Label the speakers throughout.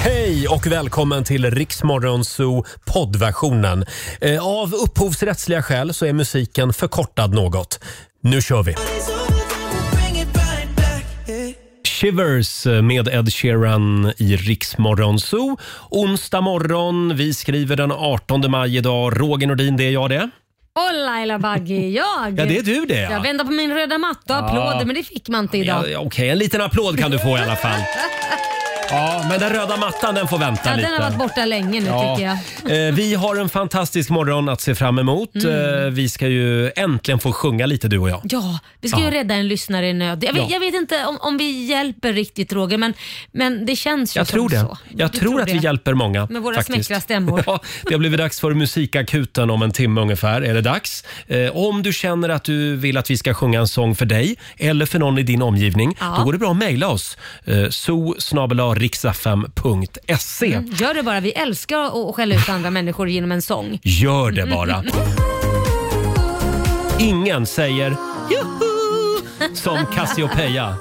Speaker 1: Hej och välkommen till Riksmorgonzoo poddversionen. Eh, Av upphovsrättsliga skäl så är musiken förkortad något. Nu kör vi! Shivers eh, med Ed Sheeran i Riksmorgonzoo. Onsdag morgon, vi skriver den 18 maj idag. Roger Nordin, det är jag det.
Speaker 2: Och Laila Bagge, jag.
Speaker 1: Ja, det är du det, ja.
Speaker 2: Jag vände på min röda matta och applåder, men det fick man inte
Speaker 1: Ja,
Speaker 2: idag.
Speaker 1: Okej, en liten applåd kan du få i alla fall. Ja, men den röda mattan den får vänta
Speaker 2: Ja,
Speaker 1: lite.
Speaker 2: den har varit borta länge nu
Speaker 1: Ja.
Speaker 2: tycker jag. Mm.
Speaker 1: Eh, Vi har en fantastisk morgon att se fram emot. Eh, Vi ska ju äntligen få sjunga lite du och jag.
Speaker 2: Ja, vi ska
Speaker 1: Ja.
Speaker 2: ju rädda en lyssnare i nöd. Jag vet,
Speaker 1: Ja.
Speaker 2: jag vet inte om, om vi hjälper riktigt Roger, men, men det känns ju
Speaker 1: Jag
Speaker 2: som
Speaker 1: tror det.
Speaker 2: så.
Speaker 1: Jag
Speaker 2: Du
Speaker 1: tror, att vi
Speaker 2: det.
Speaker 1: hjälper många.
Speaker 2: Med våra
Speaker 1: faktiskt.
Speaker 2: smäckra stämmor.
Speaker 1: Ja, det har blivit dags för musikakuten om en timme ungefär. Är det dags? Eh, Om du känner att du vill att vi ska sjunga en sång för dig eller för någon i din omgivning,
Speaker 2: Ja.
Speaker 1: då går det bra att mejla oss. eh, zoo.riksfm.se
Speaker 2: Gör det bara, vi älskar att- att skälla ut andra människor genom en sång.
Speaker 1: Gör det bara. Ingen säger juhu som Cassiopeia.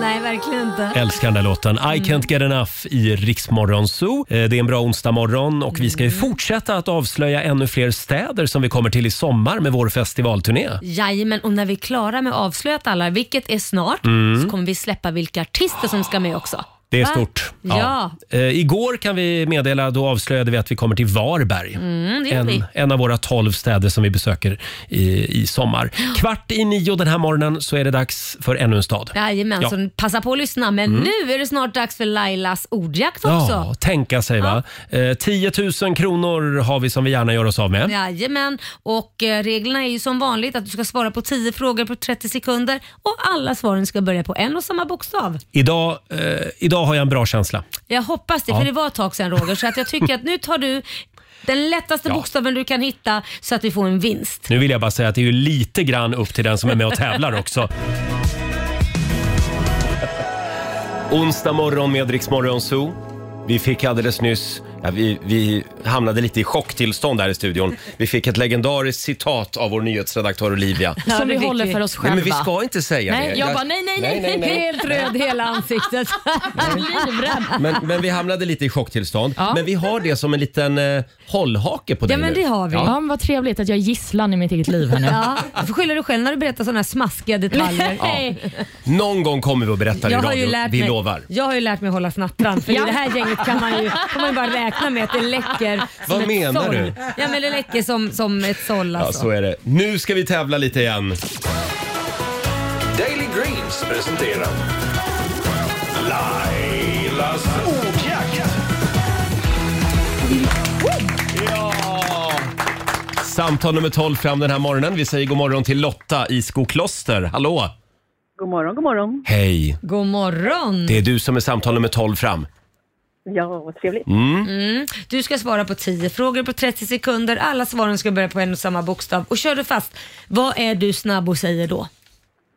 Speaker 2: Nej, verkligen inte.
Speaker 1: Älskar den där låten. I can't get enough i Riksmorgon Zoo. Eh, Det är en bra onsdag morgon och vi ska ju fortsätta att avslöja ännu fler städer som vi kommer till i sommar med vår festivalturné.
Speaker 2: Jajamän, och när vi är klara med att avslöja att alla, vilket är snart, så kommer vi släppa vilka artister som ska med också.
Speaker 1: Mm. Det är
Speaker 2: Va?
Speaker 1: stort.
Speaker 2: Ja,
Speaker 1: Eh, igår kan vi meddela, då avslöjade vi att vi kommer till Varberg.
Speaker 2: mm, det gör vi.
Speaker 1: En, en av våra tolv städer som vi besöker i, i sommar. Kvart i nio den här morgonen så är det dags för ännu en stad.
Speaker 2: Jajamän,
Speaker 1: Ja. Mm.
Speaker 2: så passa på att lyssna. Men nu är det snart dags för Lailas ordjakt också.
Speaker 1: Ja, tänka sig va. Eh, 10 000 kronor har vi som vi gärna gör oss av med.
Speaker 2: Jajamän, och eh, reglerna är ju som vanligt att du ska svara på 10 frågor på 30 sekunder och alla svaren ska börja på en och samma bokstav.
Speaker 1: Idag, eh, idag har jag en bra känsla.
Speaker 2: Jag hoppas det,
Speaker 1: Ja.
Speaker 2: för det var ett tag sedan Roger, så att jag tycker att nu tar du den lättaste
Speaker 1: Ja.
Speaker 2: bokstaven du kan hitta så att vi får en vinst.
Speaker 1: Nu vill jag bara säga att det är ju lite grann upp till den som är med och tävlar också. Onsdag morgon med Rix Morgon Zoo. Vi fick alldeles nyss, ja, vi, vi hamnade lite i chocktillstånd här i studion. Vi fick ett legendariskt citat av vår nyhetsredaktör Olivia.
Speaker 2: Ja,
Speaker 3: Som
Speaker 2: det
Speaker 3: vi
Speaker 2: fick
Speaker 3: håller
Speaker 2: vi.
Speaker 3: för oss
Speaker 1: Nej,
Speaker 3: själva.
Speaker 1: men vi ska inte säga det.
Speaker 3: Nej, jag bara nej, nej, nej, helt röd hela ansiktet. Livrädd.
Speaker 1: Men, men vi hamnade lite i chocktillstånd.
Speaker 3: Ja.
Speaker 1: Men vi har det som en liten eh, hållhake på
Speaker 2: Ja,
Speaker 1: dig
Speaker 2: men
Speaker 1: nu.
Speaker 2: det har vi.
Speaker 3: Ja, men vad trevligt att jag är gisslan i mitt eget liv här nu.
Speaker 2: Ja, du får skylla dig själv när du berättar sådana här smaskiga detaljer.
Speaker 3: Nej.
Speaker 1: Någon gång kommer vi att berätta det i
Speaker 2: Jag har, ju
Speaker 1: radio.
Speaker 2: lärt
Speaker 1: Vi
Speaker 2: mig,
Speaker 1: lovar.
Speaker 2: jag har ju lärt mig att hålla snattran för
Speaker 3: Ja.
Speaker 2: i det här gänget kan man ju, kan man ju bara räkna med att det läcker som
Speaker 1: Vad
Speaker 2: ett
Speaker 1: menar
Speaker 2: såll.
Speaker 1: du?
Speaker 2: Ja men det läcker som, som ett såll
Speaker 1: Ja,
Speaker 2: alltså.
Speaker 1: så är det. Nu ska vi tävla lite igen.
Speaker 4: Daily Greens presenterar Lailas ordjakt.
Speaker 1: Samtal nummer 12 fram den här morgonen. Vi säger god morgon till Lotta i Skokloster. Hallå!
Speaker 5: God morgon, god morgon.
Speaker 1: Hej!
Speaker 2: God morgon!
Speaker 1: Det är du som är samtal nummer 12 fram.
Speaker 5: Ja, vad trevligt.
Speaker 1: Mm.
Speaker 2: Du ska svara på 10 frågor på 30 sekunder. Alla svaren ska börja på en och samma bokstav. Och kör du fast, vad är du snabb och säger då?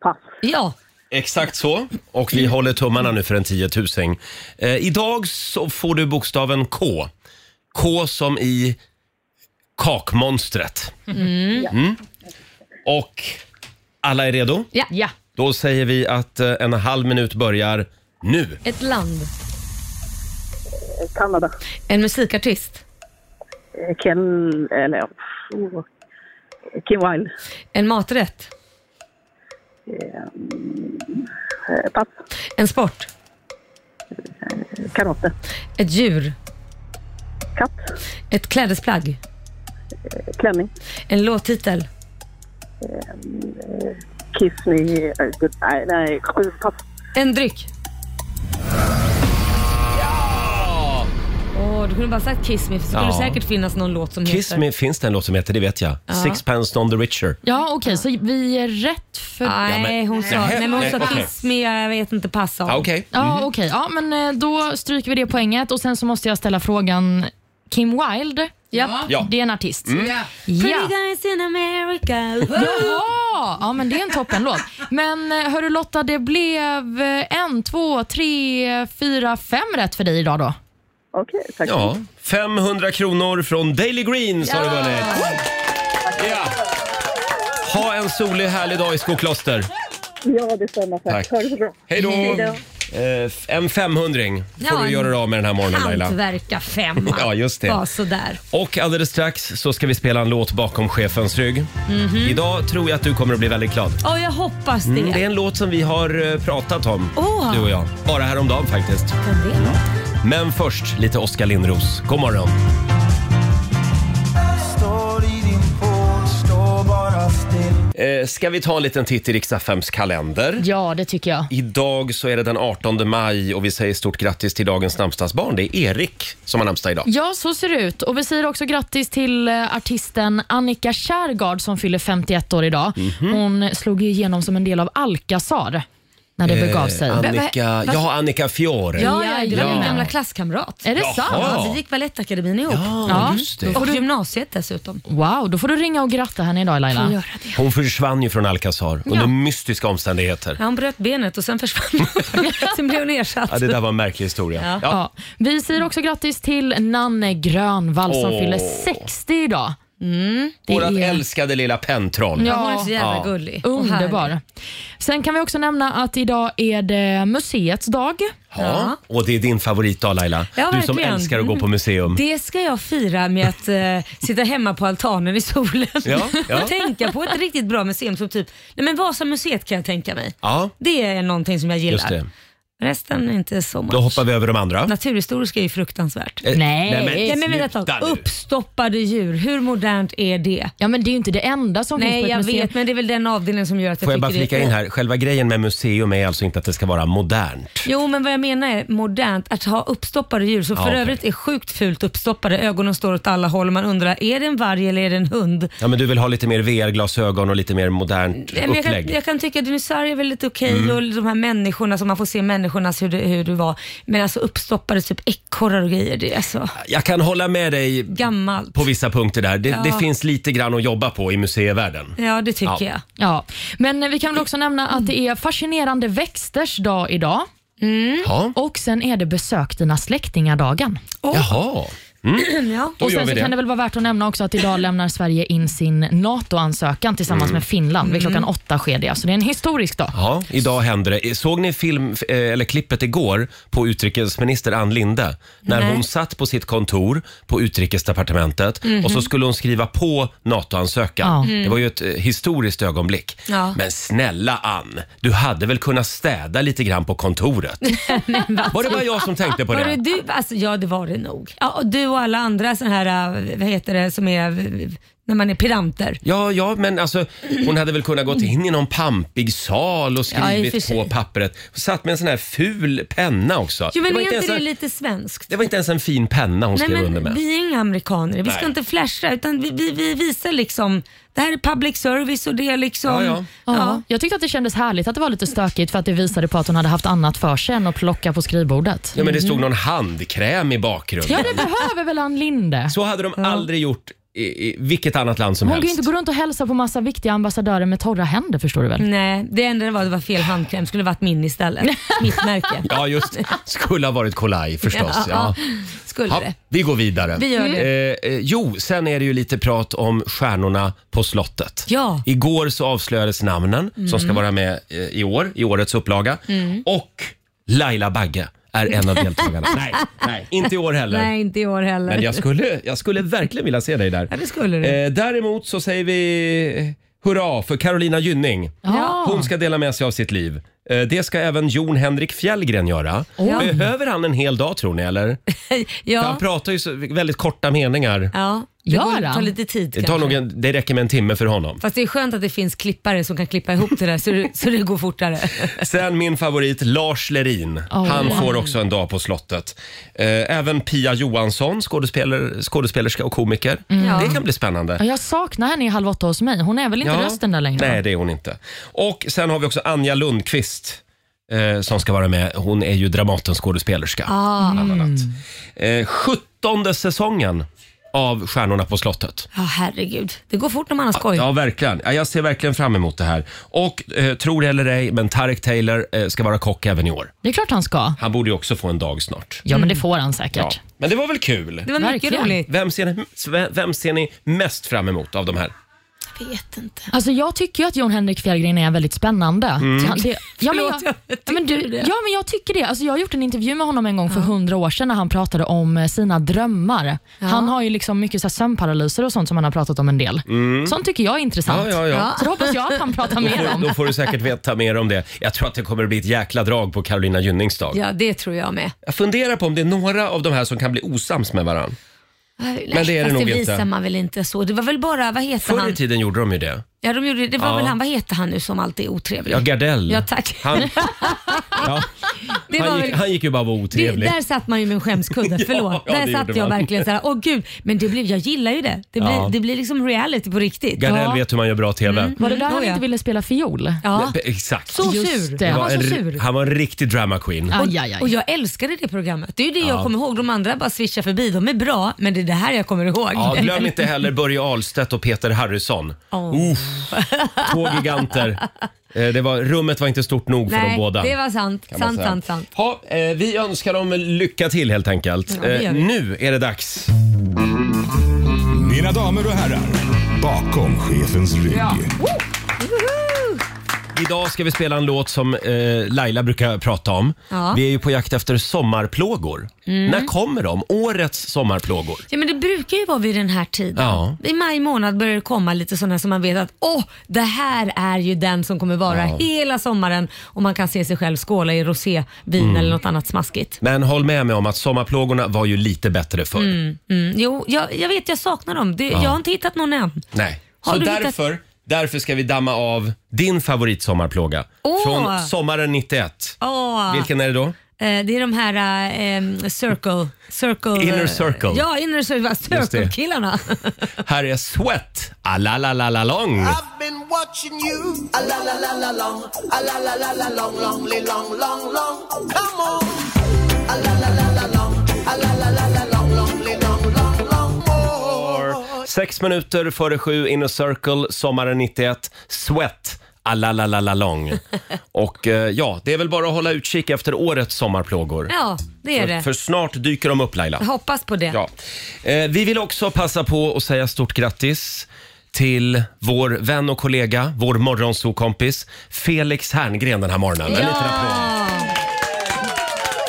Speaker 5: Pass.
Speaker 2: Ja,
Speaker 1: Exakt så. Och vi håller tummarna nu för en 10 000. Eh, idag så får du bokstaven K. K som i kakmonstret. Mm. Och alla är redo?
Speaker 2: ja.
Speaker 3: Ja,
Speaker 1: Då säger vi att eh, en halv minut börjar nu.
Speaker 2: Ett land.
Speaker 5: Eh, Kanada.
Speaker 2: En musikartist.
Speaker 5: Eh, Ken... Eller ja. oh. Kim Wilde.
Speaker 2: En maträtt.
Speaker 5: Eh, Pass.
Speaker 2: En sport.
Speaker 5: Karate.
Speaker 2: Ett djur.
Speaker 5: Katt.
Speaker 2: Ett klädesplagg.
Speaker 5: Eh, Klänning.
Speaker 2: En låttitel.
Speaker 5: Kiss me. eh, Good, nej, nej. sju, Pass.
Speaker 2: En dryck. Åh, du kunde bara sagt Kiss Me, för så skulle
Speaker 1: Ja.
Speaker 2: det säkert finnas någon låt som
Speaker 1: Kiss
Speaker 2: heter...
Speaker 1: Me finns det en låt som heter, det vet jag. Sixpence on the Richer.
Speaker 3: ja okej, så vi är rätt för...
Speaker 2: Nej,
Speaker 1: Ja, men-
Speaker 2: hon sa,
Speaker 1: Nähä,
Speaker 2: nej, men hon
Speaker 1: nej,
Speaker 2: sa
Speaker 1: okej.
Speaker 2: Kiss Me, jag vet inte, passa
Speaker 1: Ah,
Speaker 2: av.
Speaker 1: Okej.
Speaker 3: Ja, okej. Ja, men eh, då stryker vi det poänget och sen så måste jag ställa frågan Kim Wilde.
Speaker 2: Ja.
Speaker 1: Ja. Mm.
Speaker 3: Det är en artist.
Speaker 2: Pretty
Speaker 3: Ja.
Speaker 2: guys in America.
Speaker 3: Jaha! Ja, men det är en toppenlåt. Men eh, hörru Lotta, det blev eh, en, två, tre, fyra, fem rätt för dig idag då.
Speaker 5: Okej, tack.
Speaker 1: Ja. 500 kronor från Daily Greens har du vunnit. Ja. Ha en solig härlig dag i Skokloster.
Speaker 5: Ja, detsamma. Tack.
Speaker 1: Tack.
Speaker 5: Ha det så bra.
Speaker 1: Hej då! Eh, f- en 500 får
Speaker 2: Ja,
Speaker 1: du göra dig av med den här morgonen Laila.
Speaker 2: Hantverka femma.
Speaker 1: Ja, just det.
Speaker 2: Var sådär.
Speaker 1: Och alldeles strax så ska vi spela en låt bakom chefens rygg. Idag tror jag att du kommer att bli väldigt glad.
Speaker 2: Mhm. Ja, jag hoppas det.
Speaker 1: Mm, det är en låt som vi har eh, pratat om,
Speaker 2: Åh.
Speaker 1: du och jag. Bara häromdagen faktiskt.
Speaker 2: Kan det vara?
Speaker 1: Men först lite Oskar Lindros. God morgon. Eh, ska vi ta en liten titt i Riksaffems kalender?
Speaker 3: Ja, det tycker jag.
Speaker 1: Idag så är det den 18 maj och vi säger stort grattis till dagens namnsdagsbarn. Det är Erik som har namnsdag idag.
Speaker 3: Ja, så ser det ut. Och Vi säger också grattis till eh, artisten Annika Kärgard som fyller 51 år idag. Hon slog ju igenom som en del av Alcazar när det begav sig.
Speaker 1: Eh, Annika,
Speaker 2: Va- va-
Speaker 1: ja, Annika Fiore.
Speaker 2: Ja, ja, det var
Speaker 3: Ja.
Speaker 2: min gamla klasskamrat.
Speaker 3: Är det
Speaker 1: Jaha.
Speaker 3: sant?
Speaker 2: Ja, vi gick Balettakademin ihop.
Speaker 1: ja, just det.
Speaker 2: Och gymnasiet dessutom.
Speaker 3: Wow, då får du ringa och gratta henne idag Laila.
Speaker 2: Göra det.
Speaker 1: Hon försvann ju från Alcazar under mystiska omständigheter.
Speaker 2: Ja, Han bröt benet och sen försvann Sen blev hon ersatt.
Speaker 1: Ja, det där var en märklig historia. Ja.
Speaker 3: Ja. Vi säger också grattis till Nanne Grönvall som
Speaker 1: Åh.
Speaker 3: fyller 60 idag. det
Speaker 1: Vårat
Speaker 3: är-
Speaker 1: älskade lilla pentroll.
Speaker 2: Ja, Hon är så jävla
Speaker 1: Ja.
Speaker 2: gullig. och härlig.
Speaker 3: Underbar. Sen kan vi också nämna att idag är det museets dag.
Speaker 1: Ja. Och det är din favoritdag Laila.
Speaker 2: Ja,
Speaker 1: du som
Speaker 2: verkligen.
Speaker 1: älskar att gå på museum.
Speaker 2: Det ska jag fira med att eh, sitta hemma på altanen i solen
Speaker 1: Ja, ja.
Speaker 2: och tänka på ett riktigt bra museum. Som typ, nej men Vasamuseet kan jag tänka mig.
Speaker 1: Ja,
Speaker 2: Det är någonting som jag gillar.
Speaker 1: just det.
Speaker 2: Resten är inte så much.
Speaker 1: Då hoppar vi över de andra.
Speaker 2: Naturhistoriska är ju fruktansvärt.
Speaker 1: Eh,
Speaker 3: Nej.
Speaker 2: Nej men vänta ett
Speaker 1: sluta
Speaker 2: tag.
Speaker 1: nu.
Speaker 2: Uppstoppade djur, hur modernt är det?
Speaker 3: Ja, men det är ju inte det enda som finns
Speaker 2: Nej
Speaker 3: på ett
Speaker 2: jag
Speaker 3: museum.
Speaker 2: vet men det är väl den avdelningen som gör att jag
Speaker 1: Får jag bara
Speaker 2: tycker
Speaker 1: flika
Speaker 2: det är...
Speaker 1: in här, själva grejen med museum är alltså inte att det ska vara modernt.
Speaker 2: Jo men vad jag menar är modernt att ha uppstoppade djur som
Speaker 1: Ja,
Speaker 2: för
Speaker 1: okej.
Speaker 2: övrigt är sjukt fult uppstoppade. Ögonen står åt alla håll och man undrar är det en varg eller är det en hund?
Speaker 1: Ja, men du vill ha lite mer VR-glasögon och lite mer modernt
Speaker 2: Nej, Men jag, kan,
Speaker 1: upplägg.
Speaker 2: jag kan tycka att dinosaurie är väl lite okej och de här människorna som man får se människornas hur det, hur det var. Men alltså uppstoppade typ ekorrar och grejer, det är så
Speaker 1: Jag kan hålla med dig
Speaker 2: gammalt.
Speaker 1: på vissa punkter där. Det, det
Speaker 2: Ja.
Speaker 1: finns lite grann att jobba på i museivärlden.
Speaker 2: Ja det tycker
Speaker 1: Ja.
Speaker 2: jag.
Speaker 3: Ja. Men vi kan väl också nämna att det är fascinerande växters dag idag.
Speaker 2: Mm.
Speaker 1: Ja.
Speaker 3: Och sen är det besök dina släktingar-dagen.
Speaker 1: Jaha.
Speaker 2: ja.
Speaker 1: Då
Speaker 3: Och sen
Speaker 1: gör vi
Speaker 3: så
Speaker 1: det.
Speaker 3: kan det väl vara värt att nämna också att idag lämnar Sverige in sin NATO-ansökan tillsammans
Speaker 1: Mm.
Speaker 3: med Finland. Vid klockan åtta sker det, så det är en historisk dag.
Speaker 1: Ja, idag händer det. Såg ni film, f- eh, eller klippet igår på utrikesminister Ann Linde? När
Speaker 2: Nej.
Speaker 1: hon satt på sitt kontor på utrikesdepartementet och
Speaker 2: Mhm.
Speaker 1: så skulle hon skriva på NATO-ansökan.
Speaker 3: Ja.
Speaker 1: Det var ju ett eh, historiskt ögonblick.
Speaker 2: Ja.
Speaker 1: Men snälla Ann, du hade väl kunnat städa lite grann på kontoret? var det bara jag som tänkte på
Speaker 2: Var det
Speaker 1: det?
Speaker 2: alltså- du? Alltså, ja, det var det nog. Ja, och du och alla andra sådana här, äh, vad heter det, som är äh, när man är pedanter.
Speaker 1: Ja, ja, men alltså hon hade väl kunnat gått in i någon pampig sal och
Speaker 2: Ja, i och för
Speaker 1: skrivit på
Speaker 2: sig.
Speaker 1: papperet. Satt med en sån här ful penna också.
Speaker 2: Jo, men
Speaker 1: det, var
Speaker 2: är inte
Speaker 1: ens
Speaker 2: det
Speaker 1: en,
Speaker 2: lite svenskt?
Speaker 1: det var inte ens en fin penna hon
Speaker 2: Nej,
Speaker 1: skrev under med.
Speaker 2: men vi är inga amerikaner. Vi
Speaker 1: Nej.
Speaker 2: ska inte flasha utan vi, vi, vi visar liksom, det här är public service och det är liksom...
Speaker 1: Ja, ja.
Speaker 3: Ja. Jag tyckte att det kändes härligt att det var lite stökigt för att det visade på att hon hade haft annat för sig än att plocka på skrivbordet.
Speaker 1: Ja, men det stod någon handkräm i
Speaker 3: Ja,
Speaker 1: bakgrunden.
Speaker 3: det behöver väl Ann Linde?
Speaker 1: Så hade de aldrig gjort i, i vilket annat land som
Speaker 3: Hon kan ju
Speaker 1: helst.
Speaker 3: inte gå runt och hälsa på massa viktiga ambassadörer med torra händer förstår du
Speaker 1: Mm.
Speaker 3: väl?
Speaker 2: Nej, det enda det var, det var fel handkräm. skulle varit min istället. Mitt märke.
Speaker 1: Ja, just det. Skulle ha varit kolaj förstås. Ja.
Speaker 2: Skulle
Speaker 1: Ja,
Speaker 2: det.
Speaker 1: vi går vidare.
Speaker 2: Vi gör
Speaker 1: Eh, eh, jo, sen är det ju lite prat om stjärnorna på slottet.
Speaker 2: Ja. Mm.
Speaker 1: Igår så avslöjades namnen som ska vara med eh, i år, i årets upplaga. Och Laila Bagge är en av deltagarna. nej, nej, inte i år heller.
Speaker 2: Nej, inte i år heller.
Speaker 1: Men jag skulle, jag skulle verkligen vilja se dig där.
Speaker 2: Ja, det skulle du.
Speaker 1: Eh, däremot så säger vi eh, hurra för Carolina Gynning.
Speaker 3: Ja.
Speaker 1: Hon ska dela med sig av sitt liv. Eh, det ska även Jon Henrik Fjällgren göra. Behöver han en hel dag tror ni eller? För
Speaker 2: ja.
Speaker 1: Han pratar ju så väldigt korta meningar.
Speaker 2: ja. Det
Speaker 3: Gör
Speaker 2: går, tar
Speaker 3: han?
Speaker 2: lite tid
Speaker 1: Det, tar
Speaker 2: kanske.
Speaker 1: nog en, det räcker med en timme för honom.
Speaker 2: Fast det är skönt att det finns klippare som kan klippa ihop det där så det, så det går fortare.
Speaker 1: Sen min favorit Lars Lerin.
Speaker 3: Oh.
Speaker 1: Han får också en dag på slottet. Eh, även Pia Johansson, skådespelare, skådespelerska och komiker.
Speaker 2: Mm. Ja.
Speaker 1: Det kan bli spännande.
Speaker 3: Ja, Jag saknar henne i Halv åtta hos mig. Hon är väl inte rösten där längre?
Speaker 1: Nej, det är hon inte. Och sen har vi också Anja Lundqvist eh, som ska vara med. Hon är ju Dramatenskådespelerska.
Speaker 3: Ah.
Speaker 1: Bland annat.
Speaker 3: Mm.
Speaker 1: Eh, 17 säsongen av Stjärnorna på slottet.
Speaker 2: Ja, herregud. Det går fort när man har skoj.
Speaker 1: Ja, verkligen. Ja, Jag ser verkligen fram emot det här. Och eh, tro det eller ej, men Tarek Taylor eh, ska vara kock även i år.
Speaker 3: Det är klart han ska.
Speaker 1: Han borde ju också få en dag snart.
Speaker 3: Ja, men det får han
Speaker 1: Ja.
Speaker 3: säkert.
Speaker 1: Men det var väl kul?
Speaker 2: Det var mycket
Speaker 3: Verkligen.
Speaker 2: roligt.
Speaker 1: Vem ser, ni, vem ser ni mest fram emot av de här?
Speaker 2: vet inte.
Speaker 3: Alltså jag tycker ju att Jon Henrik Fjällgren är väldigt spännande. Han- det- ja, men
Speaker 2: Förlåt, jag
Speaker 3: jag, ja, men
Speaker 2: tycker
Speaker 3: du,
Speaker 2: det.
Speaker 3: ja, men jag tycker det. Alltså jag har gjort en intervju med honom en gång för hundra år sedan när han pratade om eh, sina drömmar. Han har ju liksom mycket så här sömnparalyser och sånt som han har pratat om en del. Sånt tycker jag är intressant.
Speaker 1: Ja, ja, ja.
Speaker 3: Så det hoppas jag att han pratar mer om.
Speaker 1: Då får du säkert veta mer om det. Jag tror att det kommer att bli ett jäkla drag på Carolina Gynnings dag.
Speaker 2: Ja, det tror jag med.
Speaker 1: Jag funderar på om det är några av de här som kan bli osams med varann.
Speaker 2: Nej,
Speaker 1: Men det är det
Speaker 2: fast
Speaker 1: nog
Speaker 2: det
Speaker 1: inte.
Speaker 2: visar man väl inte så. Det var väl bara, vad heter
Speaker 1: Förr i
Speaker 2: han?
Speaker 1: tiden gjorde de ju det.
Speaker 2: Ja, de gjorde, det var
Speaker 1: Ja.
Speaker 2: väl han, vad heter han nu som alltid är otrevlig?
Speaker 1: Ja, Gardell.
Speaker 2: Ja, tack.
Speaker 1: Han, ja,
Speaker 2: det var
Speaker 1: han,
Speaker 2: väl,
Speaker 1: gick, han gick ju bara och var
Speaker 2: det,
Speaker 1: otrevlig.
Speaker 2: där satt man ju med en skämskudde,
Speaker 1: Ja,
Speaker 2: förlåt.
Speaker 1: ja, det
Speaker 2: där satt
Speaker 1: gjorde
Speaker 2: jag
Speaker 1: man.
Speaker 2: verkligen såhär, åh gud. Men det blev, jag gillar ju det. Det blir,
Speaker 1: Ja.
Speaker 2: det blir liksom reality på riktigt.
Speaker 1: Gardell
Speaker 2: ja.
Speaker 1: vet hur man gör bra TV.
Speaker 3: Var det där
Speaker 2: Då
Speaker 3: han
Speaker 2: ja.
Speaker 3: inte ville spela fiol?
Speaker 2: Ja.
Speaker 1: P- Exakt.
Speaker 2: Så
Speaker 3: Just
Speaker 2: sur.
Speaker 3: det.
Speaker 2: Han
Speaker 1: var
Speaker 2: var så
Speaker 1: en,
Speaker 2: sur.
Speaker 1: ri- han var en riktig drama queen.
Speaker 3: Aj, aj, aj.
Speaker 2: Och jag älskade det programmet. Det är ju det jag kommer ihåg. De andra bara swishar förbi. De är bra, men det är det här jag kommer ihåg.
Speaker 1: Ja, glöm inte heller Börje Ahlstedt och Peter Harrison.
Speaker 2: Åh.
Speaker 1: Uff, två giganter. Eh, Det var, rummet var inte stort nog för
Speaker 2: Nej,
Speaker 1: de båda.
Speaker 2: det var sant.
Speaker 1: kan man
Speaker 2: Sant,
Speaker 1: säga.
Speaker 2: sant, sant.
Speaker 1: Ha, eh, vi önskar dem lycka till helt enkelt.
Speaker 2: det gör
Speaker 1: eh,
Speaker 2: vi.
Speaker 1: nu är det dags.
Speaker 4: Mina damer och herrar, bakom chefens rygg.
Speaker 1: Idag ska vi spela en låt som eh, Laila brukar prata om.
Speaker 2: Ja. Mm.
Speaker 1: Vi är ju på jakt efter sommarplågor. När kommer de? Årets sommarplågor.
Speaker 2: Ja, men det brukar ju vara vid den här tiden.
Speaker 1: Ja.
Speaker 2: I maj månad börjar det komma lite sådana som man vet att åh, det här är ju den som kommer vara hela sommaren och man kan se sig själv skåla i rosévin
Speaker 1: Mm.
Speaker 2: eller något annat smaskigt.
Speaker 1: Men håll med mig om att sommarplågorna var ju lite bättre förr.
Speaker 2: Mm, jo, jag, jag vet jag saknar dem. Det, Jag har inte hittat någon än.
Speaker 1: Nej.
Speaker 2: Har
Speaker 1: Så
Speaker 2: du hittat-
Speaker 1: därför, därför ska vi damma av din favoritsommarplåga.
Speaker 2: Åh!
Speaker 1: Från sommaren 91.
Speaker 2: Åh,
Speaker 1: Vilken är det då?
Speaker 2: eh, det är de här eh, em, circle, circle...
Speaker 1: Inner
Speaker 2: eh,
Speaker 1: circle.
Speaker 2: Ja, inner circle.
Speaker 1: det.
Speaker 2: Circle-killarna.
Speaker 1: Här är Sweat, a la la la la long.
Speaker 6: I've been watching you. A la la la la long. A la la la la long, long, li- long, long, long. Come on. A la la la la long. A la la la la long, long, li- long, long, long. More.
Speaker 1: Sex minuter före sju, Inner Circle, sommaren 91. Sweat, a la la la la long. Och eh, ja, det är väl bara att hålla utkik efter årets sommarplågor.
Speaker 2: Ja, det är
Speaker 1: För,
Speaker 2: det.
Speaker 1: för snart dyker de upp Laila.
Speaker 2: Jag hoppas på det.
Speaker 1: Ja. Eh, vi vill också passa på att säga stort grattis till vår vän och kollega, vår morgonsokompis Felix Herngren den här morgonen. En liten applåd.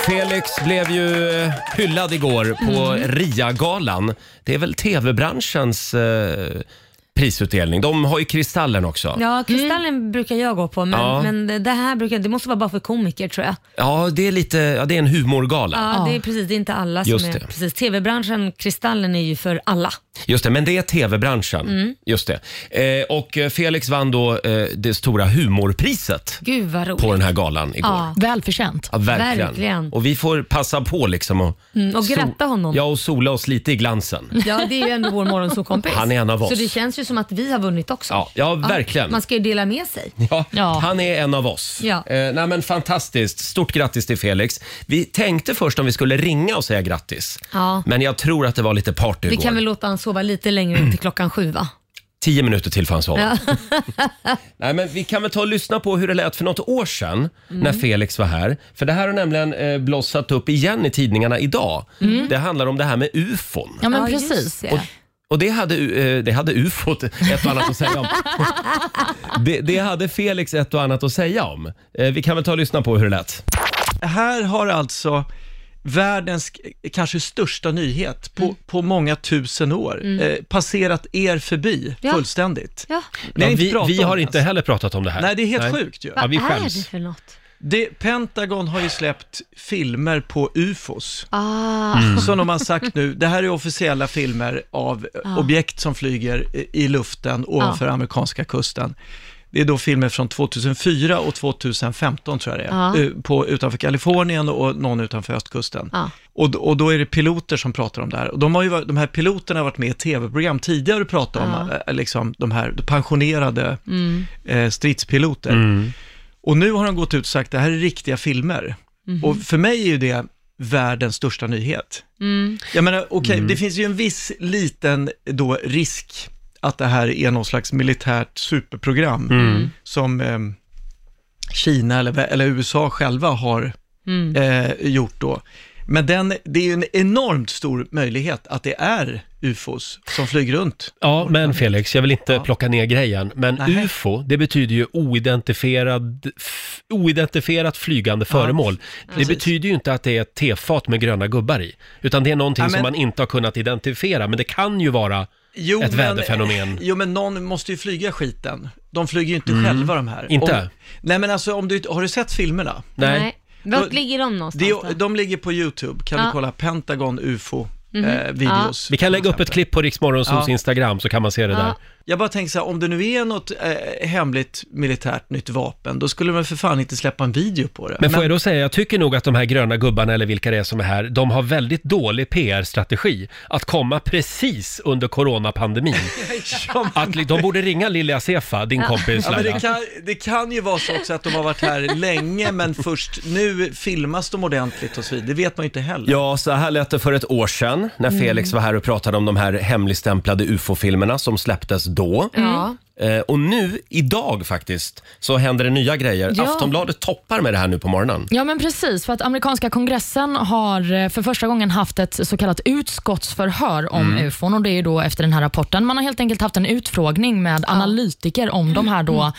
Speaker 1: Felix blev ju eh, hyllad igår på RIA-galan. Det är väl tv-branschens eh, prisutdelning. De har ju Kristallen också. Ja.
Speaker 2: Ja, Kristallen brukar jag gå på, men,
Speaker 1: Ja.
Speaker 2: men det- det här brukar, det måste vara bara för komiker tror jag.
Speaker 1: det är lite, ja, det är en humorgala.
Speaker 2: Ja,
Speaker 3: Ja.
Speaker 2: det är precis, det är inte alla
Speaker 1: Just
Speaker 2: som är...
Speaker 1: det.
Speaker 2: Precis, TV-branschen, Kristallen är ju för alla.
Speaker 1: Just det, men det är tv-branschen. Just det. Eh, och eh, Felix vann då eh, det stora humorpriset.
Speaker 2: Gud vad roligt.
Speaker 1: på den här galan igår. Ja.
Speaker 2: Ja.
Speaker 3: Välförtjänt.
Speaker 1: verkligen.
Speaker 2: Verkligen.
Speaker 1: Och vi får passa på liksom och,
Speaker 2: Mm, och
Speaker 1: sol-
Speaker 2: gratta honom.
Speaker 1: Ja,
Speaker 2: Ja.
Speaker 1: och sola oss lite i glansen.
Speaker 2: det är ju ändå vår morgonsåkompis.
Speaker 1: Han är en av oss.
Speaker 2: Så det känns ju som att vi har vunnit också.
Speaker 1: Ja, ja, verkligen.
Speaker 2: Man ska ju dela med sig.
Speaker 1: Ja,
Speaker 3: Ja.
Speaker 1: Han är en av oss.
Speaker 2: Ja.
Speaker 1: Eh, nej, men fantastiskt. Stort grattis till Felix. Vi tänkte först om vi skulle ringa och säga grattis.
Speaker 2: Ja.
Speaker 1: Men jag tror att det var lite party
Speaker 2: Vi
Speaker 1: igår.
Speaker 2: kan väl låta han sova lite längre in till klockan sju va?
Speaker 1: Tio minuter till får han sova. nej, men vi kan väl ta och lyssna på hur det lät för något år sedan när
Speaker 2: Mm.
Speaker 1: Felix var här. För det här har nämligen eh, blossat upp igen i tidningarna idag.
Speaker 2: Mm.
Speaker 1: Det handlar om det här med ufon.
Speaker 3: Ja, men
Speaker 2: Ja, just
Speaker 3: precis.
Speaker 2: det.
Speaker 1: Och, och det hade, eh, det hade ufot ett och annat att säga om. Det, det hade Felix ett och annat att säga om. Eh, Vi kan väl ta och lyssna på hur det lät.
Speaker 7: Här har alltså världens eh, kanske största nyhet på,
Speaker 2: Mm.
Speaker 7: på många tusen år eh, passerat er förbi
Speaker 2: Ja.
Speaker 7: fullständigt.
Speaker 2: Ja.
Speaker 7: Ni
Speaker 1: Ja,
Speaker 7: inte
Speaker 1: vi,
Speaker 7: pratat
Speaker 1: vi
Speaker 7: om alltså.
Speaker 1: har
Speaker 7: det
Speaker 1: inte
Speaker 7: ens.
Speaker 1: heller pratat om det här.
Speaker 7: Nej, det är helt sjukt ju.
Speaker 1: Ja, vi
Speaker 2: vad är det
Speaker 1: skäms.
Speaker 2: för något?
Speaker 7: Det, Pentagon har ju släppt filmer på ufos,
Speaker 2: Ah,
Speaker 1: Mm.
Speaker 7: som de har sagt nu. Det här är officiella filmer av eh, objekt som flyger i- i luften ovanför amerikanska kusten. Det är då filmer från 2004 och 2015 tror jag det är,
Speaker 2: Ja.
Speaker 7: eh, på, utanför Kalifornien och någon utanför östkusten.
Speaker 2: Ja.
Speaker 7: Och, d- och då är det piloter som pratar om det här. Och de, har ju, varit- de här piloterna har varit med i tv-program tidigare och pratat om eh, liksom, de här pensionerade eh, stridspiloter. Och nu har de gått ut och sagt det här är riktiga filmer. Och för mig är ju det världens största nyhet. Jag menar, okej,
Speaker 1: Mm.
Speaker 7: det finns ju en viss liten då risk att det här är någon slags militärt superprogram
Speaker 1: Mm.
Speaker 7: som eh, Kina eller, eller USA själva har eh, gjort då. Men den, det är ju en enormt stor möjlighet att det är ufos som flyger runt.
Speaker 1: Ja, men Felix, jag vill inte plocka ner grejen. Men UFO, det betyder ju oidentifierad, f- oidentifierat flygande föremål. Det betyder ju inte att det är ett tefat med gröna gubbar i. Utan det är någonting
Speaker 7: Ja,
Speaker 1: som
Speaker 7: men-
Speaker 1: man inte har kunnat identifiera. Men det kan ju vara
Speaker 7: Jo,
Speaker 1: ett
Speaker 7: men-
Speaker 1: väderfenomen. Mm.
Speaker 7: Jo, men någon måste ju flyga skiten. De flyger ju inte själva de här.
Speaker 1: Inte?
Speaker 7: Om, nej, men alltså, om du, har du sett filmerna?
Speaker 1: Nej.
Speaker 2: Vart
Speaker 7: Då-
Speaker 2: ligger de
Speaker 7: Det,
Speaker 2: någonstans?
Speaker 7: är-
Speaker 2: då?
Speaker 7: de ligger på YouTube, kan
Speaker 2: Ja. Mhm.
Speaker 7: du kolla Pentagon UFO eh, videos.
Speaker 1: Vi kan lägga upp
Speaker 7: till
Speaker 1: ett klipp på Riksmorgonsols
Speaker 7: Ja.
Speaker 1: Instagram så kan man se det där.
Speaker 2: Ja.
Speaker 7: Jag bara tänker så här, om det nu är något eh, hemligt militärt nytt vapen, då skulle man för fan inte släppa en video på det.
Speaker 1: Men får jag då säga, jag tycker nog att de här gröna gubbarna eller vilka det är som är här, de har väldigt dålig PR-strategi. Att komma precis under coronapandemin. att, li- de borde ringa Lilja Sefa, din kompis
Speaker 7: Ja, men
Speaker 1: Laila.
Speaker 7: det, kan, det kan ju vara så också att de har varit här länge, men först nu filmas de ordentligt och så vidare. Det vet man ju inte heller.
Speaker 1: Ja, så här lät det för ett år sedan när
Speaker 7: Mm.
Speaker 1: Felix var här och pratade om de här hemligstämplade ufo-filmerna som släpptes då.
Speaker 2: Ja.
Speaker 1: Eh, och nu, idag faktiskt, så händer det nya grejer.
Speaker 3: Ja.
Speaker 1: Aftonbladet toppar med det här nu på morgonen.
Speaker 3: Ja men precis, för att amerikanska kongressen har eh, för första gången haft ett så kallat utskottsförhör om ufon och det är då efter den här rapporten. Man har helt enkelt haft en utfrågning med analytiker om de här då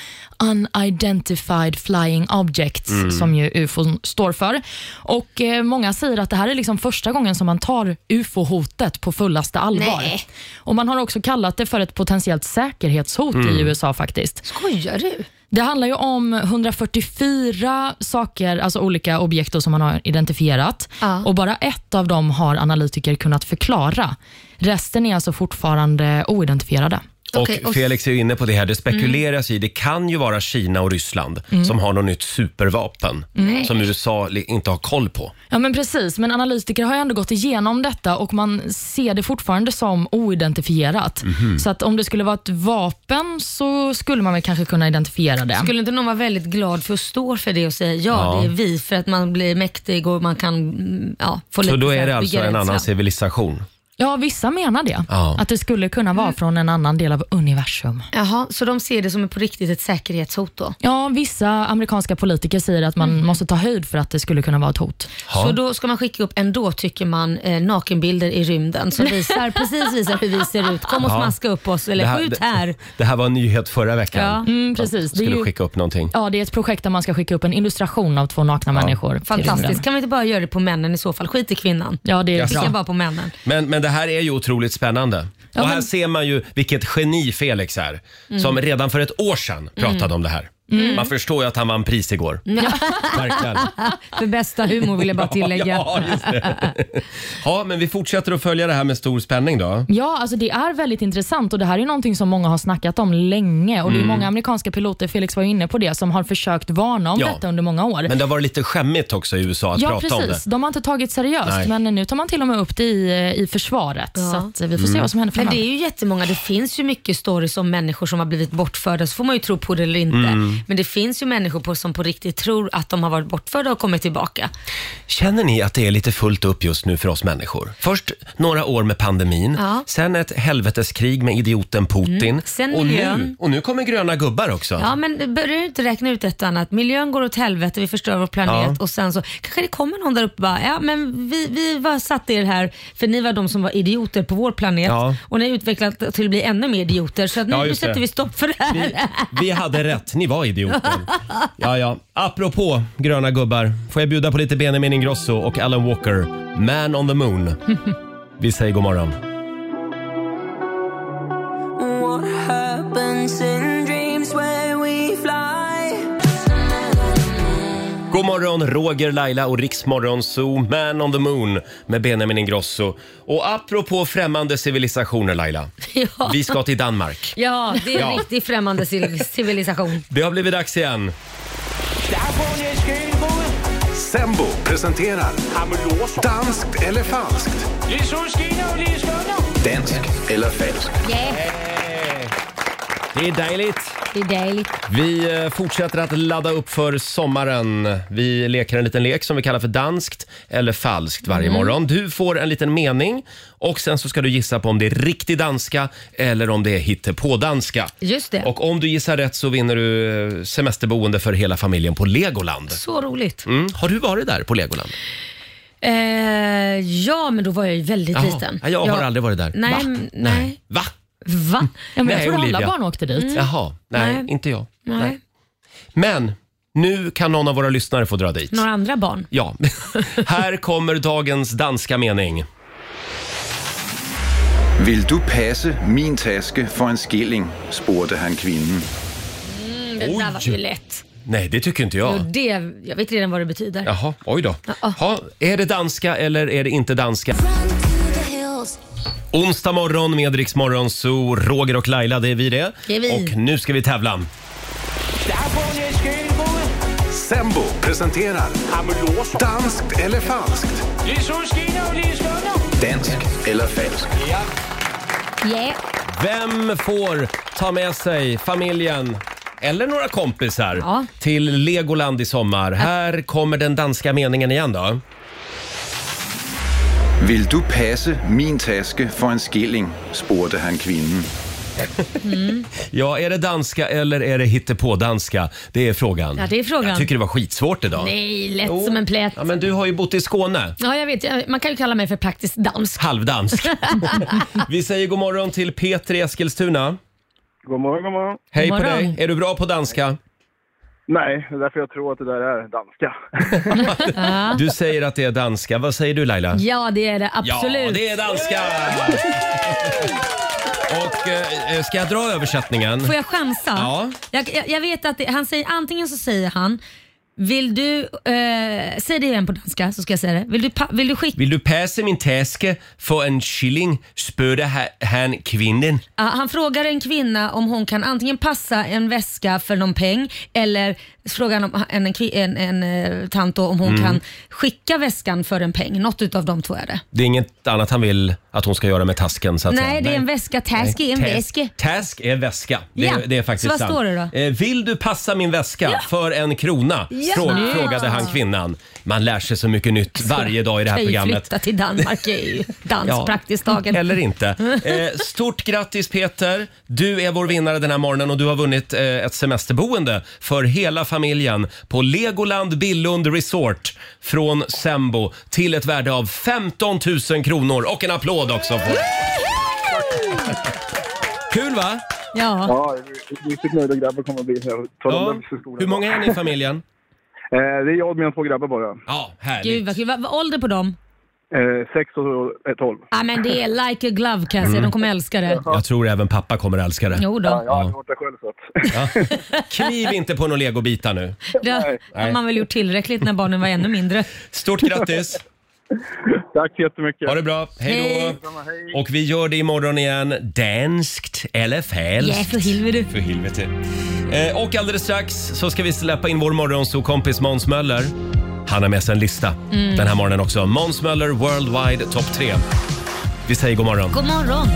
Speaker 3: unidentified flying objects som ju ufon står för. Och eh, många säger att det här är liksom första gången som man tar ufo-hotet på fullaste allvar.
Speaker 2: Nej.
Speaker 3: Och man har också kallat det för ett potentiellt säkerhetshot i USA faktiskt.
Speaker 2: Skojar du?
Speaker 3: Det handlar ju om 144 saker, alltså olika objekt då som man har identifierat.
Speaker 2: Ja.
Speaker 3: Och Bara ett av dem har analytiker kunnat förklara. Resten är alltså fortfarande oidentifierade.
Speaker 1: Och
Speaker 2: Okej, och- Mm.
Speaker 1: Felix är ju inne på det här, det spekuleras i, det kan ju vara Kina och Ryssland som har något nytt supervapen som USA li- inte har koll på.
Speaker 3: Ja men Precis, men analytiker har ju ändå gått igenom detta och man ser det fortfarande som oidentifierat. Så att om det skulle vara ett vapen så skulle man väl kanske kunna identifiera det.
Speaker 2: Skulle inte någon vara väldigt glad för att stå för det och säga ja,
Speaker 1: Ja.
Speaker 2: det är vi för att man blir mäktig och man kan mm, ja, få lite
Speaker 1: Så då
Speaker 2: så här
Speaker 1: är det alltså en
Speaker 2: begränsad.
Speaker 1: annan civilisation.
Speaker 3: Ja, vissa menar det.
Speaker 1: Ja.
Speaker 3: Att det skulle kunna vara från en annan del av universum.
Speaker 2: Jaha, så de ser det som på riktigt ett säkerhetshot då?
Speaker 3: Ja, vissa amerikanska politiker säger att man måste ta höjd för att det skulle kunna vara ett hot.
Speaker 1: Ja.
Speaker 2: Så då ska man skicka upp ändå, tycker man, eh, nakenbilder i rymden som visar, precis visar hur vi ser ut. Kom och
Speaker 1: Ja.
Speaker 2: smaska upp oss, eller skjut här.
Speaker 1: Det, det här var en nyhet förra veckan.
Speaker 2: Ja.
Speaker 3: Mm, precis. Det är,
Speaker 1: Skulle
Speaker 3: ju,
Speaker 1: skicka upp någonting.
Speaker 3: ja, det är ett projekt där man ska skicka upp en illustration av två nakna människor. till
Speaker 2: Fantastiskt.
Speaker 3: rymden.
Speaker 2: Kan vi inte bara göra det på männen i så fall? Skit i kvinnan.
Speaker 3: Ja, det är
Speaker 2: Vi kan
Speaker 3: bra.
Speaker 2: bara på männen.
Speaker 1: Men, men det här är ju otroligt spännande. och här
Speaker 3: men-
Speaker 1: ser man ju vilket geni Felix är,
Speaker 2: Mm.
Speaker 1: som redan för ett år sedan pratade om det här. Man förstår ju att han vann pris igår. Verkligen.
Speaker 2: För bästa humor vill jag bara tillägga.
Speaker 1: Ja, just det. ja, men vi fortsätter att följa det här med stor spänning då.
Speaker 3: Ja, alltså det är väldigt intressant och det här är någonting som många har snackat om länge och det
Speaker 1: Mm.
Speaker 3: är många amerikanska piloter, Felix var ju inne på det, som har försökt varna om
Speaker 1: Ja.
Speaker 3: detta under många år.
Speaker 1: Men det har varit lite skämmigt också i USA att
Speaker 3: ja,
Speaker 1: prata om det.
Speaker 3: precis. De har inte tagit seriöst,
Speaker 1: Nej.
Speaker 3: men nu tar man till och med upp det i, eh, i försvaret. Så att vi får
Speaker 1: Mm.
Speaker 3: se vad som händer
Speaker 2: Men
Speaker 3: framöver.
Speaker 2: det är ju jättemånga, det finns ju mycket stories om människor som har blivit bortförda, så får man ju tro på det eller inte.
Speaker 1: Mm.
Speaker 2: Men det finns ju människor på, som på riktigt tror att de har varit bortförda och kommit tillbaka.
Speaker 1: Känner ni att det är lite fullt upp just nu för oss människor? Först några år med pandemin,
Speaker 2: Ja. Mm.
Speaker 1: sen ett helveteskrig med idioten Putin.
Speaker 2: Sen
Speaker 1: och, nu,
Speaker 2: miljön.
Speaker 1: och nu kommer gröna gubbar också.
Speaker 2: Ja, men börjar du inte räkna ut ett och annat? Miljön går åt helvete, vi förstör vår planet
Speaker 1: Ja.
Speaker 2: och sen så kanske det kommer någon där uppe och bara, ja men vi, vi var satte er här för ni var de som var idioter på vår planet
Speaker 1: Ja.
Speaker 2: och ni har utvecklat till att bli ännu mer idioter så att nu,
Speaker 1: Ja,
Speaker 2: nu
Speaker 1: just det.
Speaker 2: sätter vi stopp för det här.
Speaker 1: Vi, vi hade rätt, ni var idioter. Ja, ja. Apropå gröna gubbar, får jag bjuda på lite Benjamin Ingrosso och Alan Walker, Man on the Moon. Vi säger god morgon.
Speaker 8: What happens in dreams where we fly?
Speaker 1: God morgon, Roger, Laila och Riksmorgon Zoo, Man on the Moon med Benjamin Ingrosso. Och apropå främmande civilisationer, Laila.
Speaker 2: Ja.
Speaker 1: Vi ska till Danmark.
Speaker 2: Ja, det är en
Speaker 1: Ja.
Speaker 2: riktigt främmande civil- civilisation.
Speaker 1: Det har blivit dags igen.
Speaker 4: Sembo presenterar Danskt eller falskt? Danskt eller falskt?
Speaker 1: Det är dejligt.
Speaker 2: Det är dejligt.
Speaker 1: Vi eh, fortsätter att ladda upp för sommaren. Vi leker en liten lek som vi kallar för danskt eller falskt varje morgon. Du får en liten mening och sen så ska du gissa på om det är riktig danska eller om det är hittepådanska.
Speaker 2: Just det.
Speaker 1: Och om du gissar rätt så vinner du eh, semesterboende för hela familjen på Legoland.
Speaker 2: Så roligt.
Speaker 1: Mm. Har du varit där på Legoland?
Speaker 2: Eh, ja, men då var jag ju väldigt
Speaker 1: Jaha.
Speaker 2: liten.
Speaker 1: Ja, Jag har aldrig varit där.
Speaker 2: Nej,
Speaker 1: Va?
Speaker 2: men- nej.
Speaker 1: Va?
Speaker 2: Va?
Speaker 3: Ja, men
Speaker 1: Nej,
Speaker 3: jag tror alla
Speaker 1: Olivia.
Speaker 3: barn åkte dit.
Speaker 1: Jaha, nej,
Speaker 2: Nej.
Speaker 1: inte jag.
Speaker 2: Nej.
Speaker 1: Men nu kan någon av våra lyssnare få dra dit.
Speaker 2: Några andra barn?
Speaker 1: Ja, här kommer dagens danska mening.
Speaker 4: Vil du passe min taske for en skilling, spurgte han kvinden.
Speaker 2: Det där var ju lätt.
Speaker 1: Nej, det tycker inte
Speaker 2: Och
Speaker 1: jag.
Speaker 2: det, jag vet redan vad det betyder.
Speaker 1: Jaha, oj då.
Speaker 2: Mm. Ja.
Speaker 1: Ha, är det danska eller är det inte danska? Onsdag morgon med Rix Morgon, så Roger och Laila, det är vi det.
Speaker 2: Det är vi.
Speaker 1: Och nu ska vi tävla.
Speaker 4: Sembo presenterar Danskt eller falskt? Dansk eller falskt?
Speaker 2: Yeah.
Speaker 1: Vem får ta med sig familjen eller några kompisar
Speaker 2: Ja.
Speaker 1: till Legoland i sommar? Här kommer den danska meningen igen då.
Speaker 4: Vil du passe min taske for en skilling, spurgte han kvinden.
Speaker 1: Ja, är det danska eller är det hittepådanska? Det är frågan.
Speaker 2: Ja, det är frågan.
Speaker 1: Jag tycker det var skitsvårt idag.
Speaker 2: Nej, lätt
Speaker 1: Jo.
Speaker 2: som en plätt.
Speaker 1: Ja, men du har ju bott i Skåne.
Speaker 2: Ja, jag vet. Jag- Man kan ju kalla mig för praktiskt dansk.
Speaker 1: Halvdansk. Vi säger god morgon till Peter i Eskilstuna.
Speaker 9: God morgon, god morgon.
Speaker 1: Hej
Speaker 2: God
Speaker 1: på
Speaker 2: morgon.
Speaker 1: dig. Är du bra på danska?
Speaker 9: Nej, det är därför jag tror att det där är danska.
Speaker 1: Du säger att det är danska. Vad säger du Laila?
Speaker 2: Ja, det är det
Speaker 1: Ja,
Speaker 2: absolut.
Speaker 1: det är danska! Och eh, ska jag dra översättningen?
Speaker 2: Får jag chansa?
Speaker 1: Ja.
Speaker 2: Jag, jag, jag vet att det, han säger, antingen så säger han vill du, eh, säg det igen på danska så ska jag säga det. Vill du, pa, vill du skicka,
Speaker 1: Vill du passa min taske för en shilling? spöde ha- han kvinnan.
Speaker 2: Ja, Ah, han frågar en kvinna om hon kan antingen passa en väska för någon peng eller frågar han om, ah, en, en, kvi- en, en eh, tant då, om hon
Speaker 1: Mm.
Speaker 2: kan skicka väskan för en peng. Något utav de två är det.
Speaker 1: Det är inget annat han vill att hon ska göra med tasken så att säga.
Speaker 2: Nej, det är en väska. Task är en
Speaker 1: Task-
Speaker 2: väska.
Speaker 1: Task är väska. Det,
Speaker 2: Ja.
Speaker 1: är, det är faktiskt
Speaker 2: Så vad
Speaker 1: sant.
Speaker 2: står det då?
Speaker 1: Eh, vill du passa min väska för en krona?
Speaker 2: Ja.
Speaker 1: Frå- frågade han kvinnan. Man lär sig så mycket nytt varje dag i det här
Speaker 2: kan ju
Speaker 1: programmet.
Speaker 2: flytta till Danmark, är ju Alltså, danspraktisdagen.
Speaker 1: Eller inte. Eh, stort grattis Peter! Du är vår vinnare den här morgonen och du har vunnit eh, ett semesterboende för hela familjen på Legoland Billund Resort från Sembo till ett värde av 15 000 kronor och en applåd också! På. Kul va?
Speaker 2: Ja.
Speaker 9: Ja, riktigt nöjda grabbar kommer att bli. Jag tar dem där till skolan.
Speaker 1: Hur många är ni i familjen?
Speaker 9: Eh, det är jag och mina två grabbar bara.
Speaker 1: Ja,
Speaker 2: Gud
Speaker 1: härligt.
Speaker 2: vad kul. Vad vad ålder på dem?
Speaker 9: Eh, sex och eh, tolv.
Speaker 2: Ja men det är like a glove kan jag säga. De kommer älska det.
Speaker 1: Jag tror även pappa kommer älska det.
Speaker 2: Jo då.
Speaker 9: Jag har aldrig varit där själv så att...
Speaker 1: Kniv inte på några legobitar nu.
Speaker 2: Det har man väl gjort tillräckligt när barnen var ännu mindre.
Speaker 1: Stort grattis!
Speaker 9: Tack så jättemycket.
Speaker 1: Ha det bra, hej
Speaker 2: Hej.
Speaker 1: då! Och vi gör det imorgon igen, danskt eller
Speaker 2: Ja,
Speaker 1: falskt.
Speaker 2: för helvete.
Speaker 1: För helvete. Eh, och alldeles strax så ska vi släppa in vår morgonsokompis Måns Möller. Han har med sig en lista
Speaker 2: Mm.
Speaker 1: den här morgonen också. Måns Möller Worldwide Top 3. Vi säger god morgon.
Speaker 2: God morgon.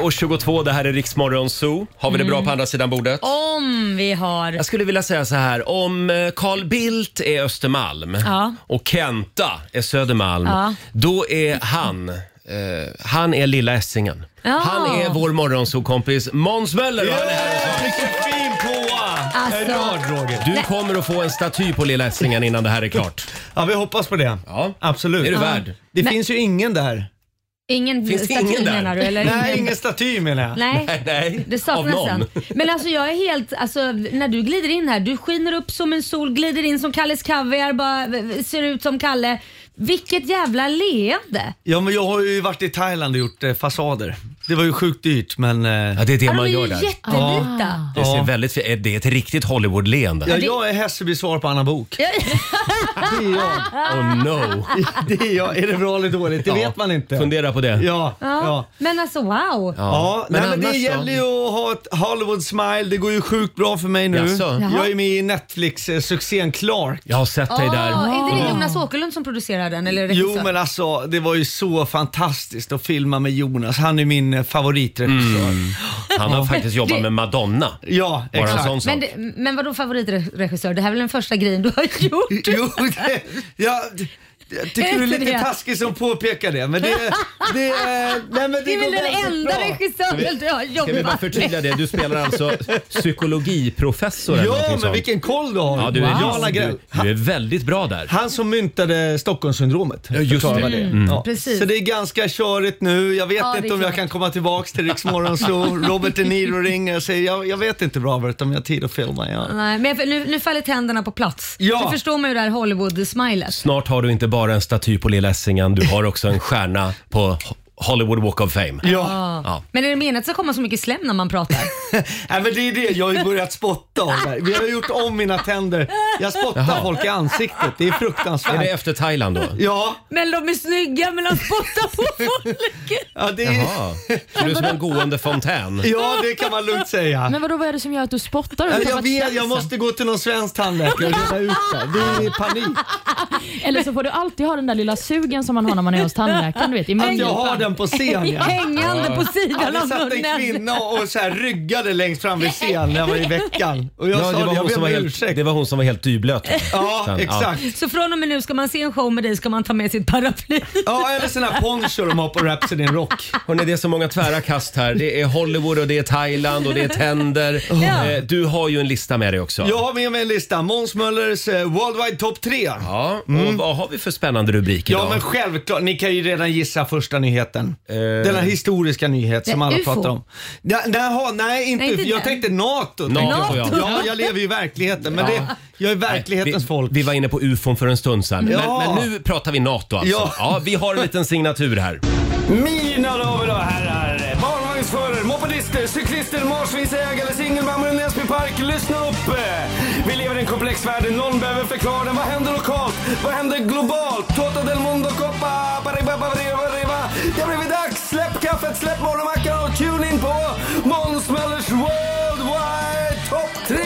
Speaker 1: och 7.22, det här är Riksmorgon Zoo. Har vi det
Speaker 2: Mm.
Speaker 1: bra på andra sidan bordet?
Speaker 2: Om vi har...
Speaker 1: Jag skulle vilja säga så här, om eh, Carl Bildt är Östermalm
Speaker 2: Ja.
Speaker 1: och Kenta är Södermalm,
Speaker 2: Ja.
Speaker 1: då är han eh, han är lilla Essingen.
Speaker 2: Ja.
Speaker 1: Han är vår morgonsokompis Måns Möller. och han är här hos oss.
Speaker 2: Alltså. Bra,
Speaker 1: Du kommer att få en staty på lilla Essingen innan det här är klart.
Speaker 10: Ja, vi hoppas på det.
Speaker 1: Ja.
Speaker 10: Absolut.
Speaker 1: Är du värd?
Speaker 10: Det finns ju ingen där.
Speaker 2: Ingen
Speaker 1: Finns det ingen
Speaker 2: staty
Speaker 1: där?
Speaker 2: menar du? Eller
Speaker 10: Nej, ingen staty menar jag.
Speaker 2: Nej.
Speaker 1: Nej,
Speaker 2: Det
Speaker 1: av
Speaker 2: saknas
Speaker 1: någon.
Speaker 2: en. Men alltså jag är helt, alltså när du glider in här, du skiner upp som en sol, glider in som Kalles kaviar, bara eh, ser ut som Kalle. Vilket jävla leende!
Speaker 10: Ja, men jag har ju varit i Thailand och gjort eh, fasader. Det var ju sjukt dyrt men... eh,
Speaker 1: Ja, det är det
Speaker 2: Ja,
Speaker 1: man
Speaker 2: de Alltså, är
Speaker 1: gör
Speaker 2: ju
Speaker 1: där.
Speaker 2: jättelita.
Speaker 1: Det ser väldigt fi- Det är ett riktigt
Speaker 10: Ja,
Speaker 1: Hollywood-leende.
Speaker 10: jag är Hässelbys svar på Anna Bok. Det är jag.
Speaker 1: Oh no.
Speaker 10: Det är jag. Är det bra eller dåligt? Det vet man inte.
Speaker 1: Fundera på det.
Speaker 10: Ja,
Speaker 2: Ja.
Speaker 10: ja.
Speaker 2: Men alltså wow!
Speaker 10: Ja, men, nej, men
Speaker 1: annars
Speaker 10: det
Speaker 1: då?
Speaker 10: gäller ju att ha ett Hollywood smile. Det går ju sjukt bra för mig nu.
Speaker 1: Jaså? Jaha.
Speaker 10: Jag är med i Netflix-succén Clark.
Speaker 1: Jag har sett dig där.
Speaker 2: Åh, Är
Speaker 1: Ah.
Speaker 2: inte det Jonas Åkerlund som producerar den? Eller
Speaker 10: Jo
Speaker 2: regissör?
Speaker 10: men alltså det var ju så fantastiskt att filma med Jonas. Han är min eh,
Speaker 1: Mm.
Speaker 10: favoritregissör.
Speaker 1: Han har faktiskt jobbat med Madonna.
Speaker 10: Ja,
Speaker 1: Bara en
Speaker 10: exakt.
Speaker 1: sån sak.
Speaker 2: men, det, men vadå favoritregissör? Det här är väl den första grejen du har gjort?
Speaker 10: Jo, det, ja, Jag tycker du är
Speaker 2: Inte
Speaker 10: lite
Speaker 2: det.
Speaker 10: taskig som påpekar det, men det... det, nej, men det
Speaker 2: Det är
Speaker 10: går
Speaker 2: väl den
Speaker 10: ganska
Speaker 2: enda
Speaker 10: bra.
Speaker 2: regissören du har jobbat
Speaker 1: Ska vi bara förtydliga det? Du spelar alltså psykologiprofessor eller
Speaker 10: Ja,
Speaker 1: någonting
Speaker 10: men
Speaker 1: sånt.
Speaker 10: vilken koll du har.
Speaker 1: Ja, du
Speaker 10: Wow.
Speaker 1: är, du, du är väldigt bra där.
Speaker 10: Han som myntade Stockholmssyndromet.
Speaker 1: Ja, just det.
Speaker 10: förklarade
Speaker 1: Mm.
Speaker 10: Ja.
Speaker 2: Precis.
Speaker 10: Så det är ganska körigt nu. Jag vet
Speaker 2: Ja, det är
Speaker 10: inte om jag
Speaker 2: klart.
Speaker 10: kan komma tillbaks till Rix Morgon så Robert De Niro ringer och säger jag, jag vet inte Robert om jag har tid att filma. Ja.
Speaker 2: Nej, men jag- nu, nu faller tänderna på plats.
Speaker 10: Ja.
Speaker 2: Nu förstår man ju det här Hollywood-smilet.
Speaker 1: Snart har du inte bara en staty på Lilla Essingen, du har också en stjärna på Ho- Hollywood Walk of Fame.
Speaker 10: Ja.
Speaker 1: Ja.
Speaker 2: Men är det meningen att det ska komma så mycket slem när man pratar?
Speaker 10: Nej, men det är det, jag har ju börjat spotta av det. Vi har gjort om mina tänder. Jag spottar
Speaker 1: Jaha.
Speaker 10: folk i ansiktet. Det är fruktansvärt.
Speaker 1: Är det efter Thailand då?
Speaker 10: Ja,
Speaker 2: Men de är snygga, men de spottar på folk.
Speaker 10: ja, det är,
Speaker 1: Jaha. Ser du ut som en gående fontän?
Speaker 10: ja, det kan man lugnt säga.
Speaker 3: Men vadå, vad är det som gör att du spottar? Du har
Speaker 10: Jag, jag
Speaker 3: tappat
Speaker 10: vet, jag
Speaker 3: känslan.
Speaker 10: måste gå till någon svensk tandläkare och reda ut det. Det är panik.
Speaker 3: Eller så får du alltid ha den där lilla sugen som man har när man är hos tandläkaren. Du vet, i
Speaker 10: Att jag
Speaker 3: mungipan.
Speaker 10: har den på scen ja.
Speaker 2: Hängande på sidan
Speaker 10: Ja,
Speaker 2: av
Speaker 10: det satt en
Speaker 2: munnen.
Speaker 10: kvinna och så här ryggade längst fram vid scenen när jag var i veckan. Och jag
Speaker 1: Ja,
Speaker 10: sa
Speaker 1: det,
Speaker 10: det,
Speaker 1: var
Speaker 10: jag
Speaker 1: hon
Speaker 10: ber
Speaker 1: som
Speaker 10: om
Speaker 1: var helt,
Speaker 10: ursäkt.
Speaker 1: det var hon som var helt dyblöt.
Speaker 10: Ja,
Speaker 1: Sen,
Speaker 10: exakt.
Speaker 2: Så från och med nu ska man se en show med dig ska man ta med sitt paraply.
Speaker 10: Ja, eller sån här poncho de har på Rhapsody in Rock.
Speaker 1: Hörrni, det är så många tvära kast här. Det är Hollywood och det är Thailand och det är tänder. Eh, Du har ju en lista med dig också.
Speaker 10: Jag har med mig en lista. Måns Möllers eh, Worldwide Top 3. Ja,
Speaker 1: Ja, och vad har vi för spännande rubrik idag?
Speaker 10: Mm.
Speaker 1: Eh.
Speaker 10: men självklart. Ni kan ju redan gissa första nyheten. Denna historiska nyhet som
Speaker 2: Det är
Speaker 10: alla
Speaker 2: UFO.
Speaker 10: pratar om. Ja, Jaha, nej inte,
Speaker 2: Nej, inte
Speaker 10: UFO. Jag
Speaker 2: den.
Speaker 10: tänkte NATO.
Speaker 1: NATO,
Speaker 10: tänkte jag.
Speaker 1: ja.
Speaker 10: Ja, jag lever ju i verkligheten. Men det, jag är verklighetens
Speaker 1: vi,
Speaker 10: folk.
Speaker 1: Vi var inne på ufon för en stund sedan.
Speaker 10: Ja.
Speaker 1: Men, men nu pratar vi NATO alltså. Ja.
Speaker 10: Ja. Oh,
Speaker 1: vi har en liten signatur här.
Speaker 10: Mina damer och herrar, barnvagnsförare, mopedister, cyklister, marsvinsägare, singelmammor i Näsby park. Lyssna upp! Vi lever i en komplex värld, någon behöver förklara den. Vad händer lokalt? Vad händer globalt? Toto del mundo coppa, baribabariba, Det har blivit dags! Släpp kaffet, släpp morgonmackan och tune in på Måns Möllers Worldwide Top 3!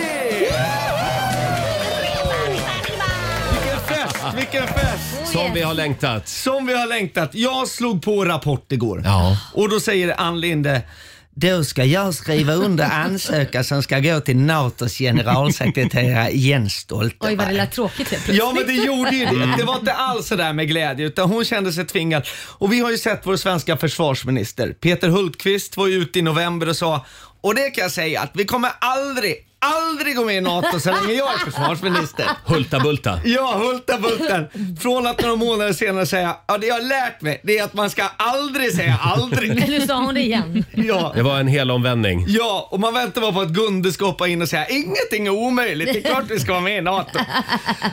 Speaker 10: Vilken fest, vilken fest!
Speaker 1: Som vi har längtat.
Speaker 10: Som vi har längtat. Jag slog på Rapport igår.
Speaker 1: Ja.
Speaker 10: Och då säger Ann Linde då ska jag skriva under ansökan som ska gå till NATOs generalsekreterare Jens Stoltenberg.
Speaker 2: Oj vad det lät tråkigt helt plötsligt.
Speaker 10: Ja men det gjorde ju det. Det var inte alls sådär med glädje utan hon kände sig tvingad. Och vi har ju sett vår svenska försvarsminister Peter Hultqvist var ju ute i november och sa och det kan jag säga att vi kommer aldrig, aldrig gå med i NATO så länge jag är försvarsminister.
Speaker 1: Hulta-bulta.
Speaker 10: Ja, Hulta Bulten. Från att några månader senare säga ja det jag har lärt mig det är att man ska aldrig säga aldrig.
Speaker 2: Nu sa hon det igen.
Speaker 10: Ja.
Speaker 1: Det var en hel omvändning.
Speaker 10: Ja, och man väntar bara på att Gunde ska hoppa in och säga ingenting är omöjligt, det är klart vi ska vara med i NATO.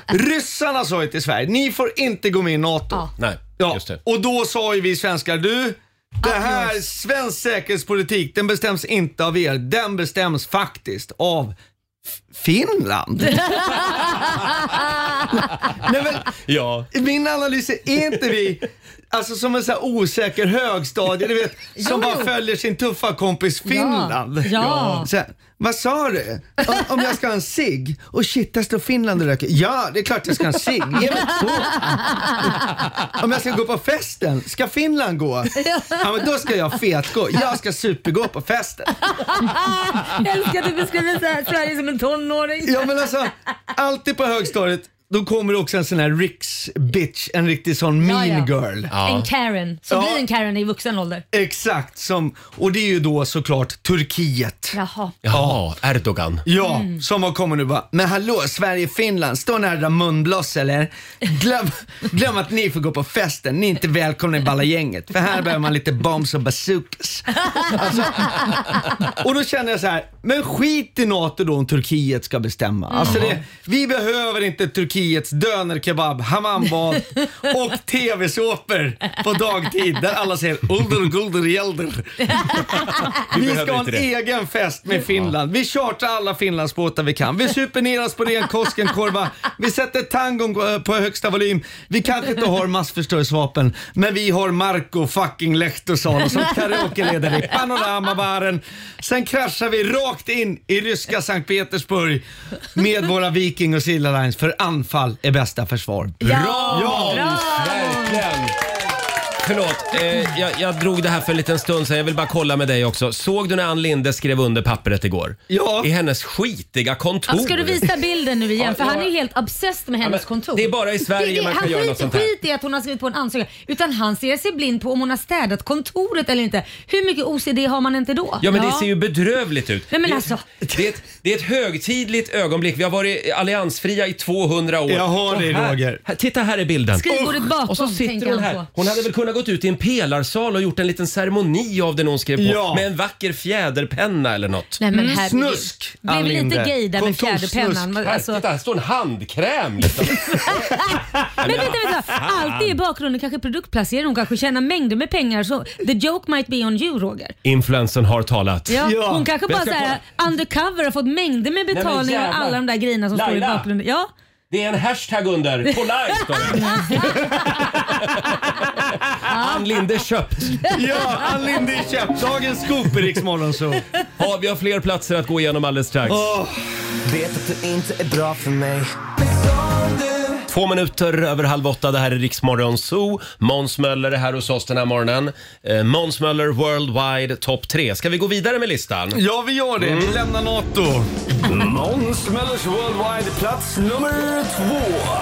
Speaker 10: Ryssarna sa ju till Sverige, ni får inte gå med i NATO.
Speaker 2: Ja.
Speaker 1: Nej,
Speaker 10: Ja,
Speaker 1: just det.
Speaker 10: och då sa ju vi svenskar, du, det här svensk säkerhetspolitik, den bestäms inte av er, den bestäms faktiskt av F- Finland. Nej, men,
Speaker 1: Ja.
Speaker 10: min analys är är inte vi alltså som en så här osäker högstadie, du vet, som bara följer sin tuffa kompis Finland.
Speaker 2: Ja.
Speaker 10: Så här, vad sa du? Om, om jag ska ha en cigg? Och shit, där står Finland och röker. Ja, det är klart jag ska ha en cigg. Ge mig två. Om jag ska gå på festen, ska Finland gå? Ja, men då ska jag fetgå. Jag ska supergå på festen.
Speaker 2: Jag älskar att du beskriver så här, Sverige som en tonåring.
Speaker 10: Ja men alltså, alltid på högstadiet då kommer det också en sån här riks bitch, en riktig sån
Speaker 2: Ja,
Speaker 10: mean
Speaker 2: ja.
Speaker 10: girl.
Speaker 2: En Karen, som
Speaker 10: Ja. Eh.
Speaker 2: blir en Karen i vuxen ålder.
Speaker 10: Exakt, som, och det är ju då såklart Turkiet.
Speaker 2: Jaha.
Speaker 1: Jaha, Erdogan.
Speaker 10: Ja, som har kommit nu bara, men hallå Sverige-Finland, står ni här och drar munblås eller? Glöm, glöm att ni får gå på festen, ni är inte välkomna i balla gänget. För här behöver man lite bombs och bazookas. Alltså, och då känner jag så här, men skit i NATO då om Turkiet ska bestämma. Alltså det, vi behöver inte Turkiets dönerkebab, hammambad och tv-såpor på dagtid där alla säger ulder gulder gelder. Vi
Speaker 1: behöver
Speaker 10: ska ha en e-
Speaker 1: inte det.
Speaker 10: egen fest med Finland. Vi chartrar alla Finlandsbåtar vi kan. Vi super ner oss på ren Koskenkorva. Vi sätter tangon eh, på högsta volym. Vi kanske inte har massförstörelsevapen, men vi har Marco fucking Lehtosalo som karaokeleder i Panoramabaren. Sen kraschar vi rakt in i ryska Sankt Petersburg med våra Viking och Seal Alliance, för anfall är bästa försvar.
Speaker 1: Bra!
Speaker 10: Ja.
Speaker 1: Verkligen! förlåt. Eh, jag, jag drog det här för en liten stund sedan. Jag vill bara kolla med dig också. Såg du när Ann Linde skrev under pappret igår? Ja. I hennes skitiga kontor.
Speaker 2: Ja, ska du visa bilden nu igen? För han är ju helt obsessed med hennes
Speaker 1: men
Speaker 2: kontor.
Speaker 1: det är bara i Sverige man kan
Speaker 2: han
Speaker 1: göra
Speaker 2: skiter-
Speaker 1: något sånt här.
Speaker 2: skit i att hon har skrivit på en ansökan. Utan han ser sig blind på om hon har städat kontoret eller inte. Hur mycket OCD har man inte då?
Speaker 1: Ja men det ser ju bedrövligt ut.
Speaker 2: Nej, men
Speaker 1: Det-
Speaker 2: alltså.
Speaker 1: Det är, ett, det är ett högtidligt ögonblick. Vi har varit alliansfria i 200 år.
Speaker 10: Jag har
Speaker 1: Och
Speaker 10: dig,
Speaker 1: här-
Speaker 10: Roger.
Speaker 1: Här, titta här är bilden.
Speaker 2: Skrivbordet bakom
Speaker 1: Och så sitter
Speaker 2: tänker han
Speaker 1: hon här.
Speaker 2: på.
Speaker 1: Hon hade väl kunnat gått ut i en pelarsal och gjort en liten ceremoni av den hon skrev på.
Speaker 10: Ja.
Speaker 1: Med en vacker fjäderpenna eller något.
Speaker 2: Nej, men
Speaker 10: Mm,
Speaker 2: här,
Speaker 10: snusk,
Speaker 2: Det är
Speaker 10: Ann
Speaker 2: väl lite
Speaker 10: Linde.
Speaker 2: gay där med
Speaker 10: Kontorssnusk.
Speaker 2: fjäderpennan. Men, alltså,
Speaker 1: Här, titta, här står en handkräm liksom.
Speaker 2: men vänta, vänta. Allt det i bakgrunden kanske är produktplacering. Hon kanske tjänar mängder med pengar. Så the joke might be on you Roger.
Speaker 1: Influensen har talat.
Speaker 2: Ja,
Speaker 10: Ja.
Speaker 2: Hon kanske
Speaker 1: Men
Speaker 2: bara
Speaker 1: jag ska
Speaker 2: såhär, undercover har fått mängder med betalning av
Speaker 1: jävlar.
Speaker 2: alla de där grejerna som står i
Speaker 1: Laila.
Speaker 2: bakgrunden. Ja.
Speaker 1: Det är en hashtag under. Polite står det. Ann Linde köpt.
Speaker 10: Ja, Ann Linde är köpt. Dagens scoop i Rix Morgonzoo.
Speaker 1: Ja, vi har fler platser att gå igenom alldeles strax.
Speaker 6: Vet att du inte är bra för mig.
Speaker 1: Två minuter över halv åtta. Det här är Riksmorgon Zoo. Måns Möller är här hos oss den här morgonen. Eh, Måns Möller Worldwide Top 3. Ska vi gå vidare med listan?
Speaker 10: Ja, vi gör det. Vi lämnar NATO.
Speaker 11: Måns Möllers Worldwide, plats nummer två.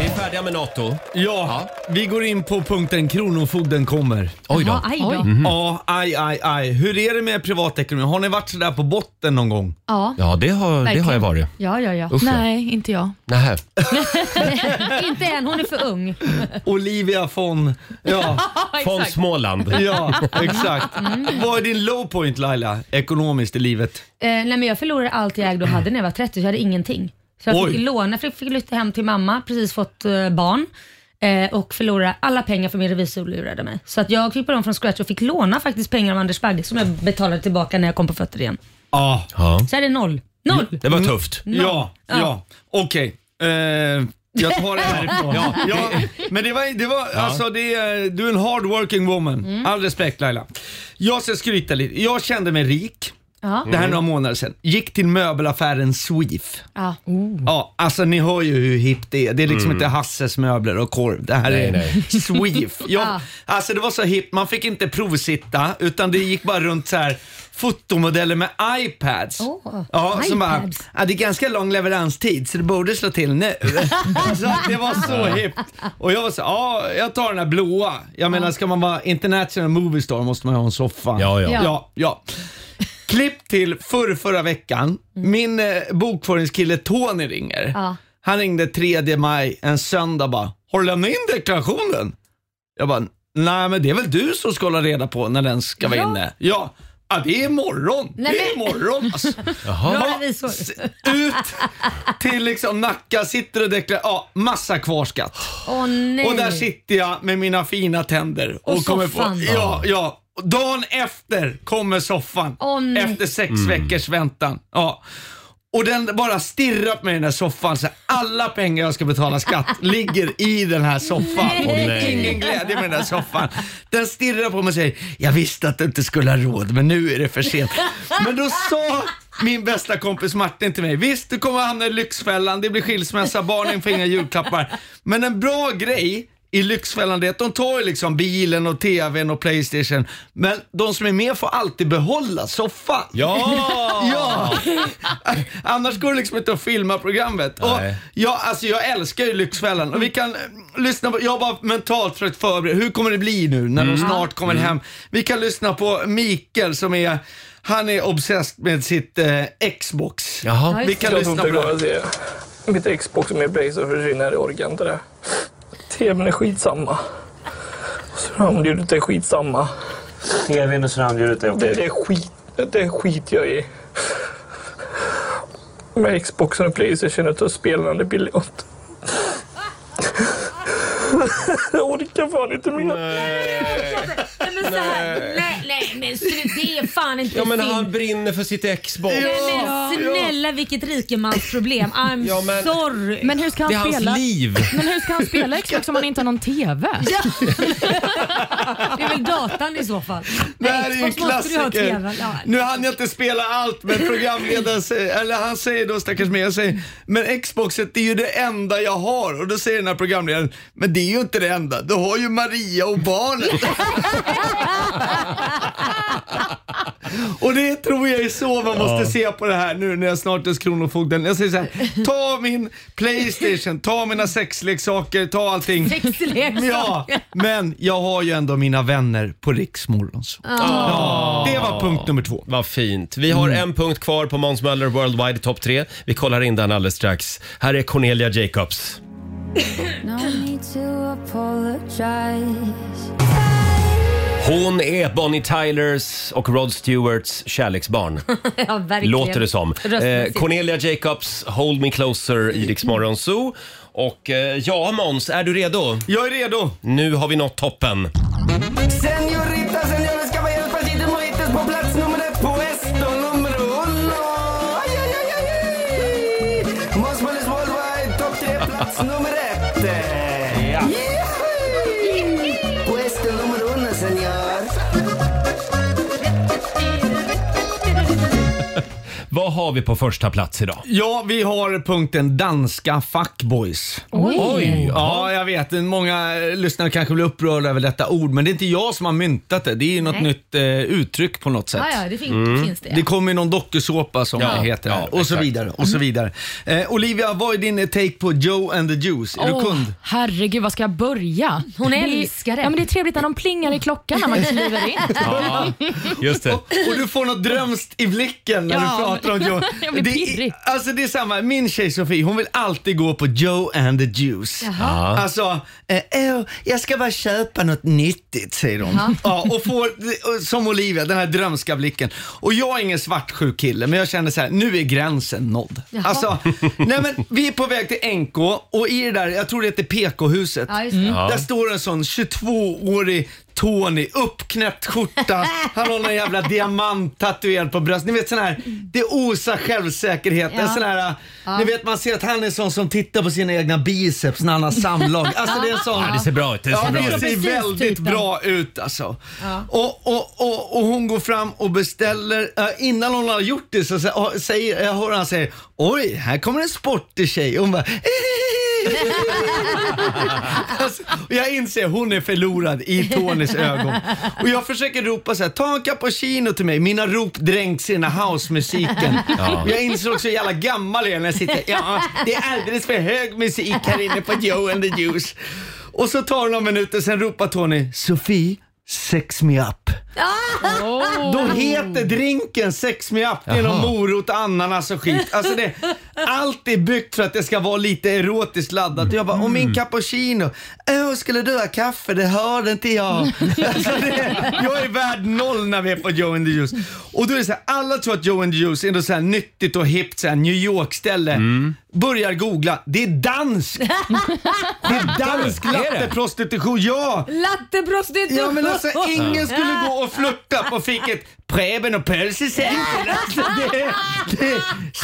Speaker 1: Vi är färdiga med NATO.
Speaker 10: Ja, vi går in på punkten Kronofogden kommer.
Speaker 1: Oj då.
Speaker 2: Ja, aj då.
Speaker 10: Ja, aj, aj, aj. Hur är det med privatekonomin? Har ni varit sådär på botten någon gång?
Speaker 3: Ja.
Speaker 1: Ja, det har, det har jag varit.
Speaker 2: Ja, ja, ja.
Speaker 1: Usch, ja.
Speaker 3: Nej, inte jag.
Speaker 1: Nähä.
Speaker 2: Inte än, hon är för ung. Eh,
Speaker 10: Olivia von... Ja,
Speaker 1: Från Småland.
Speaker 10: ja exakt. Vad är din low point Laila, ekonomiskt i livet?
Speaker 2: Eh, nej men jag förlorade allt jag ägde och hade när jag var 30 så jag hade ingenting. Så jag fick
Speaker 10: Oj.
Speaker 2: låna, jag fick, fick flytta hem till mamma, precis fått eh, barn eh, och förlorade alla pengar för min revisor lurade mig. Så att jag fick på dem från scratch och fick låna faktiskt pengar av Anders Bagge som jag betalade tillbaka när jag kom på fötter igen.
Speaker 10: Ja,
Speaker 1: Ja.
Speaker 2: Så jag hade noll. Noll!
Speaker 1: Det var tufft.
Speaker 10: ja, ja. Okej. Eh, jag tar det härifrån. Ja, men det var, det var alltså det, är- du är en hard working woman. All respekt Laila. Jag ska skryta lite. Jag kände mig rik.
Speaker 2: Ja.
Speaker 10: Det här är några månader sedan. Gick till möbelaffären Sweef.
Speaker 2: Ja.
Speaker 10: Ja, alltså ni hör ju hur hippt det är. Det är liksom inte Hasses möbler och korv. Det här
Speaker 1: Mm. Nej,
Speaker 10: är
Speaker 1: nej.
Speaker 10: Sweef.
Speaker 2: Ah.
Speaker 10: Ja, alltså det var så hippt, man fick inte provsitta utan det gick bara runt så här fotomodeller med iPads.
Speaker 2: Åh,
Speaker 10: ja, Som bara,
Speaker 2: iPads.
Speaker 10: ja, det är ganska lång leveranstid så det borde slå till nu. alltså, det var så hippt. Och jag var så ja jag tar den här blåa. Jag menar ska man vara international movie star måste man ju ha en soffa.
Speaker 1: Ja, ja.
Speaker 2: Ja.
Speaker 10: Mm. ja, ja. Klipp till förr, förra veckan. Min eh, bokföringskille Tony ringer.
Speaker 2: Mm. Ja.
Speaker 10: Han ringde 3 maj, en söndag bara. Har du lämnat in deklarationen? Jag bara, nej men det är väl du som ska hålla reda på när den ska vara
Speaker 2: Ja.
Speaker 10: inne. Ja. Ja, det är imorgon.
Speaker 2: Nej,
Speaker 10: det är
Speaker 2: men-
Speaker 10: imorgon alltså.
Speaker 1: Jaha.
Speaker 2: Bra revisor.
Speaker 10: S- Ut till liksom Nacka, sitter och deklarerar. Ja, massa kvarskatt.
Speaker 2: Åh nej.
Speaker 10: Och där sitter jag med mina fina tänder.
Speaker 2: Och
Speaker 10: Och, kommer
Speaker 2: soffan.
Speaker 10: på, ja, ja. Och Dagen efter kommer soffan.
Speaker 2: Åh, nej.
Speaker 10: efter sex veckors väntan. Ja. Och den bara stirrar på mig i den här soffan. Så här, alla pengar jag ska betala skatt ligger i den här soffan. Och det
Speaker 1: Nej.
Speaker 10: är ingen glädje med den här soffan. Den stirrar på mig och säger, jag visste att du inte skulle ha råd men nu är det för sent. Men då sa min bästa kompis Martin till mig, visst du kommer hamna i Lyxfällan, det blir skilsmässa, barnen får inga julklappar. Men en bra grej i Lyxfällan det är att de tar ju liksom bilen och tvn och Playstation. Men de som är med får alltid behålla soffan.
Speaker 1: Ja!
Speaker 10: Ja! Annars går det liksom inte att filma programmet. Och
Speaker 1: Nej.
Speaker 10: jag, alltså jag älskar ju Lyxfällan och vi kan eh, lyssna på, jag har bara mentalt försökt förbereda, hur kommer det bli nu när de snart kommer hem? Vi kan lyssna på Mikael som är, han är obsessed med sitt eh, Xbox.
Speaker 1: Jaha.
Speaker 10: Vi kan lyssna på det. här.
Speaker 11: se mitt Xbox med Blazer försvinner. Jag orkar inte det. TVn är skitsamma. Surroundljudet är skitsamma. TVn och surroundljudet är okej? Det, det, är skit, det är skit jag i. Med Xboxen och Playstation och spelen är billigt. Jag orkar fan inte mer.
Speaker 2: Nej men så här. Nej, nej men sluta. det är fan inte
Speaker 1: Ja men
Speaker 2: synd.
Speaker 1: han brinner för sitt Xbox.
Speaker 2: Nej, men snälla vilket rikemansproblem. I'm sorry.
Speaker 3: Men hur ska han
Speaker 2: Det är hans
Speaker 3: spela?
Speaker 1: liv.
Speaker 3: Men hur ska han spela Xbox om han inte har någon TV?
Speaker 2: Det är väl datan i så fall.
Speaker 10: Det här är ju en
Speaker 2: Xbox måste du ha
Speaker 10: klassiker.
Speaker 2: TV. Ja.
Speaker 10: Nu hann jag inte spela allt men programledaren säger, eller han säger då stackars mig, jag säger men Xboxet det är ju det enda jag har och då säger den här programledaren men det är ju inte det enda, du har ju Maria och barnet. och det tror jag är så man måste
Speaker 6: Ja.
Speaker 10: se på det här nu när jag snart är hos Kronofogden. Jag säger så här, ta min Playstation, ta mina sexleksaker, ta allting.
Speaker 6: Sexleksaker.
Speaker 10: Ja, men jag har ju ändå mina vänner på Riksmorgons. Ja, det var punkt nummer två.
Speaker 1: Vad fint. Vi har
Speaker 10: Mm.
Speaker 1: en punkt kvar på Måns Möller Worldwide Top 3. Vi kollar in den alldeles strax. Här är Cornelia Jacobs.
Speaker 8: No need to apologize.
Speaker 1: Hon är Bonnie Tylers och Rod Stewarts kärleksbarn.
Speaker 2: ja, verkligen.
Speaker 1: Låter det som. Eh,
Speaker 2: Röstmässigt.
Speaker 1: Cornelia Jacobs, Hold Me Closer i Rix Morgon Zoo. Och eh, ja, Måns, är du redo?
Speaker 10: Jag är redo.
Speaker 1: Nu har vi nått toppen.
Speaker 6: Señorita, señores, caballeros, pasitos, mojitos, på plats nummer ett, puesto nummer uno. Aj, aj, aj, aj, aj. Måns Möllers Worldwide, topp tre, plats nummer ett.
Speaker 1: Ja.
Speaker 6: Yay! Puesto nummer uno, señor.
Speaker 1: Vad har vi på första plats idag?
Speaker 10: Ja, vi har punkten danska fuckboys.
Speaker 1: Oj. Oj.
Speaker 10: Ja, jag vet. Många lyssnare kanske blir upprörda över detta ord, men det är inte jag som har myntat det. Det är ju något
Speaker 2: Nej.
Speaker 10: nytt eh, uttryck på något sätt.
Speaker 2: Ja, ja, det fin-
Speaker 1: Mm.
Speaker 2: finns det, ja.
Speaker 10: Det kommer ju någon dokusåpa som
Speaker 1: Ja,
Speaker 10: det heter.
Speaker 1: ja,
Speaker 10: här. och så
Speaker 1: exakt.
Speaker 10: vidare. Och så
Speaker 1: Mm.
Speaker 10: vidare. Eh, Olivia, vad är din take på Joe and the Juice? Är du
Speaker 3: Åh,
Speaker 10: kund?
Speaker 3: herregud, var ska jag börja?
Speaker 2: Hon
Speaker 3: Det är-
Speaker 2: älskar det.
Speaker 3: Ja, men det är trevligt när de plingar i klockan när man kliver in.
Speaker 10: Ja,
Speaker 1: just det.
Speaker 10: Och, och du får något drömskt i blicken när
Speaker 3: Ja,
Speaker 10: du pratar om
Speaker 3: men-
Speaker 10: Joe.
Speaker 3: jag blir
Speaker 10: det, är,
Speaker 3: pirrig.
Speaker 10: alltså det är samma, min tjej Sofie hon vill alltid gå på Joe and the Juice.
Speaker 6: Jaha.
Speaker 10: Alltså, eh, åh, jag ska bara köpa något nyttigt säger hon.
Speaker 6: Ja.
Speaker 10: Ja, och får, och som Olivia, den här drömska blicken. Och jag är ingen svartsjuk kille men jag känner så här, nu är gränsen nådd.
Speaker 6: Jaha.
Speaker 10: Alltså, nej men vi är på väg till NK och i det där, jag tror det heter PK-huset.
Speaker 6: Ja, just det. Ja.
Speaker 10: Där står en sån 22-årig Tony, uppknäppt skjorta, han har någon jävla diamant tatuerad på bröstet. Ni vet sån här, det osar självsäkerhet. En
Speaker 6: Ja.
Speaker 10: sån här,
Speaker 6: Ja.
Speaker 10: ni vet man ser att han är sån som tittar på sina egna biceps när han har samlag. Alltså det är en sån.
Speaker 1: Ja, det ser bra ut, det ser
Speaker 10: ja,
Speaker 1: bra
Speaker 10: det
Speaker 1: ut.
Speaker 10: ser
Speaker 1: Precis typ
Speaker 10: väldigt
Speaker 1: typen.
Speaker 10: bra ut alltså.
Speaker 6: Ja.
Speaker 10: Och, och, och, och hon går fram och beställer, eh, innan hon har gjort det så sä- säger, jag hör han säger Oj, här kommer en sportig tjej. Och hon bara alltså, och jag inser hon är förlorad i Tonys ögon. Och jag försöker ropa så här, ta en cappuccino till mig. Mina rop dränks i den här housemusiken.
Speaker 6: Ja.
Speaker 10: Jag inser också hur jävla gammal jag är när jag sitter, ja det är alldeles för hög musik här inne på Joe and the Juice. Och så tar det några minuter, sen ropar Tony, Sofie, sex me up. Då heter drinken sex me up. Det är någon
Speaker 6: Jaha.
Speaker 10: morot, ananas och skit. Alltså det, allt är byggt för att det ska vara lite erotiskt laddat. Och jag bara, och min cappuccino. Åh, skulle du ha kaffe? Det hörde inte jag. Alltså det, jag är värd noll när vi är på Joe and the Juice. Och då är det så här, alla tror att Joe and the Juice är något så här nyttigt och hippt, så här New York-ställe. Börjar googla, det är dansk! Det är dansk
Speaker 6: Är det?
Speaker 10: latteprostitution, ja!
Speaker 2: Latteprostitution!
Speaker 10: Ja men alltså ingen skulle gå och flirta på fiket Preben och Pölse sen. Alltså, det, det,
Speaker 6: Det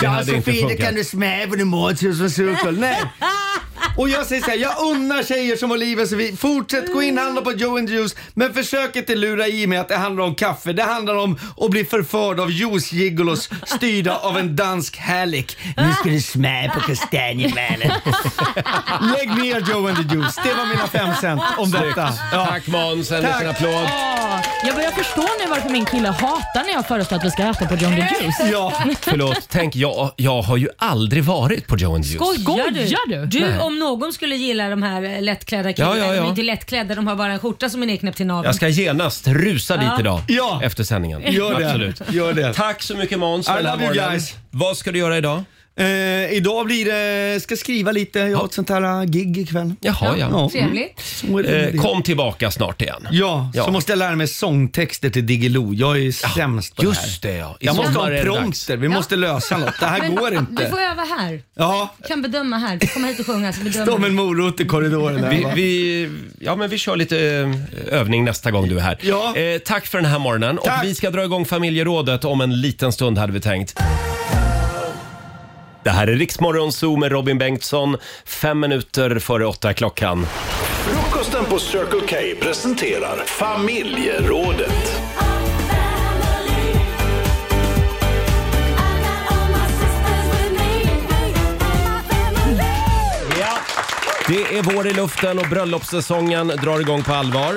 Speaker 10: ja
Speaker 6: hade inte
Speaker 10: Sofie, det
Speaker 6: funkat.
Speaker 10: kan du smäva din mat till som surkål. Nej. Och jag säger så här, jag unnar tjejer som Olivia och Sofie, fortsätt gå in och handla på Joe and Juice, men försök inte lura i mig att det handlar om kaffe. Det handlar om att bli förförd av juicegigolos styrda av en dansk härlig. Nu ska du smä på kastanjemannen. Lägg ner Joe and the Juice. Det var mina fem cent om
Speaker 1: Snyggt.
Speaker 10: detta.
Speaker 1: Tack Måns, en
Speaker 10: Tack.
Speaker 1: liten applåd.
Speaker 3: Ja, Jag börjar förstå nu varför min kille hatar när jag föreslår att vi ska äta på John the Juice.
Speaker 10: Ja.
Speaker 1: Förlåt, tänk jag, jag har ju aldrig varit på Joe and the Juice.
Speaker 2: Skojar du?
Speaker 3: Skojar du?
Speaker 2: Du
Speaker 1: Nej.
Speaker 2: om någon skulle gilla de här eh, lättklädda killarna.
Speaker 1: Ja, ja,
Speaker 2: De
Speaker 1: ja.
Speaker 2: är inte lättklädda, de har bara en skjorta som är nedknäppt till naveln.
Speaker 1: Jag ska genast rusa
Speaker 2: Ja.
Speaker 1: dit idag
Speaker 10: Ja.
Speaker 1: efter sändningen.
Speaker 10: Gör det.
Speaker 1: Absolut.
Speaker 10: Gör det.
Speaker 1: Tack så mycket Måns
Speaker 10: I
Speaker 1: för den här
Speaker 10: love you
Speaker 1: morgonen.
Speaker 10: guys.
Speaker 1: Vad ska du göra idag?
Speaker 10: Eh, idag blir det, ska skriva lite, jag har ett sånt här eh, gig ikväll. Mm.
Speaker 1: Jaha, ja.
Speaker 2: Mm. Trevligt.
Speaker 10: Så är det.
Speaker 1: Eh, kom tillbaka snart igen.
Speaker 10: Ja,
Speaker 1: Ja.
Speaker 10: så måste jag lära mig sångtexter till Diggiloo. Jag är sämst på det här.
Speaker 1: just det, ja. I
Speaker 10: Jag måste
Speaker 1: sommar
Speaker 10: ha
Speaker 1: är det
Speaker 10: en prompter, vi måste lösa något. Det här
Speaker 1: Mm.
Speaker 2: Men
Speaker 10: går
Speaker 2: Du får
Speaker 10: inte.
Speaker 2: öva här.
Speaker 10: Ja,
Speaker 2: Kan bedöma här. Du kommer hit och sjunga så bedömer
Speaker 10: stå med
Speaker 2: du.
Speaker 10: en morot i korridoren. Där,
Speaker 1: Vi,
Speaker 10: va?
Speaker 1: vi, ja, men vi kör lite eh, övning nästa gång du är här. Eh, tack för den här morgonen. Och vi ska dra igång familjerådet om en liten stund hade vi tänkt. Det här är Riksmorgon Zoo med Robin Bengtsson. Fem minuter före åtta klockan.
Speaker 12: Frukosten på Circle K presenterar Familjerådet.
Speaker 1: Det är vår i luften och bröllopssäsongen drar igång på allvar.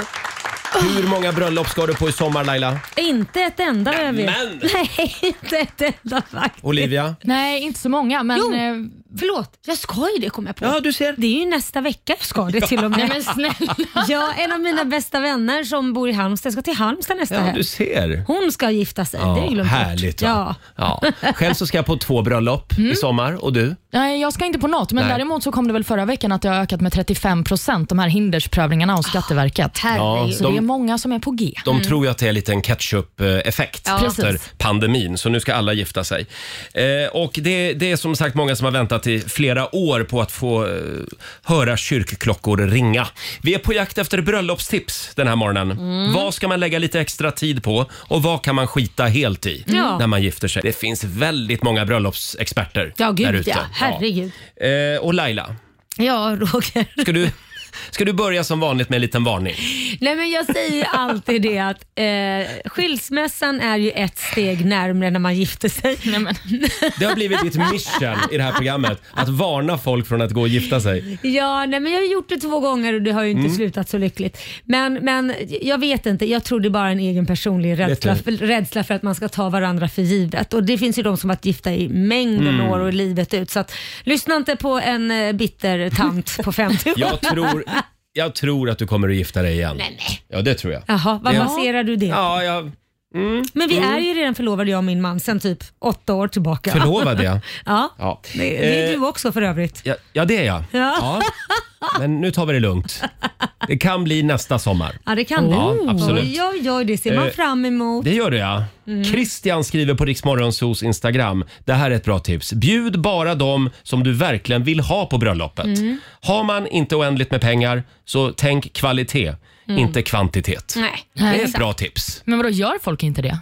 Speaker 1: Hur många bröllop ska du på i sommar Laila?
Speaker 2: Inte ett enda vad jag vet.
Speaker 1: Nämen!
Speaker 2: Nej, inte ett enda faktiskt.
Speaker 1: Olivia?
Speaker 2: Nej, inte så många. Men, jo,
Speaker 3: eh,
Speaker 2: förlåt. Jag ska ju det kom jag på.
Speaker 1: Ja, du ser.
Speaker 2: Det är ju nästa vecka jag ska det till och med.
Speaker 3: Nej, men snälla.
Speaker 2: Ja, en av mina bästa vänner som bor i Halmstad ska till Halmstad nästa
Speaker 1: Ja,
Speaker 2: helg.
Speaker 1: du ser.
Speaker 2: Hon ska gifta sig. det är ju
Speaker 1: Ja,
Speaker 2: glömt bort.
Speaker 1: härligt.
Speaker 2: Ja.
Speaker 1: Ja. Ja. Mm. Själv så ska jag på två bröllop i sommar. Och du?
Speaker 3: Nej, jag ska inte på något, men
Speaker 1: Nej.
Speaker 3: däremot så kom det väl förra veckan att det har ökat med 35 procent, de här hindersprövningarna hos Skatteverket.
Speaker 1: Ja,
Speaker 3: så
Speaker 1: Ah. de-
Speaker 3: det är många som är på G.
Speaker 1: De
Speaker 2: Mm.
Speaker 1: tror ju att det är en liten catch-up-effekt
Speaker 3: Ja.
Speaker 1: efter
Speaker 3: Precis.
Speaker 1: pandemin, så nu ska alla gifta sig. Eh, och det, det är som sagt många som har väntat i flera år på att få eh, höra kyrkklockor ringa. Vi är på jakt efter bröllopstips den här morgonen.
Speaker 13: Mm.
Speaker 1: Vad ska man lägga lite extra tid på och vad kan man skita helt i
Speaker 2: Ja.
Speaker 1: när man gifter sig? Det finns väldigt många bröllopsexperter
Speaker 2: Ja,
Speaker 1: där
Speaker 2: gud
Speaker 1: ute.
Speaker 2: ja. Herregud.
Speaker 1: Ja. Eh, och Laila,
Speaker 2: Ja, Roger.
Speaker 1: ska du, ska du börja som vanligt med en liten varning?
Speaker 2: Nej men jag säger ju alltid det att eh, skilsmässan är ju ett steg närmre när man gifter sig. Nej, men.
Speaker 1: Det har blivit ditt mission i det här programmet att varna folk från att gå och gifta sig.
Speaker 2: Ja, nej, men jag har gjort det två gånger och det har ju inte
Speaker 1: Mm.
Speaker 2: slutat så lyckligt. Men, men jag vet inte, jag tror det är bara en egen personlig rädsla,
Speaker 1: Vet du?
Speaker 2: rädsla för att man ska ta varandra för givet. Och det finns ju de som varit gifta i mängden
Speaker 1: Mm.
Speaker 2: år och livet ut. Så att, lyssna inte på en eh, bitter tant på 50
Speaker 1: Jag tror, jag tror att du kommer att gifta dig igen.
Speaker 2: Nej, nej.
Speaker 1: Ja, det tror jag.
Speaker 2: Jaha, vad
Speaker 1: Ja.
Speaker 2: baserar du det
Speaker 1: Ja, jag...
Speaker 2: Men vi
Speaker 1: mm.
Speaker 2: är ju redan förlovade jag och min man sedan typ åtta år tillbaka.
Speaker 1: Förlovade, ja.
Speaker 2: ja.
Speaker 1: Ja.
Speaker 2: Det, det är
Speaker 1: Eh,
Speaker 2: du också för övrigt.
Speaker 1: ja, ja, det är jag.
Speaker 2: Ja.
Speaker 1: Men nu tar vi det lugnt. Det kan bli nästa sommar.
Speaker 2: Ja, det kan
Speaker 1: Ja,
Speaker 2: du.
Speaker 1: absolut.
Speaker 2: Oj, oj, oj, det ser man
Speaker 1: Eh,
Speaker 2: fram emot.
Speaker 1: Det gör det ja.
Speaker 2: Mm.
Speaker 1: Christian skriver på Riksmorgonsos Instagram. Det här är ett bra tips. Bjud bara dem som du verkligen vill ha på bröllopet.
Speaker 2: Mm.
Speaker 1: Har man inte oändligt med pengar så tänk kvalitet,
Speaker 3: Mm.
Speaker 1: inte kvantitet. Det är ett bra tips.
Speaker 3: Men vadå, gör folk inte det?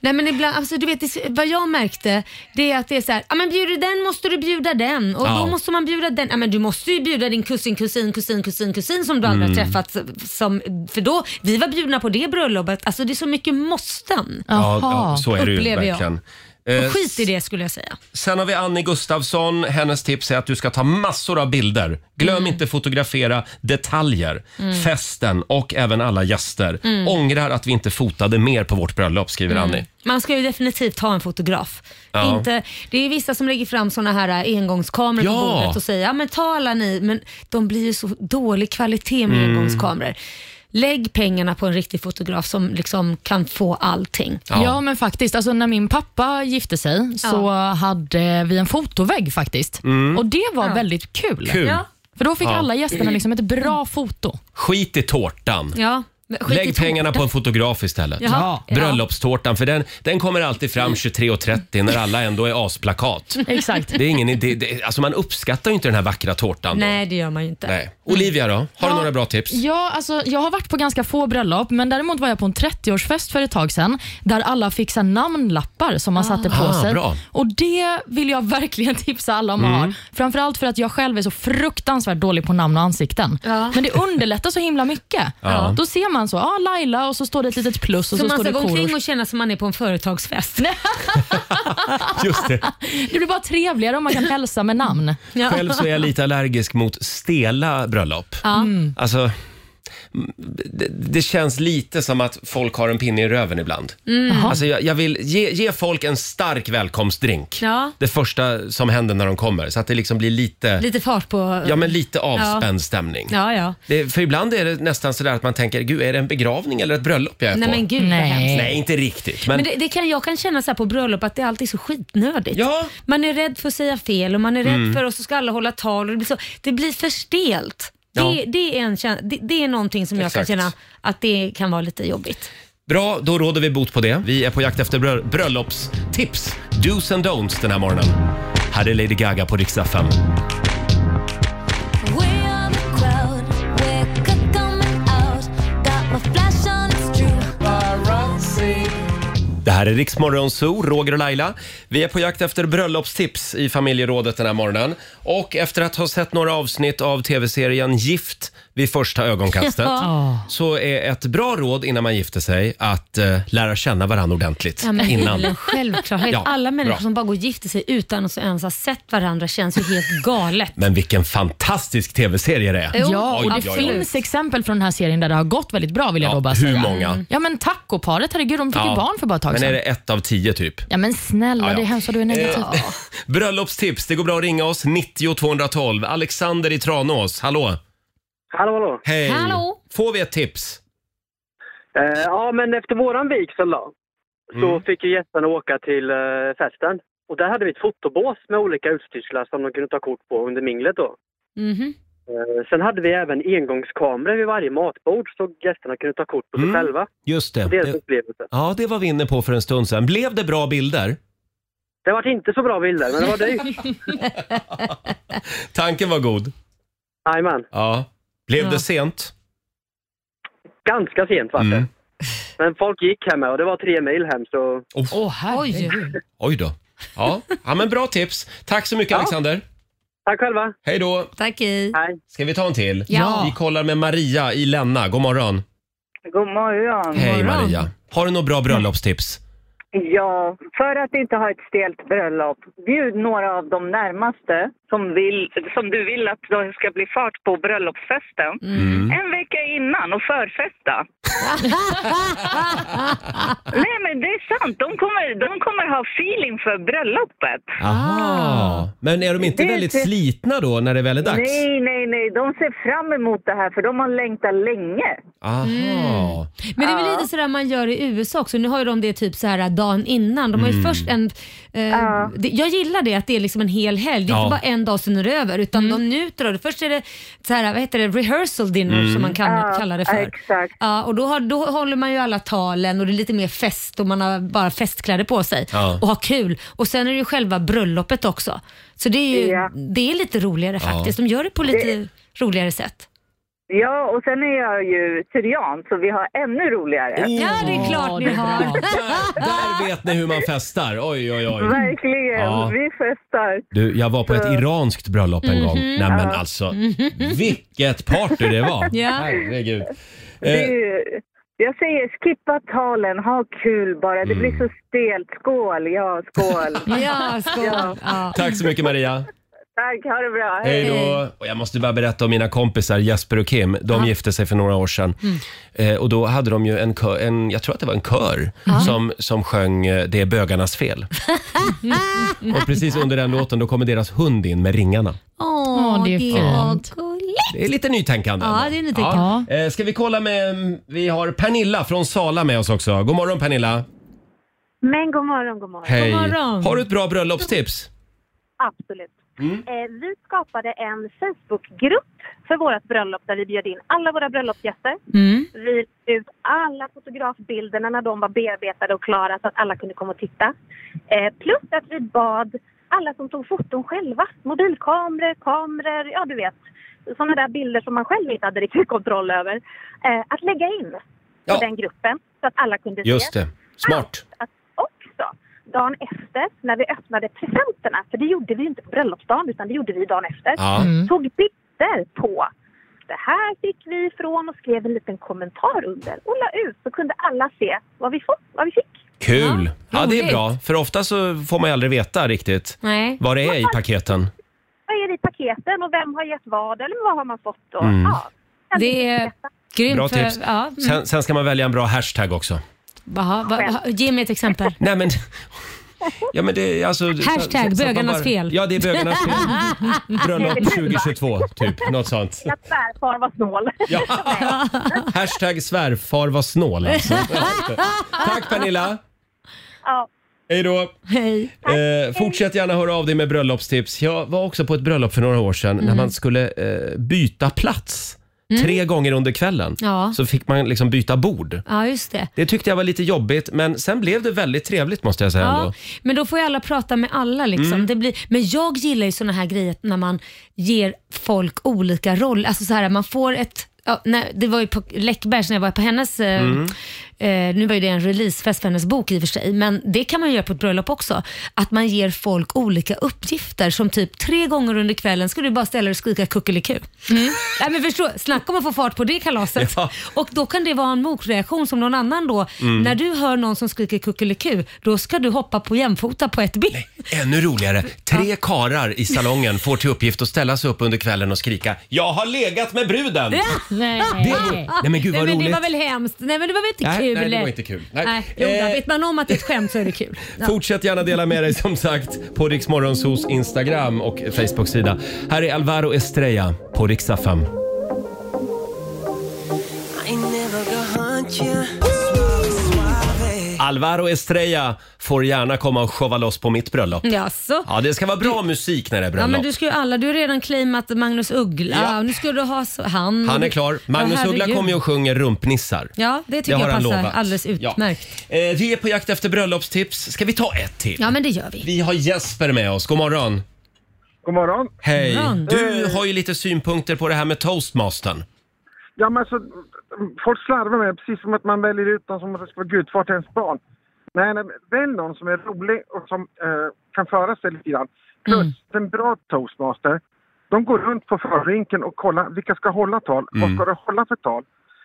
Speaker 2: Nej men ibland, alltså du vet det- vad jag märkte, det är att det är så här, ja men bjuder du den måste du bjuda den och
Speaker 1: Ja.
Speaker 2: då måste man bjuda den, ja men du måste ju bjuda din kusin, kusin, kusin, kusin, kusin som du aldrig har
Speaker 1: Mm.
Speaker 2: träffat. Som, för då, vi var bjudna på det bröllopet, alltså det är så mycket måsten.
Speaker 1: Ja, ja, så är det ju
Speaker 2: Upplever jag.
Speaker 1: verkligen. Eh,
Speaker 2: Och skit i det skulle jag säga.
Speaker 1: Sen har vi Annie Gustafsson. Hennes tips är att du ska ta massor av bilder. Glöm
Speaker 2: Mm.
Speaker 1: inte fotografera detaljer,
Speaker 13: Mm.
Speaker 1: festen och även alla gäster.
Speaker 2: Mm.
Speaker 1: Ångrar att vi inte fotade mer på vårt bröllop, skriver Annie.
Speaker 2: Man ska ju definitivt ha en fotograf.
Speaker 1: Ja.
Speaker 2: Inte, det är ju vissa som lägger fram såna här äh, engångskameror på
Speaker 1: Ja.
Speaker 2: bordet och säger ja men ta alla ni, men de blir ju så dålig kvalitet med
Speaker 1: Mm.
Speaker 2: engångskameror. Lägg pengarna på en riktig fotograf som liksom kan få allting.
Speaker 3: Ja. men faktiskt. Alltså, när min pappa gifte sig så hade vi en fotovägg faktiskt.
Speaker 1: Mm.
Speaker 3: Och det var
Speaker 1: Ja.
Speaker 3: väldigt kul.
Speaker 1: Kul. Ja.
Speaker 3: För då fick
Speaker 1: Ja.
Speaker 3: alla gästerna liksom ett bra foto.
Speaker 1: Skit i tårtan.
Speaker 2: Ja,
Speaker 1: Lägg pengarna på en fotograf istället.
Speaker 3: Jaha. Ja.
Speaker 1: Bröllopstårtan, för den, den kommer alltid
Speaker 2: Mm.
Speaker 1: fram 23.30 när alla ändå är asplakat.
Speaker 3: Exakt.
Speaker 1: Det är ingen idé. Det, alltså man uppskattar ju inte den här vackra tårtan. då.
Speaker 2: Nej, det gör man ju inte.
Speaker 1: Nej. Olivia då? Har du
Speaker 3: Ja.
Speaker 1: några bra tips?
Speaker 3: Ja, alltså, jag har varit på ganska få bröllop, men däremot var jag på en 30-årsfest för ett tag sedan, där alla fick så här namnlappar som man satte på
Speaker 13: Ah,
Speaker 3: sig.
Speaker 13: bra.
Speaker 3: Och Det vill jag verkligen tipsa alla om att
Speaker 13: Mm.
Speaker 3: ha. Framförallt för att jag själv är så fruktansvärt dålig på namn och ansikten. Men det underlättar så himla mycket.
Speaker 13: Ja.
Speaker 3: Då ser man så, ah, Laila och så står det ett litet plus och
Speaker 2: så
Speaker 3: så,
Speaker 2: man
Speaker 3: står det
Speaker 2: ska gå omkring
Speaker 3: Korosh.
Speaker 2: och känna som man är på en företagsfest.
Speaker 1: Just det.
Speaker 3: Det blir bara trevligare om man kan hälsa med namn.
Speaker 1: Själv så är jag lite allergisk mot stela bröllop.
Speaker 3: Mm.
Speaker 1: Alltså, det, det känns lite som att folk har en pinne i röven ibland.
Speaker 2: Mm. Jaha.
Speaker 1: Alltså jag, jag vill ge, ge folk en stark välkomstdrink.
Speaker 2: Ja.
Speaker 1: Det första som händer när de kommer, så att det liksom blir lite,
Speaker 2: Lite fart på...
Speaker 1: ja, men lite
Speaker 2: Ja.
Speaker 1: avspänd stämning.
Speaker 2: Ja, ja.
Speaker 1: Det, för ibland är det nästan sådär att man tänker, gud är det en begravning eller ett bröllop jag är
Speaker 2: Nej,
Speaker 1: på?
Speaker 2: men gud, vad Nej. hemskt.
Speaker 1: Nej, inte riktigt.
Speaker 2: Men,
Speaker 1: Men,
Speaker 2: det, det kan, jag kan känna så här på bröllop att det alltid är så skitnödigt. Man är rädd för att säga fel och man är rädd
Speaker 1: Mm.
Speaker 2: för och så ska alla hålla tal och det blir, så, det blir för stelt. Det,
Speaker 1: Ja.
Speaker 2: det, är en, käns- det, det är någonting som jag
Speaker 1: Exakt.
Speaker 2: kan känna att det kan vara lite jobbigt.
Speaker 1: Bra, då råder vi bot på det. Vi är på jakt efter brö- bröllopstips. Do's and don'ts den här morgonen. Här är Lady Gaga på riksdag 5. Det här är Riksmorgon Zoo, Roger och Laila. Vi är på jakt efter bröllopstips i familjerådet den här morgonen. Och efter att ha sett några avsnitt av tv-serien Gift vid första ögonkastet
Speaker 3: Ah.
Speaker 2: Ja.
Speaker 1: så är ett bra råd innan man gifter sig att eh, lära känna varandra ordentligt
Speaker 2: Ja, men det är väl en
Speaker 1: innan.
Speaker 2: självklarhet.
Speaker 1: Ja,
Speaker 2: Alla människor
Speaker 1: bra.
Speaker 2: som bara går och gifter sig utan att så ens ha sett varandra känns ju helt galet.
Speaker 1: Men vilken fantastisk tv-serie det är.
Speaker 3: Ja, och det finns exempel från den här serien där det har gått väldigt bra vill jag
Speaker 1: Ja,
Speaker 3: då bara
Speaker 1: hur
Speaker 3: säga.
Speaker 1: många?
Speaker 3: Mm. Ja men tacoparet, herregud de fick ju barn för bara ett tag
Speaker 1: Men är
Speaker 3: sedan.
Speaker 1: det ett av tio typ?
Speaker 3: Ja men snälla,
Speaker 1: Ja, ja.
Speaker 3: det är hemskt att du är negativ.
Speaker 1: Eh, Bröllopstips, det går bra att ringa oss. 90 212. Alexander i Tranås, hallå!
Speaker 13: Hallå, hallå.
Speaker 1: Hej!
Speaker 13: Hallå.
Speaker 1: Får vi ett tips?
Speaker 13: Eh, ja, men efter våran vigsel då, så
Speaker 1: Mm.
Speaker 13: fick ju gästerna åka till eh, festen. Och där hade vi ett fotobås med olika utstyrslar som de kunde ta kort på under minglet då.
Speaker 2: Mhm.
Speaker 13: Eh, sen hade vi även engångskameror vid varje matbord så gästerna kunde ta kort på sig
Speaker 1: Mm.
Speaker 13: själva.
Speaker 1: Just det.
Speaker 13: Och deras
Speaker 1: det.
Speaker 13: upplevelse.
Speaker 1: Ja, det var vi inne på för en stund sedan. Blev det bra bilder?
Speaker 13: Det var inte så bra bilder, men det var dyrt.
Speaker 1: Tanken var god.
Speaker 13: Jajamän.
Speaker 1: Ja. Blev
Speaker 13: Ja.
Speaker 1: det sent?
Speaker 13: Ganska sent var det.
Speaker 1: Mm.
Speaker 13: Men folk gick hem och det var tre mil hem så...
Speaker 1: Åh,
Speaker 2: herregud.
Speaker 1: Oj då. Ja. ja, men bra tips. Tack så mycket Alexander.
Speaker 13: Tack själva.
Speaker 1: Hej då.
Speaker 2: Tack hej.
Speaker 1: Ska vi ta en till?
Speaker 14: Ja.
Speaker 1: Vi kollar med Maria i Länna. God morgon.
Speaker 14: God morgon.
Speaker 1: Hej Maria. Har du några bra bröllopstips?
Speaker 14: Ja, för att inte ha ett stelt bröllop, bjud några av de närmaste som, vill, som du vill att det ska bli fart på bröllopsfesten en vecka innan och förfesta. Nej men det är sant, de kommer, de kommer ha feeling för bröllopet.
Speaker 1: Aha. Men är de inte
Speaker 14: Ah. Det är
Speaker 1: väldigt
Speaker 14: det-
Speaker 1: slitna då när det väl är dags?
Speaker 14: Nej, nej, nej, de ser fram emot det här för de har längtat länge.
Speaker 1: Aha.
Speaker 14: Mm.
Speaker 1: Oh,
Speaker 2: Men det är väl lite sådär man gör i USA också. Nu har ju de det typ så här dagen innan. De har ju
Speaker 1: Mm.
Speaker 2: först en... Eh, det, jag gillar det att det är liksom en hel helg. Det är
Speaker 1: Ja.
Speaker 2: inte bara en dag sen är det över utan de njuter av det. Först är det så här, vad heter det, rehearsal dinner
Speaker 1: Mm.
Speaker 2: som man kan,
Speaker 14: Ja,
Speaker 2: kallar det för.
Speaker 14: exakt.
Speaker 2: Ja, och då, har, då håller man ju alla talen och det är lite mer fest och man har bara festkläder på sig
Speaker 1: Ja.
Speaker 2: och har kul. Och sen är det ju själva bröllopet också. Så det är ju
Speaker 14: Ja.
Speaker 2: det är lite roligare
Speaker 14: Ja.
Speaker 2: faktiskt. De gör det på lite roligare sätt.
Speaker 14: Ja, och sen är jag ju syrian så vi har ännu roligare.
Speaker 2: Ja, det är klart ni har.
Speaker 1: Där vet ni hur man festar. Oj, oj, oj.
Speaker 14: Verkligen,
Speaker 1: Oh. Ja.
Speaker 14: vi festar.
Speaker 1: Du, jag var på ett
Speaker 14: Så-
Speaker 1: iranskt bröllop en gång.
Speaker 14: Mhm.
Speaker 1: Nej men
Speaker 14: Ja.
Speaker 1: alltså, vilket party det var!
Speaker 14: Ja.
Speaker 1: Herregud.
Speaker 14: Det är
Speaker 1: Eh,
Speaker 14: ju- jag säger skippa talen, ha kul bara. Det
Speaker 1: Mm.
Speaker 14: blir så stelt. Skål, ja skål.
Speaker 2: Ja, skål.
Speaker 1: tack så mycket Maria.
Speaker 14: Tack, ha det bra.
Speaker 1: Hej då. Och jag måste bara berätta om mina kompisar Jesper och Kim. De
Speaker 14: Ja.
Speaker 1: gifte sig för några år sedan. Eh, och då hade de ju en kör, en, jag tror att det var en kör,
Speaker 6: Ja.
Speaker 1: som, som sjöng eh, Det är bögarnas fel. Och precis under den låten då kommer deras hund in med ringarna.
Speaker 2: Åh,
Speaker 1: det
Speaker 2: det
Speaker 1: är
Speaker 2: var
Speaker 1: fint.
Speaker 2: gulligt.
Speaker 1: Det är lite nytänkande.
Speaker 2: Ja,
Speaker 1: ändå.
Speaker 2: det är nytänkande.
Speaker 1: Ja. Eh, Ska vi kolla med, vi har Pernilla från Sala med oss också. God morgon Pernilla.
Speaker 15: Men god morgon, god morgon.
Speaker 1: Hej. Har du ett bra bröllopstips?
Speaker 15: Absolut.
Speaker 1: Mm.
Speaker 15: Eh, vi skapade en Facebookgrupp för vårt bröllop där vi bjöd in alla våra bröllopsgäster.
Speaker 2: Mm.
Speaker 15: Vi la ut alla fotografbilderna när de var bearbetade och klara så att alla kunde komma och titta. Eh, plus att vi bad alla som tog foton själva, mobilkameror, kameror, ja du vet, sådana där bilder som man själv inte hade riktigt kontroll över, eh, att lägga in på
Speaker 1: Ja.
Speaker 15: den gruppen så att alla kunde se.
Speaker 1: Just det. Smart.
Speaker 15: att också dagen efter när vi öppnade presenterna, för det gjorde vi ju inte på bröllopsdagen utan det gjorde vi dagen efter,
Speaker 1: Ja. Mm.
Speaker 15: tog bilder på det här fick vi ifrån och skrev en liten kommentar under och la ut så kunde alla se vad vi, fått, vad vi fick.
Speaker 1: Kul! Ja, det är
Speaker 15: roligt.
Speaker 1: bra. För ofta så får man ju aldrig veta riktigt
Speaker 15: Nej.
Speaker 1: vad det är i paketen.
Speaker 15: Vad är det i paketen och vem har gett vad eller vad har man fått då?
Speaker 1: Mm.
Speaker 15: Ja,
Speaker 2: Det är grymt.
Speaker 1: Bra
Speaker 2: för-
Speaker 1: tips.
Speaker 2: Ja, mm.
Speaker 1: Sen, sen ska man välja en bra hashtag också.
Speaker 2: Jaha, va, va, ge mig ett exempel.
Speaker 1: Nej men... Ja, men det, är alltså, så-
Speaker 2: Hashtag
Speaker 1: så att man
Speaker 2: bögarnas
Speaker 1: bara-
Speaker 2: fel.
Speaker 1: Ja, det är bögarnas fel. Bröllop
Speaker 15: Nej, men gud, va?
Speaker 1: 2022, typ. Något sånt.
Speaker 15: Att svärfar var snål.
Speaker 1: Ja. Hashtag svärfar var snål alltså. Tack Pernilla!
Speaker 15: Ja.
Speaker 1: Hej då!
Speaker 2: Hej.
Speaker 1: Eh, fortsätt gärna höra av dig med bröllopstips. Jag var också på ett bröllop för några år sedan när
Speaker 2: Mm.
Speaker 1: man skulle eh, byta plats
Speaker 2: Mm.
Speaker 1: tre gånger under kvällen.
Speaker 2: Ja.
Speaker 1: Så fick man liksom byta bord.
Speaker 2: Ja, just det.
Speaker 1: Det tyckte jag var lite jobbigt men sen blev det väldigt trevligt måste jag säga ändå.
Speaker 2: Ja, men då får ju alla prata med alla. Liksom.
Speaker 1: Mm.
Speaker 2: Det blir, men jag gillar ju såna här grejer när man ger folk olika roller. Alltså så här, man får ett, ja, när, det var ju på Läckbergs när jag var på hennes eh,
Speaker 1: Mm.
Speaker 2: eh, nu var ju det en releasefest för hennes bok i och för sig, men det kan man ju göra på ett bröllop också. Att man ger folk olika uppgifter som typ tre gånger under kvällen ska du bara ställa dig och skrika kuckeliku. Mm. Nej, men förstå, snacka om att få fart på det kalaset. Och då kan det vara en motreaktion som någon annan då.
Speaker 1: Mm.
Speaker 2: När du hör någon som skriker kuckeliku, då ska du hoppa på jämfota på ett ben.
Speaker 1: Ännu roligare. Tre karar i salongen får till uppgift att ställa sig upp under kvällen och skrika “Jag har legat med bruden!”
Speaker 2: Ja. Nej.
Speaker 1: Det- Nej, men gud, vad
Speaker 2: Nej, men det
Speaker 1: roligt.
Speaker 2: var väl hemskt. Nej men det var väl inte
Speaker 1: Nej,
Speaker 2: kul?
Speaker 1: nej, det var inte kul. Nej.
Speaker 2: Nej. jo, då,
Speaker 1: Eh.
Speaker 2: vet man om att det är ett skämt så är det kul. Ja.
Speaker 1: Fortsätt gärna dela med dig som sagt på Riksmorgonsos Instagram och Facebook-sida. Här är Alvaro Estrella på riksdag 5.
Speaker 6: I never go hunt you. Suave, suave.
Speaker 1: Alvaro Estrella får gärna komma och showa loss på mitt bröllop.
Speaker 2: Jaså?
Speaker 1: Ja, det ska vara bra musik när det är
Speaker 2: Ja,
Speaker 1: bröllop.
Speaker 2: men du ska ju alla, du har redan claimat Magnus Uggla.
Speaker 1: Ja.
Speaker 2: och Nu ska du ha så, han.
Speaker 1: Han är klar. Magnus
Speaker 2: Ja,
Speaker 1: Uggla
Speaker 2: herregud.
Speaker 1: kommer ju och sjunger rumpnissar.
Speaker 2: Ja, det tycker
Speaker 1: Det har
Speaker 2: jag
Speaker 1: han
Speaker 2: passar
Speaker 1: lovat.
Speaker 2: alldeles utmärkt.
Speaker 1: Eh, vi är på jakt efter bröllopstips. Ska vi ta ett till?
Speaker 2: Ja. men det gör vi.
Speaker 1: Vi har Jesper med oss. God morgon. God morgon. Hej.
Speaker 9: God morgon.
Speaker 1: Du har ju lite synpunkter på det här med toastmastern.
Speaker 9: Ja, men alltså, folk slarvar med det, precis som att man väljer ut någon som att det ska vara gudfar till ens barn. Nej, nej, välj någon som är rolig och som eh, kan föra sig lite grann. Plus, en bra toastmaster, de går runt på förrinken och kollar vilka ska hålla tal, vad
Speaker 16: Mm.
Speaker 9: ska de hålla för tal?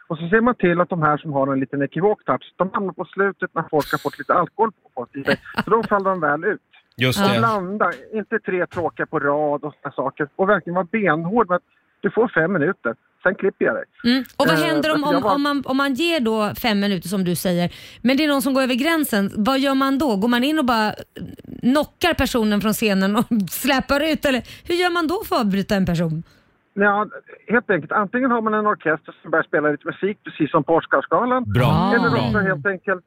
Speaker 9: Och så ser man till att de här som har en liten ekivok touch, de hamnar på slutet när folk har fått lite alkohol på sig. Så då faller de väl ut.
Speaker 1: Just
Speaker 9: Och
Speaker 1: det.
Speaker 9: Blanda, inte tre tråkiga på rad och sådana saker. Och verkligen vara benhård med att du får fem minuter, sen klipper jag dig.
Speaker 2: Mm. Och vad
Speaker 9: Eh,
Speaker 2: händer om,
Speaker 9: jag
Speaker 2: om,
Speaker 9: var-
Speaker 2: om, man, om man ger då fem minuter som du säger, men det är någon som går över gränsen. Vad gör man då? Går man in och bara knockar personen från scenen och släpar ut? Eller hur gör man då för att avbryta en person?
Speaker 9: Ja, helt enkelt. Antingen har man en orkester som börjar spela lite musik, precis som på Oscarsgalan.
Speaker 6: Bra.
Speaker 9: Eller
Speaker 6: Bra.
Speaker 9: också helt enkelt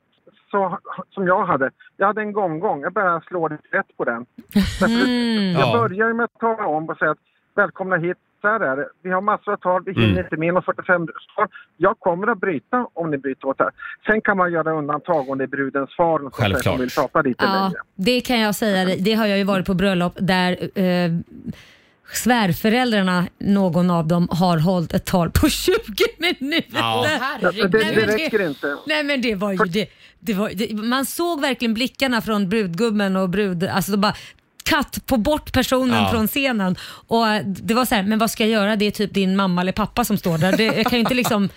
Speaker 9: så, som jag hade. Jag hade en gonggång. Jag började slå lite rätt på den. Därför att Jag
Speaker 2: Mm.
Speaker 6: Mm. Ja.
Speaker 9: börjar med att tala om och säga att välkomna hit. Så här är det. Vi har massor av tal. Vi hinner
Speaker 6: Mm.
Speaker 9: inte med inom 45 svar. Jag kommer att bryta om ni bryter åt det här. Sen kan man göra undantag om det är brudens far och så där
Speaker 1: Självklart.
Speaker 9: som vill prata lite
Speaker 2: Ja,
Speaker 9: längre.
Speaker 2: det kan jag säga
Speaker 9: Mm.
Speaker 2: dig. Det har jag ju varit på bröllop där eh, svärföräldrarna, någon av dem, har hållit ett tal på 20 minuter.
Speaker 6: Ja.
Speaker 9: Det- det- det räcker inte.
Speaker 2: Nej men det var ju det. det, var, det man såg verkligen blickarna från brudgummen och brud... Alltså de bara katt på bort personen
Speaker 6: Ja.
Speaker 2: från scenen. Och eh, det var så här, men vad ska jag göra? Det är typ din mamma eller pappa som står där. Det, jag kan ju inte liksom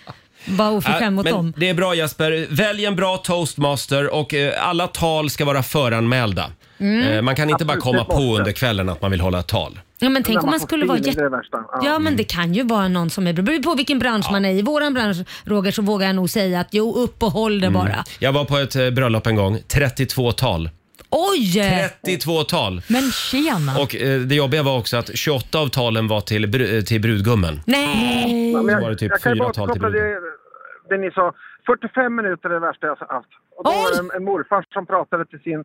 Speaker 2: vara
Speaker 1: Äh,
Speaker 2: oförskämd mot
Speaker 1: men
Speaker 2: dem.
Speaker 1: Det är bra Jesper. Välj en bra toastmaster och eh, alla tal ska vara föranmälda.
Speaker 2: Mm.
Speaker 1: Eh, man kan inte bara
Speaker 2: Absolut, det
Speaker 1: komma
Speaker 2: är
Speaker 1: på
Speaker 2: borta.
Speaker 1: under kvällen att man vill hålla ett tal.
Speaker 2: Ja, men tänk
Speaker 9: När
Speaker 2: om man
Speaker 9: får
Speaker 2: skulle vara
Speaker 9: feeling,
Speaker 2: jätte...
Speaker 9: det är det värsta. Ja.
Speaker 2: Ja,
Speaker 1: Mm.
Speaker 2: men det kan ju vara någon som är Det beror på vilken bransch man är i. I våran bransch, Roger, så vågar jag nog säga att jo, upp och håll det
Speaker 1: Mm.
Speaker 2: bara.
Speaker 1: Jag var på ett eh, bröllop en gång, 32 tal.
Speaker 2: Oj!
Speaker 1: 32 tal.
Speaker 3: Men tjena!
Speaker 1: Och eh, det jobbiga var också att 28 av talen var till, bru- eh, till brudgummen.
Speaker 2: Nej!
Speaker 9: Ja, men
Speaker 1: Så var det typ
Speaker 9: jag kan ju
Speaker 1: fyra
Speaker 9: bara
Speaker 1: tal till
Speaker 9: återkoppla det, det ni sa. 45 minuter är det värsta jag har haft. Och då var det en, en morfar som pratade till, sin,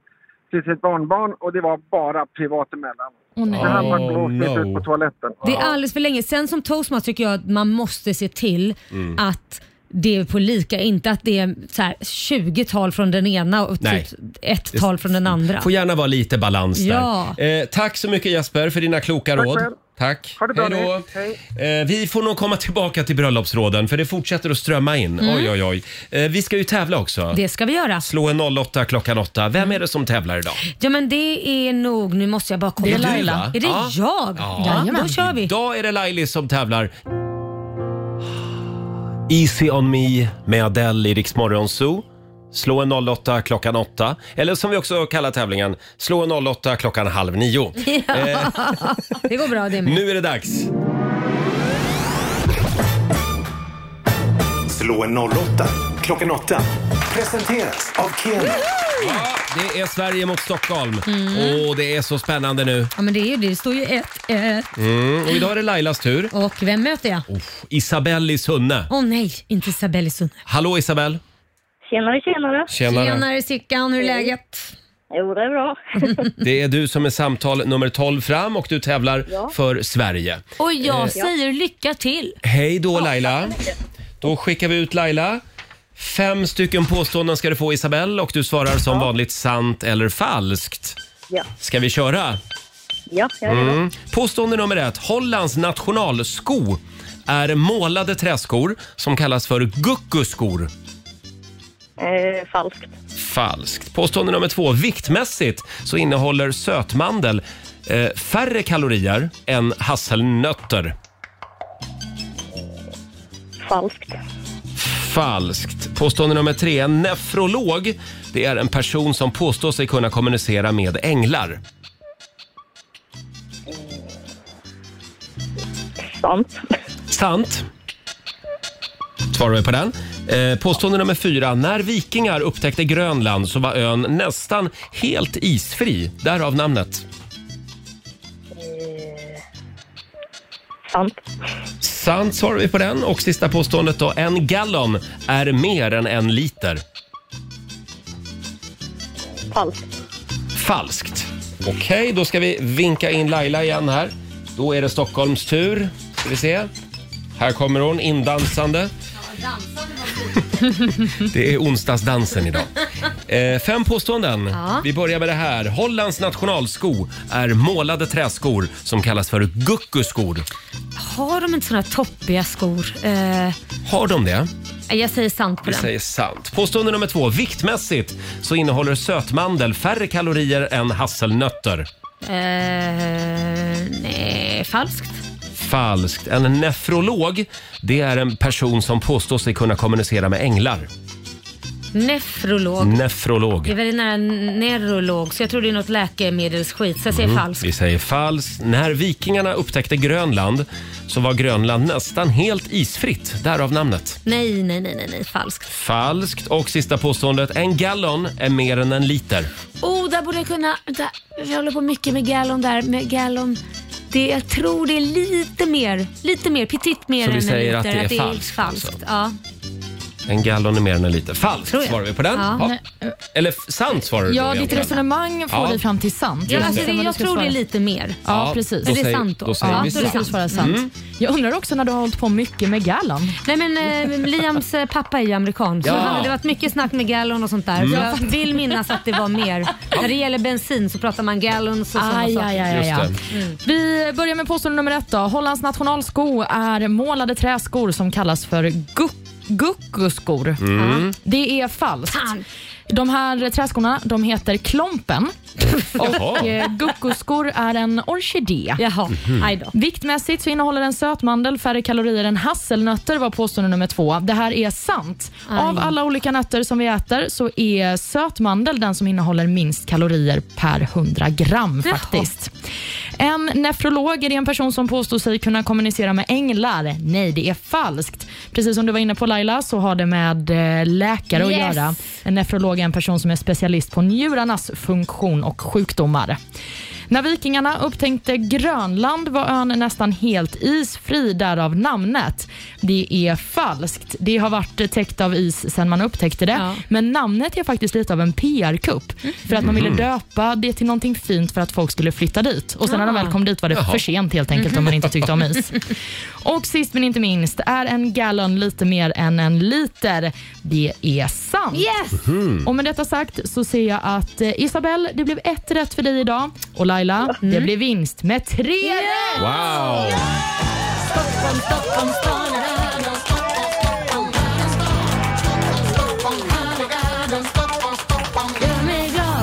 Speaker 9: till sitt barnbarn och det var bara privat emellan.
Speaker 2: Åh, nej.
Speaker 9: Så han var
Speaker 2: Oh,
Speaker 9: blåsigt
Speaker 2: no.
Speaker 9: ut på toaletten.
Speaker 2: Det är alldeles för länge. Sen som toastmaster tycker jag att man måste se till
Speaker 9: Mm.
Speaker 2: att det är på lika, inte att det är så här 20 tal från den ena och
Speaker 1: Nej.
Speaker 2: typ ett tal från den andra.
Speaker 1: Får gärna vara lite balans där.
Speaker 2: Ja.
Speaker 1: Eh, tack så mycket Jesper för dina kloka
Speaker 2: Tack
Speaker 1: råd.
Speaker 2: själv.
Speaker 1: Tack.
Speaker 2: Ha det bra
Speaker 1: Hej då. Eh, vi får nog komma tillbaka till bröllopsråden för det fortsätter att strömma in.
Speaker 2: Mm.
Speaker 1: Oj, oj, oj. Eh, vi ska ju tävla också.
Speaker 2: Det ska vi göra.
Speaker 1: Slå en 08 klockan 8. Vem är det som tävlar idag?
Speaker 2: Ja men det är nog, nu måste jag bara kolla.
Speaker 1: Det är Laila. Du, va?
Speaker 2: Är det
Speaker 1: Ja.
Speaker 2: jag? Ja, då kör vi.
Speaker 1: Idag är det Laili som tävlar. Easy on me med Adele i Rix Morgon Zoo. Slå en 08 klockan 8. Eller som vi också kallar tävlingen, slå en 08 klockan halv nio. Eh,
Speaker 2: Ja. Det går bra det med.
Speaker 1: nu är det dags.
Speaker 12: Slå en 08 klockan 8. Presenteras av Keno.
Speaker 1: Ja, det är Sverige mot Stockholm. Åh,
Speaker 2: Mm.
Speaker 1: det är så spännande nu.
Speaker 2: Ja men det är ju det, det står ju ett, ett.
Speaker 1: Mm. Och idag är det Lailas tur.
Speaker 2: Och vem möter jag?
Speaker 1: Isabelle i Sunne.
Speaker 2: Åh nej, inte Isabelle Sunne.
Speaker 1: Hallå Isabelle!
Speaker 2: Tjenare, tjenare.
Speaker 1: Tjenare.
Speaker 2: Sickan, hur är läget? Jo, det är bra.
Speaker 1: Det är du som är samtal nummer 12 fram och du tävlar
Speaker 2: Ja.
Speaker 1: för Sverige.
Speaker 2: Och jag
Speaker 1: Eh,
Speaker 2: säger lycka till.
Speaker 1: Hej då Laila. Då skickar vi ut Laila. Fem stycken påståenden ska du få Isabelle och du svarar som vanligt sant eller falskt.
Speaker 6: Ja.
Speaker 1: Ska vi köra?
Speaker 6: Ja, jag är redo.
Speaker 1: Mm. Påstående nummer ett. Hollands nationalsko är målade träskor som kallas för guckuskor.
Speaker 15: Eh, falskt.
Speaker 1: Falskt. Påstående nummer två. Viktmässigt så innehåller sötmandel eh, färre kalorier än hasselnötter.
Speaker 15: Falskt.
Speaker 1: Falskt. Påstående nummer tre. En nefrolog, det är en person som påstår sig kunna kommunicera med änglar.
Speaker 15: Sant.
Speaker 1: Sant. Svarar vi på den. Eh, påstående nummer fyra. När vikingar upptäckte Grönland så var ön nästan helt isfri. Därav namnet.
Speaker 15: Sant.
Speaker 1: Sant svarar vi på den. Och sista påståendet då. En gallon är mer än en liter.
Speaker 15: Falskt.
Speaker 1: Falskt. Okej, då ska vi vinka in Laila igen här. Då är det Stockholms tur. Ska vi se. Här kommer hon indansande. Det är onsdagsdansen idag. Eh, fem påståenden.
Speaker 6: Ja.
Speaker 1: Vi börjar med det här. Hollands nationalsko är målade träskor som kallas för guckuskor.
Speaker 2: Har de inte såna toppiga skor? Eh,
Speaker 1: Har de det?
Speaker 2: jag säger sant på
Speaker 1: Vi
Speaker 2: den.
Speaker 1: säger sant. Påstående nummer två. Viktmässigt så innehåller sötmandel färre kalorier än hasselnötter.
Speaker 2: Eh, nej, falskt.
Speaker 1: Falskt. En nefrolog, det är en person som påstår sig kunna kommunicera med änglar.
Speaker 2: Nefrolog. Det är
Speaker 1: Nefrolog.
Speaker 2: väldigt nära neurolog, så jag tror det är något läkemedelsskit, så jag säger
Speaker 1: Mm,
Speaker 2: falskt.
Speaker 1: Vi säger falskt. När vikingarna upptäckte Grönland så var Grönland nästan helt isfritt, därav namnet.
Speaker 2: Nej, nej, nej, nej, nej, falskt.
Speaker 1: Falskt. Och sista påståendet. En gallon är mer än en liter.
Speaker 16: Oh, där borde jag kunna... Där, jag håller på mycket med gallon där. Med gallon. Det, jag tror det är lite mer. Lite mer. Petit mer
Speaker 1: Så vi
Speaker 16: än
Speaker 1: säger
Speaker 16: en
Speaker 1: att
Speaker 16: liter.
Speaker 1: det är falskt, alltså?
Speaker 16: Ja.
Speaker 1: En gallon är mer än en liter.
Speaker 3: Tror
Speaker 1: Falskt
Speaker 3: jag.
Speaker 1: svarar vi på den.
Speaker 3: Ja.
Speaker 1: Ja.
Speaker 3: Nej, eh,
Speaker 1: Eller f- sant svarar du då
Speaker 3: Ja, ditt
Speaker 1: egentligen.
Speaker 3: resonemang får
Speaker 1: Ja.
Speaker 3: dig fram till sant.
Speaker 1: Ja, alltså,
Speaker 3: Sen
Speaker 1: det-
Speaker 3: vad du
Speaker 2: jag
Speaker 3: ska
Speaker 2: tror
Speaker 3: svara.
Speaker 2: det är lite mer.
Speaker 3: Ja,
Speaker 1: Ja,
Speaker 3: precis.
Speaker 1: då Men det är säger- sant då. då säger
Speaker 3: ja,
Speaker 1: vi
Speaker 3: då är det
Speaker 1: sant.
Speaker 3: sant. Svara sant.
Speaker 1: Mm.
Speaker 3: Jag undrar också när du har hållit på mycket med Gallon.
Speaker 2: Nej men eh, Liams eh, pappa är ju amerikan så
Speaker 3: Ja.
Speaker 2: han, det har varit mycket snack med gallon och sånt där.
Speaker 3: Mm.
Speaker 2: Så jag vill minnas att det var mer. När det gäller bensin så pratar man gallons och sådana
Speaker 3: Aj,
Speaker 2: saker.
Speaker 3: aj, aj, aj, aj. Vi börjar med påstående nummer ett. Då. Hollands nationalsko är målade träskor som kallas för guck Guckuskor.
Speaker 6: Mm.
Speaker 3: Det är falskt.
Speaker 2: Ah.
Speaker 3: De här träskorna de heter klompen och eh, guckuskor är en orkidé.
Speaker 2: Jaha. Mhm. Aj då.
Speaker 3: Viktmässigt så innehåller en sötmandel färre kalorier än hasselnötter var påstående nummer två. Det här är sant.
Speaker 16: Aj.
Speaker 3: Av alla olika nötter som vi äter så är sötmandel den som innehåller minst kalorier per 100 gram
Speaker 16: Jaha.
Speaker 3: faktiskt. En nefrolog är det en person som påstår sig kunna kommunicera med änglar. Nej, det är falskt. Precis som du var inne på Laila så har det med eh, läkare
Speaker 16: Yes.
Speaker 3: att göra. En nefrolog är en person som är specialist på njurarnas funktion och sjukdomar. När vikingarna upptäckte Grönland var ön nästan helt isfri, därav namnet. Det är falskt. Det har varit täckt av is sedan man upptäckte det. Men namnet är faktiskt lite av en PR-kupp. För att man ville
Speaker 16: Mhm.
Speaker 3: döpa det till någonting fint för att folk skulle flytta dit. Och sen när de väl kom dit var det
Speaker 16: Jaha.
Speaker 3: för sent helt enkelt om man inte tyckte om is.
Speaker 16: Mhm.
Speaker 3: Och sist men inte minst, är en gallon lite mer än en liter? Det är sant.
Speaker 16: Yes! Mhm.
Speaker 3: Och med detta sagt så ser jag att eh, Isabel, det blev ett rätt för dig idag. Och Laila, det blev vinst med tre rätt!
Speaker 1: Wow!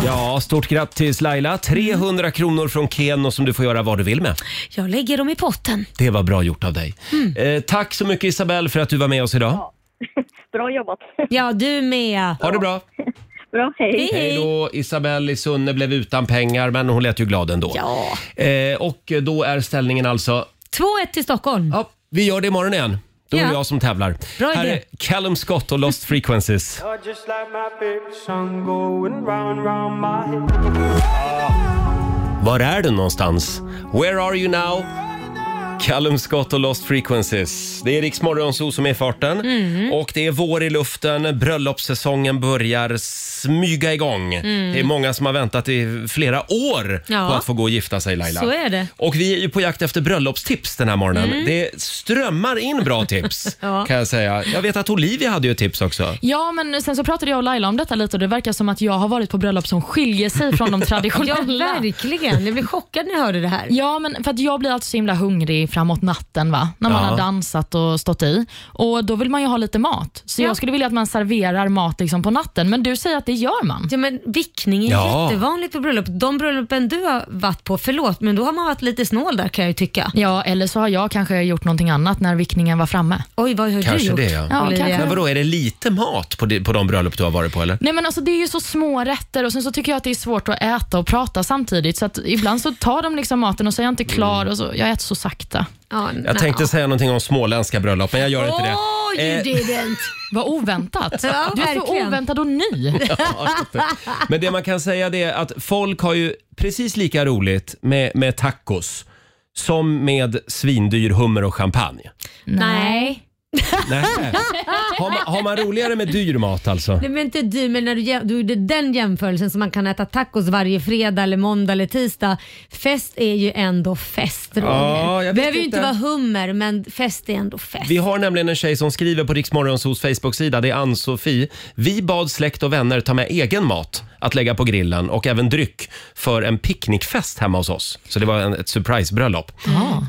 Speaker 1: Ja, stort grattis Laila. 300 kronor från Ken och som du får göra vad du vill med.
Speaker 2: Jag lägger dem i potten.
Speaker 1: Det var bra gjort av dig. Eh, tack så mycket Isabelle för att du var med oss idag.
Speaker 2: Bra jobbat. Ja, du med.
Speaker 1: Ha det bra.
Speaker 2: Bra, hej.
Speaker 1: Hej då. Isabelle i Sunne blev utan pengar men hon lät ju glad ändå. Ja. Eh, och då är ställningen alltså
Speaker 2: 2-1 till Stockholm.
Speaker 1: Ja, vi gör det imorgon igen. Då är det
Speaker 2: Ja.
Speaker 1: jag som tävlar.
Speaker 2: Bra
Speaker 1: Här
Speaker 2: idé.
Speaker 1: är Callum Scott och Lost Frequencies.
Speaker 6: You're just like my favorite song going round, round my head.
Speaker 1: Var är du någonstans? Where are you now? Callum Scott och Lost Frequencies. Det är Rix
Speaker 2: Mm.
Speaker 1: Morgonzoo som är i farten. Och det är vår i luften. Bröllopssäsongen börjar smyga igång.
Speaker 2: Mm.
Speaker 1: Det är många som har väntat i flera år
Speaker 2: Ja.
Speaker 1: på att få gå och gifta sig Laila.
Speaker 2: Så är det.
Speaker 1: Och vi är ju på jakt efter bröllopstips den här morgonen.
Speaker 3: Mm.
Speaker 1: Det strömmar in bra tips
Speaker 3: Ja.
Speaker 1: kan jag säga. Jag vet att Olivia hade ju ett tips också.
Speaker 3: Ja, men sen så pratade jag och Laila om detta lite och det verkar som att jag har varit på bröllop som skiljer sig från de traditionella.
Speaker 2: Ja, verkligen. Jag blev chockad när jag hörde det här.
Speaker 3: Ja, men för att jag blir alltid så himla hungrig framåt natten va? när man
Speaker 2: Ja.
Speaker 3: har dansat och stått i. Och Då vill man ju ha lite mat. Så jag skulle vilja att man serverar mat liksom på natten, men du säger att det gör man.
Speaker 2: Ja, men vickning är
Speaker 3: Ja.
Speaker 2: jättevanligt på bröllop. De bröllopen du har varit på, förlåt, men då har man varit lite snål där kan jag ju tycka.
Speaker 3: Ja, eller så har jag kanske gjort någonting annat när vickningen var framme.
Speaker 2: Oj, vad har
Speaker 1: Kanske
Speaker 2: du gjort?
Speaker 1: det ja.
Speaker 3: Olivia? kanske.
Speaker 1: Men vadå, är det lite mat på, di- på de bröllop du har varit på eller?
Speaker 3: Nej men alltså det är ju så små rätter och sen så tycker jag att det är svårt att äta och prata samtidigt så att ibland så tar de liksom maten och så är jag inte
Speaker 1: Mm.
Speaker 3: klar och så, jag äter så sakta.
Speaker 1: Jag tänkte säga någonting om småländska bröllop men jag gör inte det. Eh,
Speaker 3: didn't! Vad oväntat.
Speaker 6: Ja,
Speaker 3: du är så
Speaker 6: verkligen.
Speaker 3: oväntad och ny.
Speaker 1: Men det man kan säga det är att folk har ju precis lika roligt med, med tacos som med svindyr hummer och champagne.
Speaker 2: Nej.
Speaker 1: Nej. Har, man, har man roligare med dyr mat alltså?
Speaker 2: Nej, men inte du, men när du, jäm- du gjorde den jämförelsen som man kan äta tacos varje fredag eller måndag eller tisdag. Fest är ju ändå fest, Roger.
Speaker 1: Ja, jag vet
Speaker 2: behöver ju
Speaker 1: inte.
Speaker 2: inte vara hummer, men fest är ändå fest.
Speaker 1: Vi har nämligen en tjej som skriver på Riksmorgonsos Facebook-sida. Det är Ann-Sofie. Vi bad släkt och vänner ta med egen mat att lägga på grillen och även dryck för en picknickfest hemma hos oss. Så det var en, ett surprisebröllop.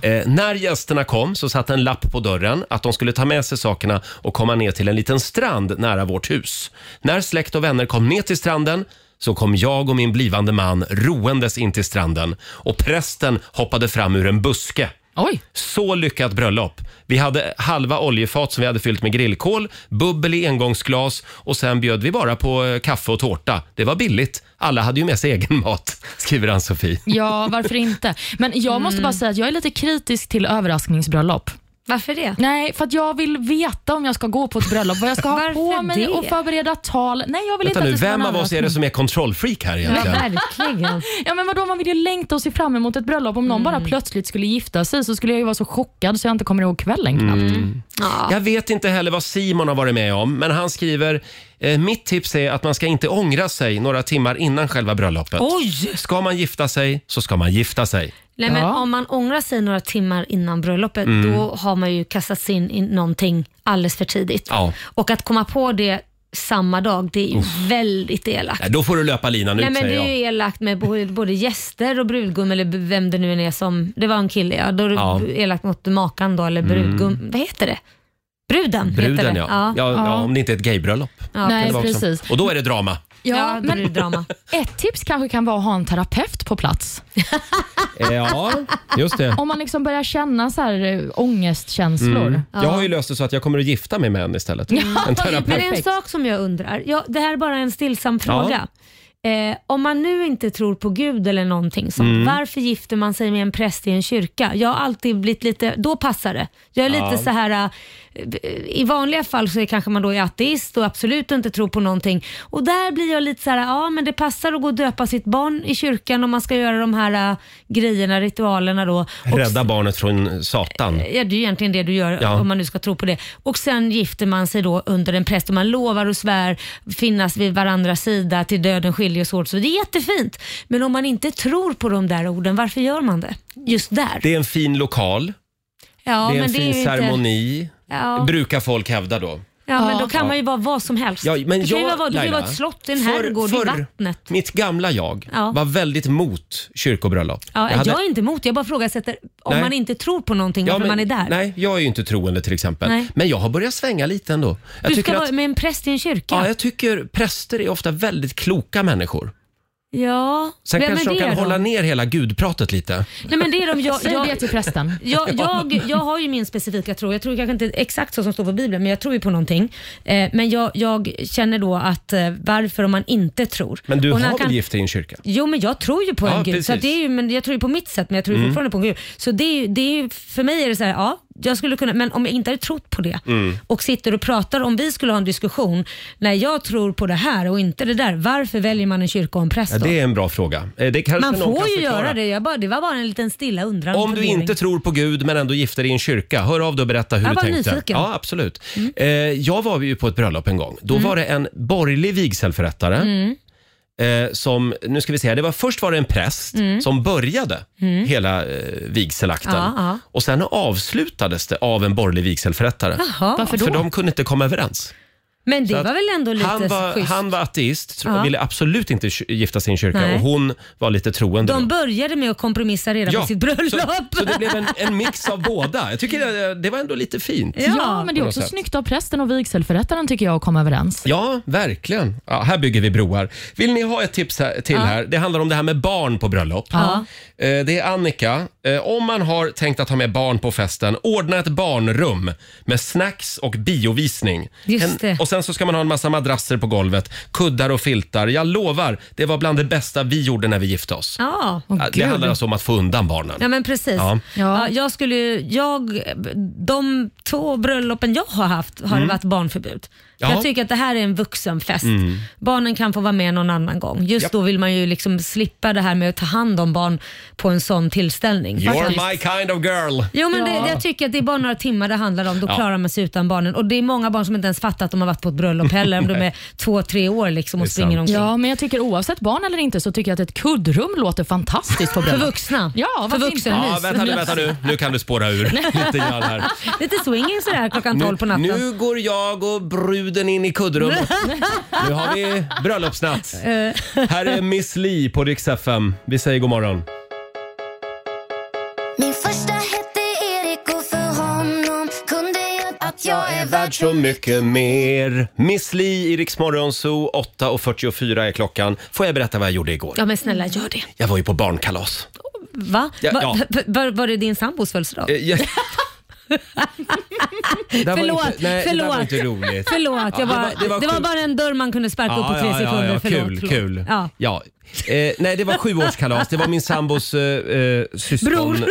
Speaker 1: Eh, när gästerna kom så satt en lapp på dörren att de skulle ta med sig sakerna och komma ner till en liten strand nära vårt hus. När släkt och vänner kom ner till stranden så kom jag och min blivande man roendes in till stranden och prästen hoppade fram ur en buske.
Speaker 3: Oj.
Speaker 1: Så lyckat bröllop. Vi hade halva oljefat som vi hade fyllt med grillkol, bubbel i engångsglas och sen bjöd vi bara på eh, kaffe och tårta. Det var billigt. Alla hade ju med sig egen mat, skriver Ann-Sofie.
Speaker 3: Ja, varför inte? Men jag måste bara säga att jag är lite kritisk till överraskningsbröllop.
Speaker 2: Varför det?
Speaker 3: Nej, för att jag vill veta om jag ska gå på ett bröllop, vad jag ska ha på mig
Speaker 2: det?
Speaker 3: och förbereda tal. Nej, jag vill inte
Speaker 1: Vänta
Speaker 3: att
Speaker 1: nu,
Speaker 3: det ska vara
Speaker 1: vem
Speaker 3: en
Speaker 1: av oss är det som är kontrollfreak här egentligen?
Speaker 2: verkligen.
Speaker 3: ja, men vadå, man vill ju längta och se fram emot ett bröllop. Om någon bara plötsligt skulle gifta sig så skulle jag ju vara så chockad så jag inte kommer ihåg kvällen knappt.
Speaker 1: Jag vet inte heller vad Simon har varit med om, men han skriver eh, Mitt tips är att man ska inte ångra sig några timmar innan själva bröllopet.
Speaker 2: Oj!
Speaker 1: Ska man gifta sig så ska man gifta sig.
Speaker 2: Nej, men om man ångrar sig några timmar innan bröllopet,
Speaker 1: Mm.
Speaker 2: då har man ju kastat sig in i någonting alldeles för tidigt.
Speaker 1: Ja.
Speaker 2: Och att komma på det samma dag, det är ju
Speaker 1: Uff.
Speaker 2: väldigt elakt.
Speaker 1: Nej, Då får du löpa linan
Speaker 2: Nej,
Speaker 1: ut
Speaker 2: men det
Speaker 1: säger
Speaker 2: är
Speaker 1: jag.
Speaker 2: ju elakt med bo- både gäster och brudgum eller b- vem det nu än är som, det var en kille ja, då är det
Speaker 1: Ja. Mm.
Speaker 2: b- elakt mot makan då eller brudgum, vad heter det? Bruden, heter
Speaker 1: Bruden
Speaker 2: det.
Speaker 1: ja. Ja. Ja, Om det inte är ett gaybröllop.
Speaker 2: Ja,
Speaker 1: Kan det vara
Speaker 3: precis.
Speaker 1: också.
Speaker 3: precis.
Speaker 1: Och då är det drama.
Speaker 3: Ja,
Speaker 2: Ja, då är det drama.
Speaker 3: ett tips kanske kan vara att ha en terapeut på plats.
Speaker 1: Ja, just det.
Speaker 3: Om man liksom börjar känna så här äh, ångestkänslor.
Speaker 1: Mm. Jag har ju löst det så att jag kommer att gifta mig med en istället. en
Speaker 2: Alltså, Men det är en
Speaker 1: terapeut.
Speaker 2: sak som jag undrar, ja, det här är bara en stillsam fråga. Eh, om man nu inte tror på Gud eller någonting sånt,
Speaker 1: Mm.
Speaker 2: varför gifter man sig med en präst i en kyrka? Jag har alltid blivit lite, då passar det. Jag är lite
Speaker 1: Ja.
Speaker 2: så här, eh, i vanliga fall så är kanske man då är ateist och absolut inte tror på någonting. Och där blir jag lite så här, ja men det passar att gå och döpa sitt barn i kyrkan om man ska göra de här eh, grejerna, ritualerna då. Och
Speaker 1: Rädda barnet från Satan.
Speaker 2: Ja, det är ju egentligen det du gör
Speaker 1: Ja.
Speaker 2: om man nu ska tro på det. Och sen gifter man sig då under en präst och man lovar och svär finnas vid varandras sida till döden skiljer oss åt. Så det är jättefint. Men om man inte tror på de där orden, varför gör man det? Just där.
Speaker 1: Det är en fin lokal.
Speaker 2: ja,
Speaker 1: det är en fin
Speaker 2: ju
Speaker 1: ceremoni.
Speaker 2: Ja.
Speaker 1: Brukar folk hävda då.
Speaker 2: Ja, men då kan
Speaker 1: Ja.
Speaker 2: man ju vara vad som helst.
Speaker 1: Ja, men
Speaker 2: det kan ju
Speaker 1: jag,
Speaker 2: vara, det kan ju
Speaker 1: Laila,
Speaker 2: vara ett slott, en
Speaker 1: förr-
Speaker 2: herrgård, vid
Speaker 1: förr-
Speaker 2: vattnet.
Speaker 1: Mitt gamla jag
Speaker 2: Ja.
Speaker 1: var väldigt mot kyrkobröllop.
Speaker 2: Ja, jag,
Speaker 1: hade-
Speaker 2: är inte emot, jag bara frågasätter om
Speaker 1: Nej.
Speaker 2: man inte tror på någonting,
Speaker 1: Ja,
Speaker 2: varför
Speaker 1: men-
Speaker 2: man är där.
Speaker 1: Nej, jag är ju inte troende till exempel.
Speaker 2: Nej.
Speaker 1: Men jag har börjat svänga lite ändå. Jag
Speaker 2: du ska
Speaker 1: tycker
Speaker 2: vara med en präst i en kyrka.
Speaker 1: Ja, jag tycker präster är ofta väldigt kloka människor.
Speaker 2: Ja,
Speaker 1: Sen
Speaker 2: vem
Speaker 1: kanske
Speaker 2: är
Speaker 1: de kan
Speaker 2: det då?
Speaker 1: hålla ner hela gudpratet lite.
Speaker 2: Nej men det är de. Jag,
Speaker 3: Säg det till prästen.
Speaker 2: Jag, jag, jag har ju min specifika tro. Jag tror kanske inte exakt så som står på Bibeln, men jag tror ju på någonting. Eh, men jag, jag känner då att eh, varför om man inte tror.
Speaker 1: Men du
Speaker 2: Och när
Speaker 1: har
Speaker 2: jag kan-
Speaker 1: väl gift dig i en kyrka?
Speaker 2: Jo, men jag tror ju på
Speaker 1: Ja,
Speaker 2: en gud. Så
Speaker 1: precis.
Speaker 2: att det är ju, men jag tror ju på mitt sätt, men jag tror ju
Speaker 1: Mm.
Speaker 2: fortfarande på en gud. Så det är, ju- det är, ju- för mig är det så här, ja, jag skulle kunna, men om jag inte hade trott på det
Speaker 6: Mm.
Speaker 2: och sitter och pratar, om vi skulle ha en diskussion, när jag tror på det här och inte det där, varför väljer man en kyrka och en präst
Speaker 1: Ja,
Speaker 2: då?
Speaker 1: det är en bra fråga. Eh, Det kanske
Speaker 2: Man
Speaker 1: någon
Speaker 2: får
Speaker 1: kan
Speaker 2: ju
Speaker 1: förklara.
Speaker 2: göra det, jag bara, det var bara en liten stilla undran.
Speaker 1: Om du
Speaker 2: fundering.
Speaker 1: inte tror på Gud men ändå gifter dig i en kyrka, hör av dig och berätta hur
Speaker 2: Jag
Speaker 1: du
Speaker 2: var
Speaker 1: tänkte.
Speaker 2: nyfiken.
Speaker 1: Ja, absolut. Eh, jag var ju på ett bröllop en gång. Då
Speaker 2: Mm.
Speaker 1: var det en borgerlig vigselförrättare
Speaker 6: Mm.
Speaker 1: eh, som, nu ska vi se, här, det var först var det en präst
Speaker 6: Mm.
Speaker 1: som började
Speaker 6: Mm.
Speaker 1: hela eh, vigselakten.
Speaker 6: Ja, ja.
Speaker 1: Och sen avslutades det av en borgerlig vigselförrättare.
Speaker 2: Jaha. Varför då?
Speaker 1: För de kunde inte komma överens.
Speaker 2: Men
Speaker 1: Så
Speaker 2: det
Speaker 1: att
Speaker 2: var väl ändå lite
Speaker 1: han, var,
Speaker 2: schysst?
Speaker 1: han var ateist tro,
Speaker 2: Ja.
Speaker 1: ville absolut inte ky- gifta sig i en kyrka
Speaker 2: Nej.
Speaker 1: och hon var lite troende. då.
Speaker 2: De började med att kompromissa redan på sitt bröllop.
Speaker 1: Så, så det blev en, en mix av båda. Jag tycker eh, det, det var ändå lite fint.
Speaker 3: Ja, men det
Speaker 1: På
Speaker 3: är
Speaker 1: något
Speaker 3: också
Speaker 1: sätt.
Speaker 3: snyggt av prästen och vigselförrättaren tycker jag att komma överens.
Speaker 1: Ja, verkligen. Ja, här bygger vi broar. Vill ni ha ett tips här, till
Speaker 3: Ja.
Speaker 1: här? Det handlar om det här med barn på bröllop.
Speaker 3: Ja.
Speaker 1: Eh, Det är Annika. Eh, Om man har tänkt att ha med barn på festen, ordna ett barnrum med snacks och biovisning.
Speaker 2: Just
Speaker 1: en,
Speaker 2: det.
Speaker 1: Och sen så ska man ha en massa madrasser på golvet, kuddar och filtar. Jag lovar, det var bland det bästa vi gjorde när vi gifte oss.
Speaker 2: Ja.
Speaker 1: Eh, det handlar alltså om att få undan barnen.
Speaker 2: Ja men precis.
Speaker 1: Ja.
Speaker 2: Ja. jag skulle, ju- jag, de två bröllopen jag har haft har
Speaker 1: Mm.
Speaker 2: det varit barnförbud.
Speaker 1: Ja.
Speaker 2: Jag tycker att det här är en vuxenfest.
Speaker 1: Mm.
Speaker 2: Barnen kan få vara med någon annan gång. Just
Speaker 1: Japp.
Speaker 2: då vill man ju liksom slippa det här med att ta hand om barn på en sån tillställning. Faktiskt.
Speaker 1: You're my kind of girl.
Speaker 2: Jo men det, jag tycker att det är bara några timmar det handlar om. Då
Speaker 1: Ja.
Speaker 2: klarar man sig utan barnen. Och det är många barn som inte ens fattar att de har varit på ett bröllop heller. om de är
Speaker 3: Nej.
Speaker 2: två, tre år liksom och springer omkring.
Speaker 3: Ja, men jag tycker oavsett barn eller inte så tycker jag att ett kuddrum låter fantastiskt på bröllop.
Speaker 2: För vuxna.
Speaker 3: Ja,
Speaker 2: För
Speaker 3: varför
Speaker 2: vuxenmys.
Speaker 1: Ja, vänta nu, vänta nu. Nu kan du spåra ur lite grann här.
Speaker 2: Lite swinging sådär klockan tolv på natten.
Speaker 1: nu går jag och bruden in i kuddrummet. Nu har vi bröllopsnatt.
Speaker 2: Eh.
Speaker 1: Här är Miss Li på Rix FM. Vi säger god morgon.
Speaker 6: Min första hette Erik och för honom kunde jag att jag är
Speaker 1: Värd så mycket mer. Miss Li i Rix Morgon Zoo. 8.44 är klockan. Får jag berätta vad jag gjorde igår?
Speaker 2: Ja men snälla gör det.
Speaker 1: Jag var ju på barnkalas.
Speaker 2: Va?
Speaker 1: Ja,
Speaker 2: Va-
Speaker 1: ja.
Speaker 2: v- Var, var det din sambos födelsedag?
Speaker 1: Eh, jag- Det här var
Speaker 2: förlåt,
Speaker 1: inte- nej, det där
Speaker 2: förlåt.
Speaker 1: var inte roligt.
Speaker 2: Förlåt,
Speaker 1: Ja,
Speaker 2: jag
Speaker 1: det
Speaker 2: bara,
Speaker 1: var- det
Speaker 2: det,
Speaker 1: var
Speaker 2: var,
Speaker 1: sjukt.
Speaker 2: bara en dörr man kunde sparka upp på tre sekunder. förlåt,
Speaker 1: kul,
Speaker 2: förlåt.
Speaker 1: kul. Ja.
Speaker 2: Ja.
Speaker 1: Eh, nej, det var sjuårskalas. Det var min sambos eh, eh, syskon.
Speaker 2: Bror.
Speaker 3: Nej,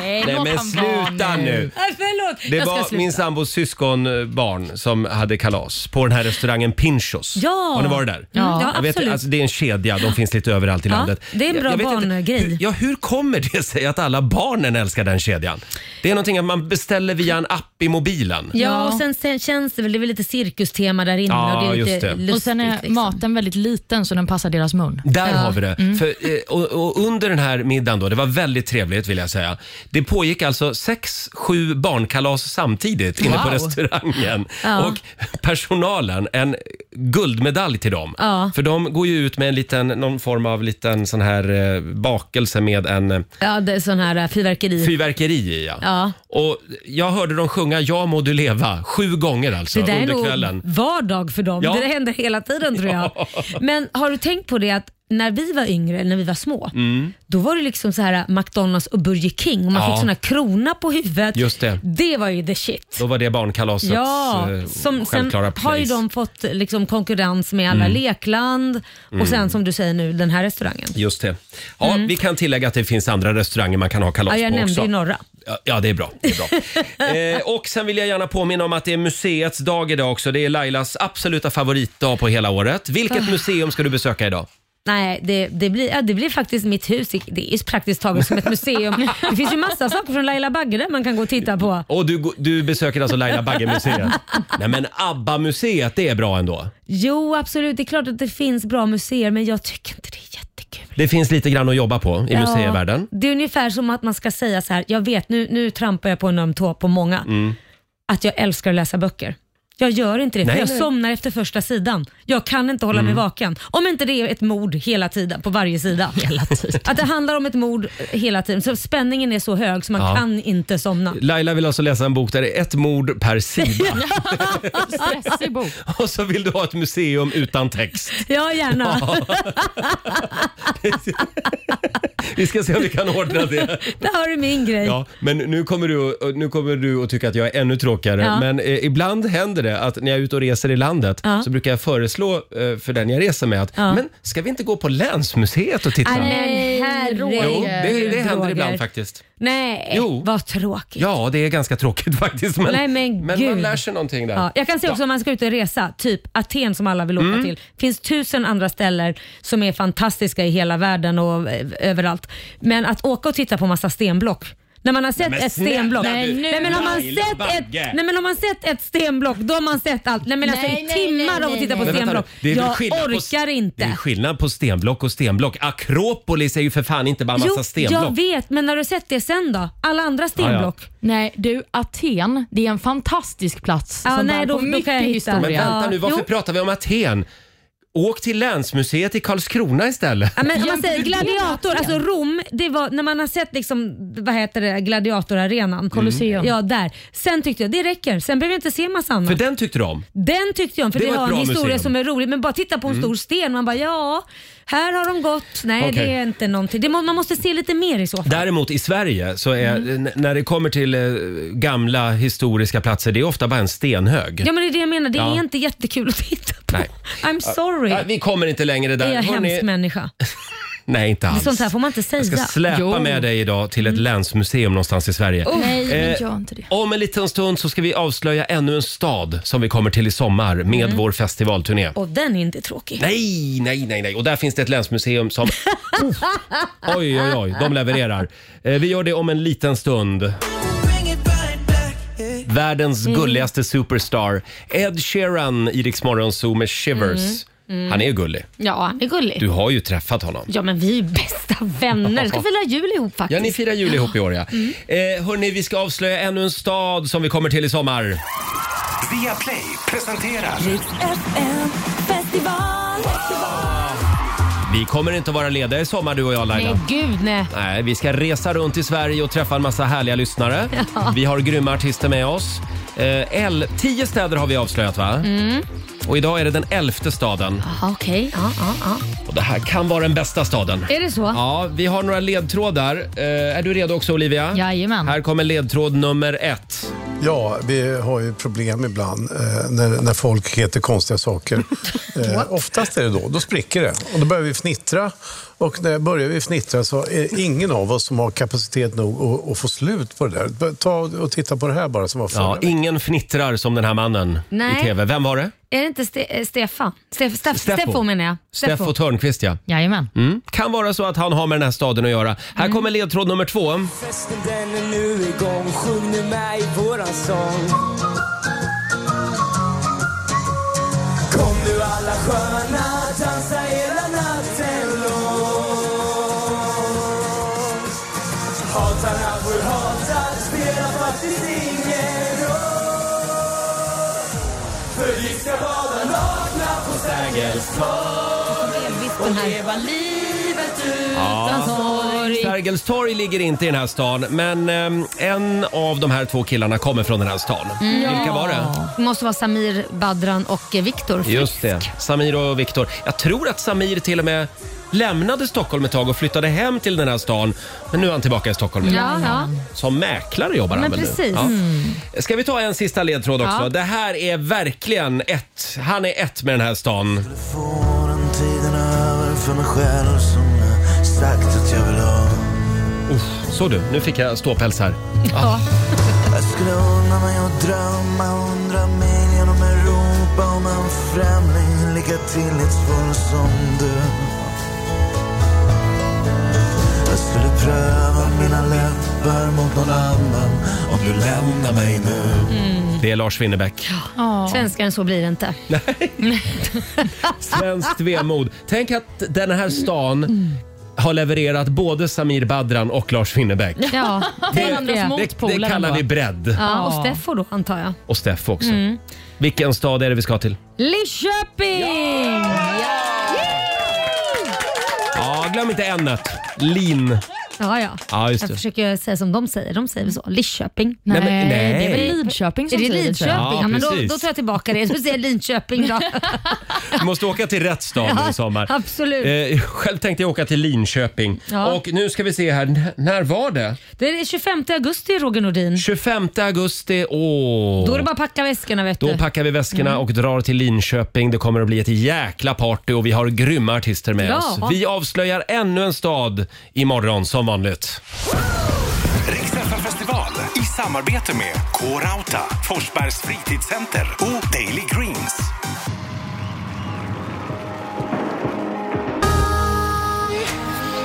Speaker 1: Nej,
Speaker 3: låt
Speaker 1: men
Speaker 3: han vara
Speaker 1: sluta nu.
Speaker 2: Nej, Äh, förlåt,
Speaker 1: Det
Speaker 2: jag ska
Speaker 1: var
Speaker 2: sluta.
Speaker 1: min sambos syskonbarn som hade kalas på den här restaurangen Pinchos.
Speaker 2: Ja.
Speaker 1: Har ni varit där?
Speaker 2: Ja, ja,
Speaker 1: jag vet,
Speaker 2: absolut.
Speaker 1: alltså, det är en kedja, de finns lite överallt i
Speaker 2: Ja,
Speaker 1: landet.
Speaker 2: det är en
Speaker 1: Jag-
Speaker 2: bra
Speaker 1: jag vet inte-
Speaker 2: barngrej.
Speaker 1: hur- Ja, hur kommer det sig att alla barnen älskar den kedjan? Det är någonting att man beställer via en app i mobilen.
Speaker 2: Ja, och sen, sen känns det väl, det är väl lite cirkustema där inne
Speaker 1: Ja,
Speaker 2: och det är lite
Speaker 1: just det.
Speaker 2: lustigt.
Speaker 3: Och sen är
Speaker 2: liksom.
Speaker 3: maten väldigt liten så den passar deras mun.
Speaker 1: Där har vi det.
Speaker 2: Mm.
Speaker 1: För, eh, och, och under den här middagen då, det var väldigt trevligt vill jag säga. Det pågick alltså sex, sju barnkalas samtidigt inne på
Speaker 6: Wow.
Speaker 1: restaurangen.
Speaker 6: Ja.
Speaker 1: Och personalen, en guldmedalj till dem.
Speaker 6: Ja.
Speaker 1: För de går ju ut med en liten, någon form av liten sån här eh, bakelse med en eh,
Speaker 2: Ja, det är sån här äh, fyrverkeri.
Speaker 1: fyrverkeri i. Ja.
Speaker 2: Ja.
Speaker 1: Och jag hörde dem sjunga “Ja må du leva” sju gånger alltså
Speaker 2: det där är
Speaker 1: under
Speaker 2: nog
Speaker 1: kvällen.
Speaker 2: vardag för dem.
Speaker 1: Ja.
Speaker 2: Det där händer hela tiden tror jag. Men har du tänkt på det att när vi var yngre, när vi var små,
Speaker 1: Mm.
Speaker 2: då var det liksom så här McDonalds och Burger King och man
Speaker 1: Ja.
Speaker 2: fick sån här krona på huvudet.
Speaker 1: Just det.
Speaker 2: Det var ju the shit.
Speaker 1: Då var det barnkalasets
Speaker 2: Ja,
Speaker 1: eh,
Speaker 2: som, sen
Speaker 1: självklara
Speaker 2: har ju
Speaker 1: place.
Speaker 2: de fått liksom konkurrens med alla
Speaker 1: Mm.
Speaker 2: lekland och
Speaker 1: Mm.
Speaker 2: sen som du säger nu den här restaurangen.
Speaker 1: Just det. Ja, Vi kan tillägga att det finns andra restauranger man kan ha kalas
Speaker 2: Mm. Ja, jag
Speaker 1: på
Speaker 2: nämnde
Speaker 1: också.
Speaker 2: ju några.
Speaker 1: Ja, Ja, det är bra. Det är bra. eh, och sen vill jag gärna påminna om att det är museets dag idag också. Det är Lailas absoluta favoritdag på hela året. Vilket
Speaker 2: Ah.
Speaker 1: museum ska du besöka idag?
Speaker 2: Nej, det, det, blir, ja, det blir faktiskt mitt hus. Det är ju praktiskt taget som ett museum. Det finns ju massa saker från Laila Bagge där man kan gå och titta på.
Speaker 1: Och du, gå- du besöker alltså Laila Bagge-museet? Nej, men ABBA-museet, det är bra ändå.
Speaker 2: Jo, absolut. Det är klart att det finns bra museer, men jag tycker
Speaker 1: Det finns lite grann att jobba på i
Speaker 2: Ja.
Speaker 1: museivärlden.
Speaker 2: Det är ungefär som att man ska säga så här, jag vet nu, nu trampar jag på en öm tå på många,
Speaker 1: Mm.
Speaker 2: att jag älskar att läsa böcker. Jag gör inte det,
Speaker 1: Nej,
Speaker 2: för jag
Speaker 1: nej.
Speaker 2: somnar efter första sidan. Jag kan inte hålla
Speaker 1: Mm.
Speaker 2: mig vaken. Om inte det är ett mord hela tiden, på varje sida.
Speaker 3: Hela tiden.
Speaker 2: Att det handlar om ett mord eh, hela tiden. Så spänningen är så hög så man
Speaker 1: Ja.
Speaker 2: kan inte somna.
Speaker 1: Laila vill alltså läsa en bok där det är ett mord per sida.
Speaker 3: Stressig bok.
Speaker 1: Och så vill du ha ett museum utan text.
Speaker 2: Ja, gärna.
Speaker 1: Ja. Vi ska se om vi kan ordna det.
Speaker 2: Där har du min grej.
Speaker 1: Ja, men nu kommer, du, nu kommer du att tycka att jag är ännu tråkigare.
Speaker 2: Ja.
Speaker 1: Men eh, ibland händer det att när jag är ute och reser i landet
Speaker 2: Ja.
Speaker 1: så brukar jag föreslå eh, för den jag reser med att
Speaker 2: Ja.
Speaker 1: men ska vi inte gå på länsmuseet och titta?
Speaker 2: Nej, men Herregud,
Speaker 1: Jo, det, det händer
Speaker 2: Roger.
Speaker 1: ibland faktiskt.
Speaker 2: Nej,
Speaker 1: Jo.
Speaker 2: vad tråkigt.
Speaker 1: Ja, det är ganska tråkigt faktiskt. Men,
Speaker 2: Nej, men
Speaker 1: men
Speaker 2: gud.
Speaker 1: man lär sig någonting där.
Speaker 2: Ja, jag kan säga också om man ska ut och resa, typ Aten som alla vill åka
Speaker 1: Mm.
Speaker 2: till. finns tusen andra ställen som är fantastiska i hela världen och eh, överallt. Men att åka och titta på massa stenblock. När man har sett
Speaker 6: men
Speaker 2: ett
Speaker 6: snälla
Speaker 2: stenblock.
Speaker 6: du.
Speaker 2: Nej, nej, men har man
Speaker 6: Laila
Speaker 2: sett ett,
Speaker 6: Bagge.
Speaker 2: nej men har man sett ett stenblock då har man sett allt. Nej men alltså
Speaker 6: Nej,
Speaker 2: i
Speaker 6: nej,
Speaker 2: timmar
Speaker 6: nej,
Speaker 2: av att
Speaker 6: nej,
Speaker 2: titta på
Speaker 1: nej. Men vänta
Speaker 2: stenblock.
Speaker 1: nu, det är väl
Speaker 2: Jag
Speaker 1: skillnad på-
Speaker 2: orkar
Speaker 1: Det är
Speaker 2: inte.
Speaker 1: skillnad på stenblock och stenblock. Akropolis är ju för fan inte bara massa stenblock.
Speaker 2: jag vet men när du sett det sen då? Alla andra
Speaker 1: stenblock?
Speaker 3: Nej, du Aten, det är en fantastisk plats
Speaker 2: Ja,
Speaker 3: som
Speaker 2: nej,
Speaker 3: bär
Speaker 2: då-
Speaker 3: på
Speaker 2: då
Speaker 3: mycket
Speaker 2: kan jag hitta.
Speaker 3: historia.
Speaker 1: Men vänta nu, varför pratar vi om Aten? Åk till länsmuseet i Karlskrona istället.
Speaker 2: Ja, men om man säger gladiator, alltså Rom, det var när man har sett liksom, vad heter det, gladiatorarenan.
Speaker 1: Mm. Colosseum.
Speaker 2: Ja, där. Sen tyckte jag det räcker. Sen behöver jag inte se massa annat.
Speaker 1: För den tyckte du om?
Speaker 2: Den tyckte jag om, för
Speaker 1: Det
Speaker 2: det,
Speaker 1: var ett
Speaker 2: har en
Speaker 1: bra
Speaker 2: historia
Speaker 1: museum.
Speaker 2: som är rolig. Men bara titta på en
Speaker 1: Mm.
Speaker 2: stor sten, man bara ja, här har de gått. Nej,
Speaker 1: Okej.
Speaker 2: det är inte någonting. Det må, man måste se lite mer i så fall.
Speaker 1: Däremot i Sverige, så är,
Speaker 2: Mm.
Speaker 1: n- när det kommer till eh, gamla historiska platser, det är ofta bara en stenhög.
Speaker 2: Ja, men det är det jag menar. Det
Speaker 1: Ja.
Speaker 2: är inte jättekul att titta på.
Speaker 1: Nej.
Speaker 2: I'm sorry.
Speaker 1: Ja, vi kommer inte längre där.
Speaker 2: är jag
Speaker 1: Hörrni-
Speaker 2: hemsk människa?
Speaker 1: Nej, inte alls.
Speaker 2: Sånt här får man inte säga. Mm.
Speaker 1: Jag ska släpa med dig idag till ett länsmuseum någonstans i Sverige.
Speaker 2: Oh. Nej, men
Speaker 1: Eh,
Speaker 2: gör
Speaker 3: inte det.
Speaker 1: Om en liten stund så ska vi avslöja ännu en stad som vi kommer till i sommar med
Speaker 2: Mm.
Speaker 1: vår festivalturné.
Speaker 2: Och den är inte tråkig.
Speaker 1: Nej, nej, nej, nej. Och där finns det ett länsmuseum som... Oj, oj, oj. De levererar. Eh, Vi gör det om en liten stund. Världens
Speaker 6: Mm.
Speaker 1: gulligaste superstar. Ed Sheeran i Rix Morgon Zoo med Shivers.
Speaker 2: Mm. Mm.
Speaker 1: Han är ju gullig.
Speaker 2: Ja, han är gullig.
Speaker 1: Du har ju träffat honom.
Speaker 2: Ja, men vi är ju bästa vänner. Ska fira jul ihop faktiskt.
Speaker 1: Ja, ni firar jul ihop i år ja. Eh, hörni, vi ska avslöja ännu en stad som vi kommer till i sommar.
Speaker 12: Via Play presenterar...
Speaker 6: Festival.
Speaker 1: Vi kommer inte att vara lediga i sommar du och jag Laila.
Speaker 2: Nej, gud nej.
Speaker 1: Nej, vi ska resa runt i Sverige och träffa en massa härliga lyssnare.
Speaker 2: Ja.
Speaker 1: Vi har grymma artister med oss. Eh, el- tio städer har vi avslöjat va?
Speaker 2: Mm.
Speaker 1: Och idag är det den elfte staden.
Speaker 2: Jaha, okej. Ja, ja, ja.
Speaker 1: Och det här kan vara den bästa staden.
Speaker 2: Är det så?
Speaker 1: Ja, vi har några ledtrådar. Eh, är du redo också Olivia? Jajamän. Här kommer ledtråd nummer ett.
Speaker 17: Ja, vi har ju problem ibland eh, när, när folk heter konstiga saker. Eh, oftast är det då. Då spricker det och då börjar vi fnittra. Och när börjar vi fnittra så är ingen av oss som har kapacitet nog att, att få slut på det där. Ta och titta på det här bara som var förra
Speaker 1: Ja,
Speaker 17: veckan.
Speaker 1: ingen fnittrar som den här mannen
Speaker 2: Nej.
Speaker 1: i TV. Vem var det?
Speaker 2: Är det inte Ste- eh, Stefan? Stef- Stef-
Speaker 1: Steffo.
Speaker 2: Steffo menar jag.
Speaker 1: Steffo Törnqvist ja.
Speaker 3: Jajamän.
Speaker 1: Mm. Kan vara så att han har med den här staden att göra. Här kommer ledtråd nummer två.
Speaker 6: Festen den är nu igång, sjung nu med i våran sång. Kom nu alla sköna, dansa hela natten lång. Hatarna får hata, spelar faktiskt ingen roll. För vi ska bada nakna på Sergels torg och leva livet utan sorg.
Speaker 1: Sergels torg ligger inte i den här stan, men ehm, en av de här två killarna kommer från den här stan.
Speaker 2: Mm.
Speaker 1: Vilka
Speaker 2: Ja.
Speaker 1: var det?
Speaker 2: Det måste vara Samir Badran och eh, Viktor.
Speaker 1: Just det, Samir och Viktor. Jag tror att Samir till och med lämnade Stockholm ett tag och flyttade hem till den här stan. Men nu är han tillbaka i Stockholm igen.
Speaker 2: Ja, ja.
Speaker 1: Som mäklare jobbar han
Speaker 2: Men
Speaker 1: väl nu?
Speaker 2: precis.
Speaker 1: Ja.
Speaker 2: Mm.
Speaker 1: Ska vi ta en sista ledtråd också?
Speaker 2: Ja.
Speaker 1: Det här är verkligen ett. Han är ett med den här stan.
Speaker 6: Tiden över för mig själv som jag sagt att jag vill ha
Speaker 1: Uff, så du, nu fick jag ståpäls här.
Speaker 6: Ja. Jag skulle unna mig att drömma hundra mil genom Europa om en främling lika tillitsfull som du. Jag skulle pröva mina läppar mot någon annan om du lämnar mig nu.
Speaker 2: Mm.
Speaker 1: Det är Lars Winnerbäck.
Speaker 2: Svenskaren, så blir det inte.
Speaker 1: Svenskt vemod. Tänk att den här stan har levererat både Samir Badran och Lars Winnerbäck.
Speaker 2: Ja, tänk
Speaker 1: Det, det kallar vi bredd.
Speaker 2: Ja, och Steffo då antar jag.
Speaker 1: Och Steff också.
Speaker 2: Mm.
Speaker 1: Vilken stad är det vi ska till?
Speaker 2: Linköping! Ja!
Speaker 1: Ja, glöm inte n Lin.
Speaker 2: Ja, ja.
Speaker 1: Ja, just
Speaker 2: jag
Speaker 1: det.
Speaker 2: försöker säga som de säger. De säger väl så? Lidköping?
Speaker 1: Nej, men- Nej, nej. det är väl
Speaker 3: Lidköping som
Speaker 2: är det
Speaker 3: säger det,
Speaker 2: Lidköping?
Speaker 3: tror jag.
Speaker 2: Ja,
Speaker 1: Ja,
Speaker 2: men då,
Speaker 1: precis.
Speaker 2: då tar jag tillbaka det. Jag säger Linköping då.
Speaker 1: Du måste åka till rätt stad nu i sommar.
Speaker 2: Ja, absolut.
Speaker 1: Eh, själv tänkte jag åka till Linköping.
Speaker 2: Ja.
Speaker 1: Och nu ska vi se här, N- när var det?
Speaker 2: Det är 25 augusti, Roger Nordin.
Speaker 1: 25 augusti, åh.
Speaker 2: Då är det bara att packa väskorna vet
Speaker 1: Då
Speaker 2: du.
Speaker 1: packar vi väskorna
Speaker 2: Mm.
Speaker 1: och drar till Linköping. Det kommer att bli ett jäkla party och vi har grymma artister med
Speaker 2: Ja.
Speaker 1: oss. Vi avslöjar ännu en stad imorgon som vanligt.
Speaker 12: Riksfestival i samarbete med K-Rauta, Forsbergs fritidscenter och Daily Greens.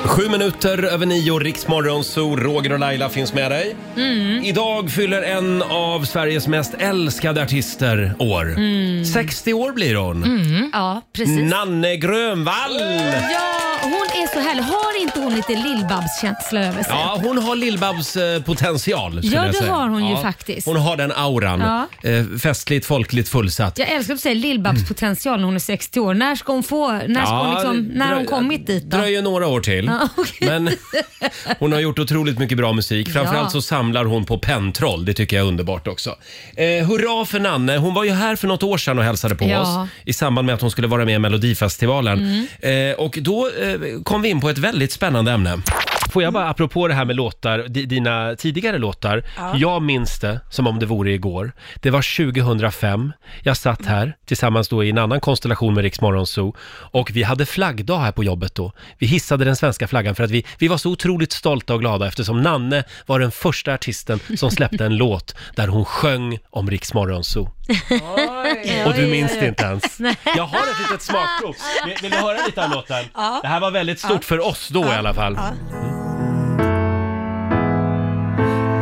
Speaker 1: Sju minuter över nio, Riksmorgon, så Roger och Laila finns med dig.
Speaker 2: Mm.
Speaker 1: Idag fyller en av Sveriges mest älskade artister år.
Speaker 2: Mm.
Speaker 1: 60 år blir hon.
Speaker 2: Mm. Ja, precis.
Speaker 1: Nanne Grönvall!
Speaker 2: Ja, hon är så härlig. Har inte hon lite Lill-Babs-känsla över sig?
Speaker 1: Ja, hon har Lill-Babs eh, potential skulle
Speaker 2: Ja,
Speaker 1: jag
Speaker 2: det
Speaker 1: säga.
Speaker 2: har hon ju faktiskt.
Speaker 1: Hon har den auran.
Speaker 2: Ja.
Speaker 1: Eh, festligt, folkligt, fullsatt.
Speaker 2: Jag älskar att säga Lill-Babs potential när hon är 60 år. När ska hon få, när ska
Speaker 1: Ja,
Speaker 2: hon liksom, när har hon
Speaker 1: drö-
Speaker 2: kommit dit då?
Speaker 1: dröjer några år till.
Speaker 2: Ja, okej.
Speaker 1: Men hon har gjort otroligt mycket bra musik. Framförallt
Speaker 2: Ja.
Speaker 1: så samlar hon på pentroll. Det tycker jag är underbart också. Eh, hurra för Nanne. Hon var ju här för något år sedan och hälsade på
Speaker 6: Ja. Mm.
Speaker 1: oss i samband med att hon skulle vara med i Melodifestivalen. Eh, och då eh, kom vi in på ett väldigt spännande ämne. Får jag bara,
Speaker 6: Mm.
Speaker 1: apropå det här med låtar, di- dina tidigare låtar.
Speaker 6: Ja.
Speaker 1: Jag minns det som om det vore igår. Det var 2005. Jag satt här tillsammans då i en annan konstellation med Rix Morgon Zoo och vi hade flaggdag här på jobbet då. Vi hissade den svenska flaggan för att vi, vi var så otroligt stolta och glada eftersom Nanne var den första artisten som släppte en låt där hon sjöng om Rix Morgon Zoo. Och du minns det inte ens.
Speaker 6: Nej.
Speaker 1: Jag har ett litet smakprov. Vill, vill du höra lite av låten?
Speaker 6: Ja.
Speaker 1: Det här var väldigt stort för oss då i alla fall.
Speaker 18: Mm.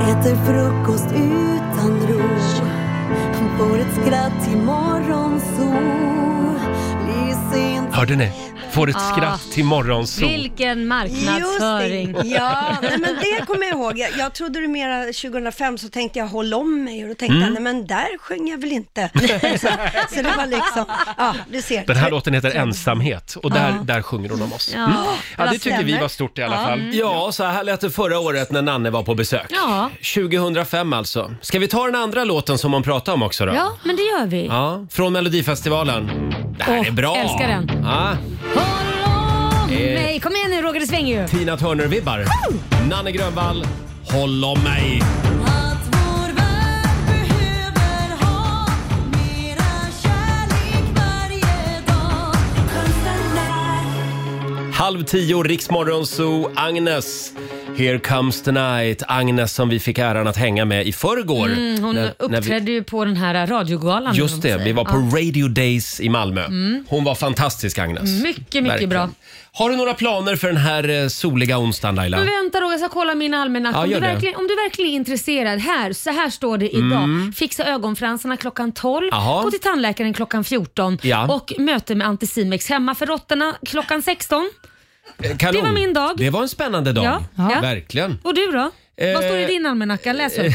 Speaker 18: Äter frukost utan ro Får ett skratt till morgonsol Blir sent
Speaker 1: Hörde ni? Får ett
Speaker 18: Ah.
Speaker 1: skratt till morgonsol.
Speaker 2: Vilken
Speaker 1: marknadsföring.
Speaker 19: Just det. Ja, nej, men det kommer jag ihåg. Jag, jag trodde du mera 2005 så tänkte jag håll om mig och då tänkte
Speaker 1: Mm.
Speaker 19: jag nej men där sjöng jag väl inte. så, så det var liksom, ja du ser.
Speaker 1: Den här låten heter Ensamhet och där,
Speaker 19: Ja.
Speaker 1: där sjunger hon om oss.
Speaker 19: Ja,
Speaker 1: Mm. Ja,
Speaker 19: vad
Speaker 1: det tycker vi
Speaker 19: stämmer.
Speaker 1: var stort i alla
Speaker 19: Ja.
Speaker 1: fall.
Speaker 19: Mm.
Speaker 1: Ja, så här lät det förra året när Nanne var på besök.
Speaker 2: Ja.
Speaker 1: 2005 alltså. Ska vi ta den andra låten som hon pratade om också då?
Speaker 2: Ja, men det gör vi.
Speaker 1: Ja, från Melodifestivalen. Det här
Speaker 2: Åh,
Speaker 1: är bra!
Speaker 2: älskar den.
Speaker 1: Ja. Eh,
Speaker 2: Nej, kom igen nu Roger, det svänger ju.
Speaker 1: Tina Turner-vibbar. Nanne Grönvall, Håll om mig. Halv tio, Riksmorgon Zoo, Agnes. Here comes the night. Agnes som vi fick äran att hänga med i förrgår.
Speaker 2: Mm, hon uppträdde ju på den här radiogalan. eller
Speaker 1: Just
Speaker 2: vad
Speaker 1: det,
Speaker 2: man
Speaker 1: vi var på
Speaker 2: säger.
Speaker 1: Radio Days i Malmö.
Speaker 2: Mm.
Speaker 1: Hon var fantastisk Agnes.
Speaker 2: Mycket, mycket bra.
Speaker 1: Har du några planer för den här eh, soliga onsdagen Laila?
Speaker 2: Men vänta Roger, jag ska kolla min almanacka.
Speaker 1: Ja,
Speaker 2: om, du
Speaker 1: gör det.
Speaker 2: verkligen- om du verkligen är intresserad, här, så här står det idag.
Speaker 1: Mm.
Speaker 2: Fixa ögonfransarna klockan 12,
Speaker 1: Jaha.
Speaker 2: gå till tandläkaren klockan 14
Speaker 1: Ja.
Speaker 2: och möte med Anticimex hemma för råttorna klockan 16.
Speaker 1: Eh, kanon.
Speaker 2: det var min dag.
Speaker 1: Det var en spännande dag.
Speaker 2: Ja, ja.
Speaker 1: Verkligen.
Speaker 2: Och du då? Vad står det i
Speaker 1: Eh,
Speaker 2: din almanacka? Läs upp.
Speaker 1: eh,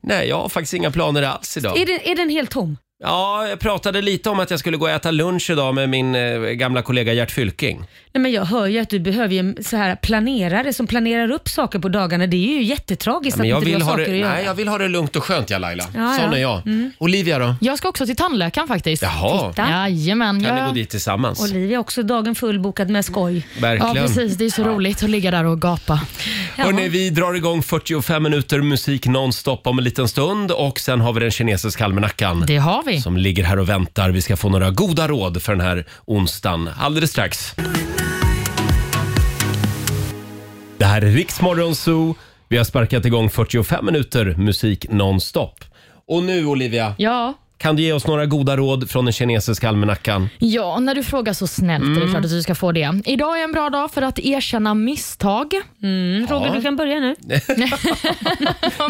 Speaker 1: Nej, jag har faktiskt inga planer alls idag.
Speaker 2: är, den, är den helt tom?
Speaker 1: Ja, jag pratade lite om att jag skulle gå och äta lunch idag med min eh, gamla kollega Gert Fylking.
Speaker 2: Nej, men jag hör ju att du behöver ju en så här planerare som planerar upp saker på dagarna. Det är ju jättetragiskt
Speaker 1: Ja, men
Speaker 2: att
Speaker 1: jag,
Speaker 2: inte du
Speaker 1: vill
Speaker 2: har
Speaker 1: ha
Speaker 2: saker
Speaker 1: det,
Speaker 2: att göra.
Speaker 1: nej, jag vill ha det lugnt och skönt, ja Laila.
Speaker 3: Ja,
Speaker 1: Sån
Speaker 3: ja.
Speaker 1: är jag.
Speaker 3: Mm.
Speaker 1: Olivia då?
Speaker 3: Jag ska också till tandläkaren faktiskt.
Speaker 1: Jaha. Titta.
Speaker 3: Jajamän.
Speaker 1: Kan ni
Speaker 3: jag...
Speaker 1: gå dit tillsammans?
Speaker 2: Olivia är också dagen fullbokad med skoj.
Speaker 1: Verkligen.
Speaker 3: Ja, precis. Det är så roligt att ligga där och gapa.
Speaker 1: Hörrni, vi drar igång 45 minuter musik nonstop om en liten stund och sen har vi den kinesiska almanackan.
Speaker 3: Det har vi.
Speaker 1: Som ligger här och väntar. Vi ska få några goda råd för den här onsdagen alldeles strax. Det här är Riksmorgon Zoo. Vi har sparkat igång 45 minuter musik nonstop. Och nu Olivia,
Speaker 3: Ja.
Speaker 1: kan du ge oss några goda råd från den kinesiska almanackan?
Speaker 3: Ja, när du frågar så snällt är det
Speaker 1: Mm.
Speaker 3: klart att du ska få det. Idag är en bra dag för att erkänna misstag.
Speaker 2: Mm,
Speaker 1: Roger, Ja. du kan
Speaker 2: börja nu.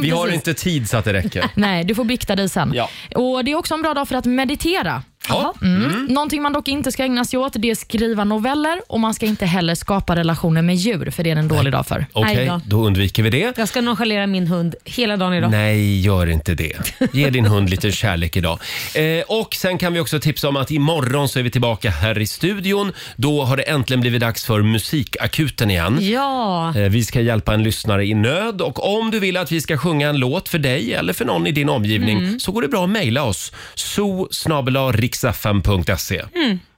Speaker 1: Vi har inte tid så att det räcker.
Speaker 3: Nej, du får bikta dig sen.
Speaker 1: Ja.
Speaker 3: Och Det är också en bra dag för att meditera.
Speaker 1: Ja.
Speaker 3: Mm. Någonting man dock inte ska ägna sig åt det är att skriva noveller och man ska inte heller skapa relationer med djur för det är en dålig dag för.
Speaker 1: Okej, då undviker vi det.
Speaker 2: Jag ska nonchalera min hund hela dagen idag.
Speaker 1: Nej, gör inte det. Ge din hund lite kärlek idag. Eh, och sen kan vi också tipsa om att imorgon så är vi tillbaka här i studion. Då har det äntligen blivit dags för Musikakuten igen.
Speaker 2: Ja.
Speaker 1: Eh, Vi ska hjälpa en lyssnare i nöd och om du vill att vi ska sjunga en låt för dig eller för någon i din omgivning
Speaker 2: Mm.
Speaker 1: så går det bra att mejla oss. so
Speaker 2: Mm.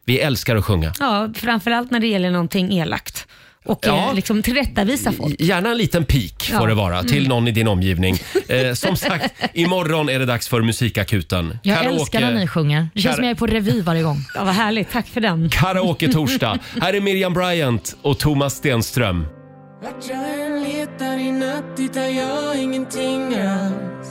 Speaker 1: Vi älskar att sjunga.
Speaker 2: Ja, framförallt när det gäller någonting elakt. Och
Speaker 1: Ja.
Speaker 2: eh, liksom tillrättavisa folk.
Speaker 1: Gärna en liten pik
Speaker 2: Ja.
Speaker 1: får det vara till
Speaker 2: Mm.
Speaker 1: någon i din omgivning. Eh, som sagt, imorgon är det dags för Musikakuten.
Speaker 3: Jag
Speaker 1: Karaoke-
Speaker 3: älskar när ni sjunger. Det känns
Speaker 1: Kara-
Speaker 3: som jag är på revy varje gång.
Speaker 2: Ja, vad härligt. Tack för den.
Speaker 1: Karaoke-torsdag. Här är Miriam Bryant och Thomas Stenström.
Speaker 6: Vart jag än letar i natt hittar jag ingenting alls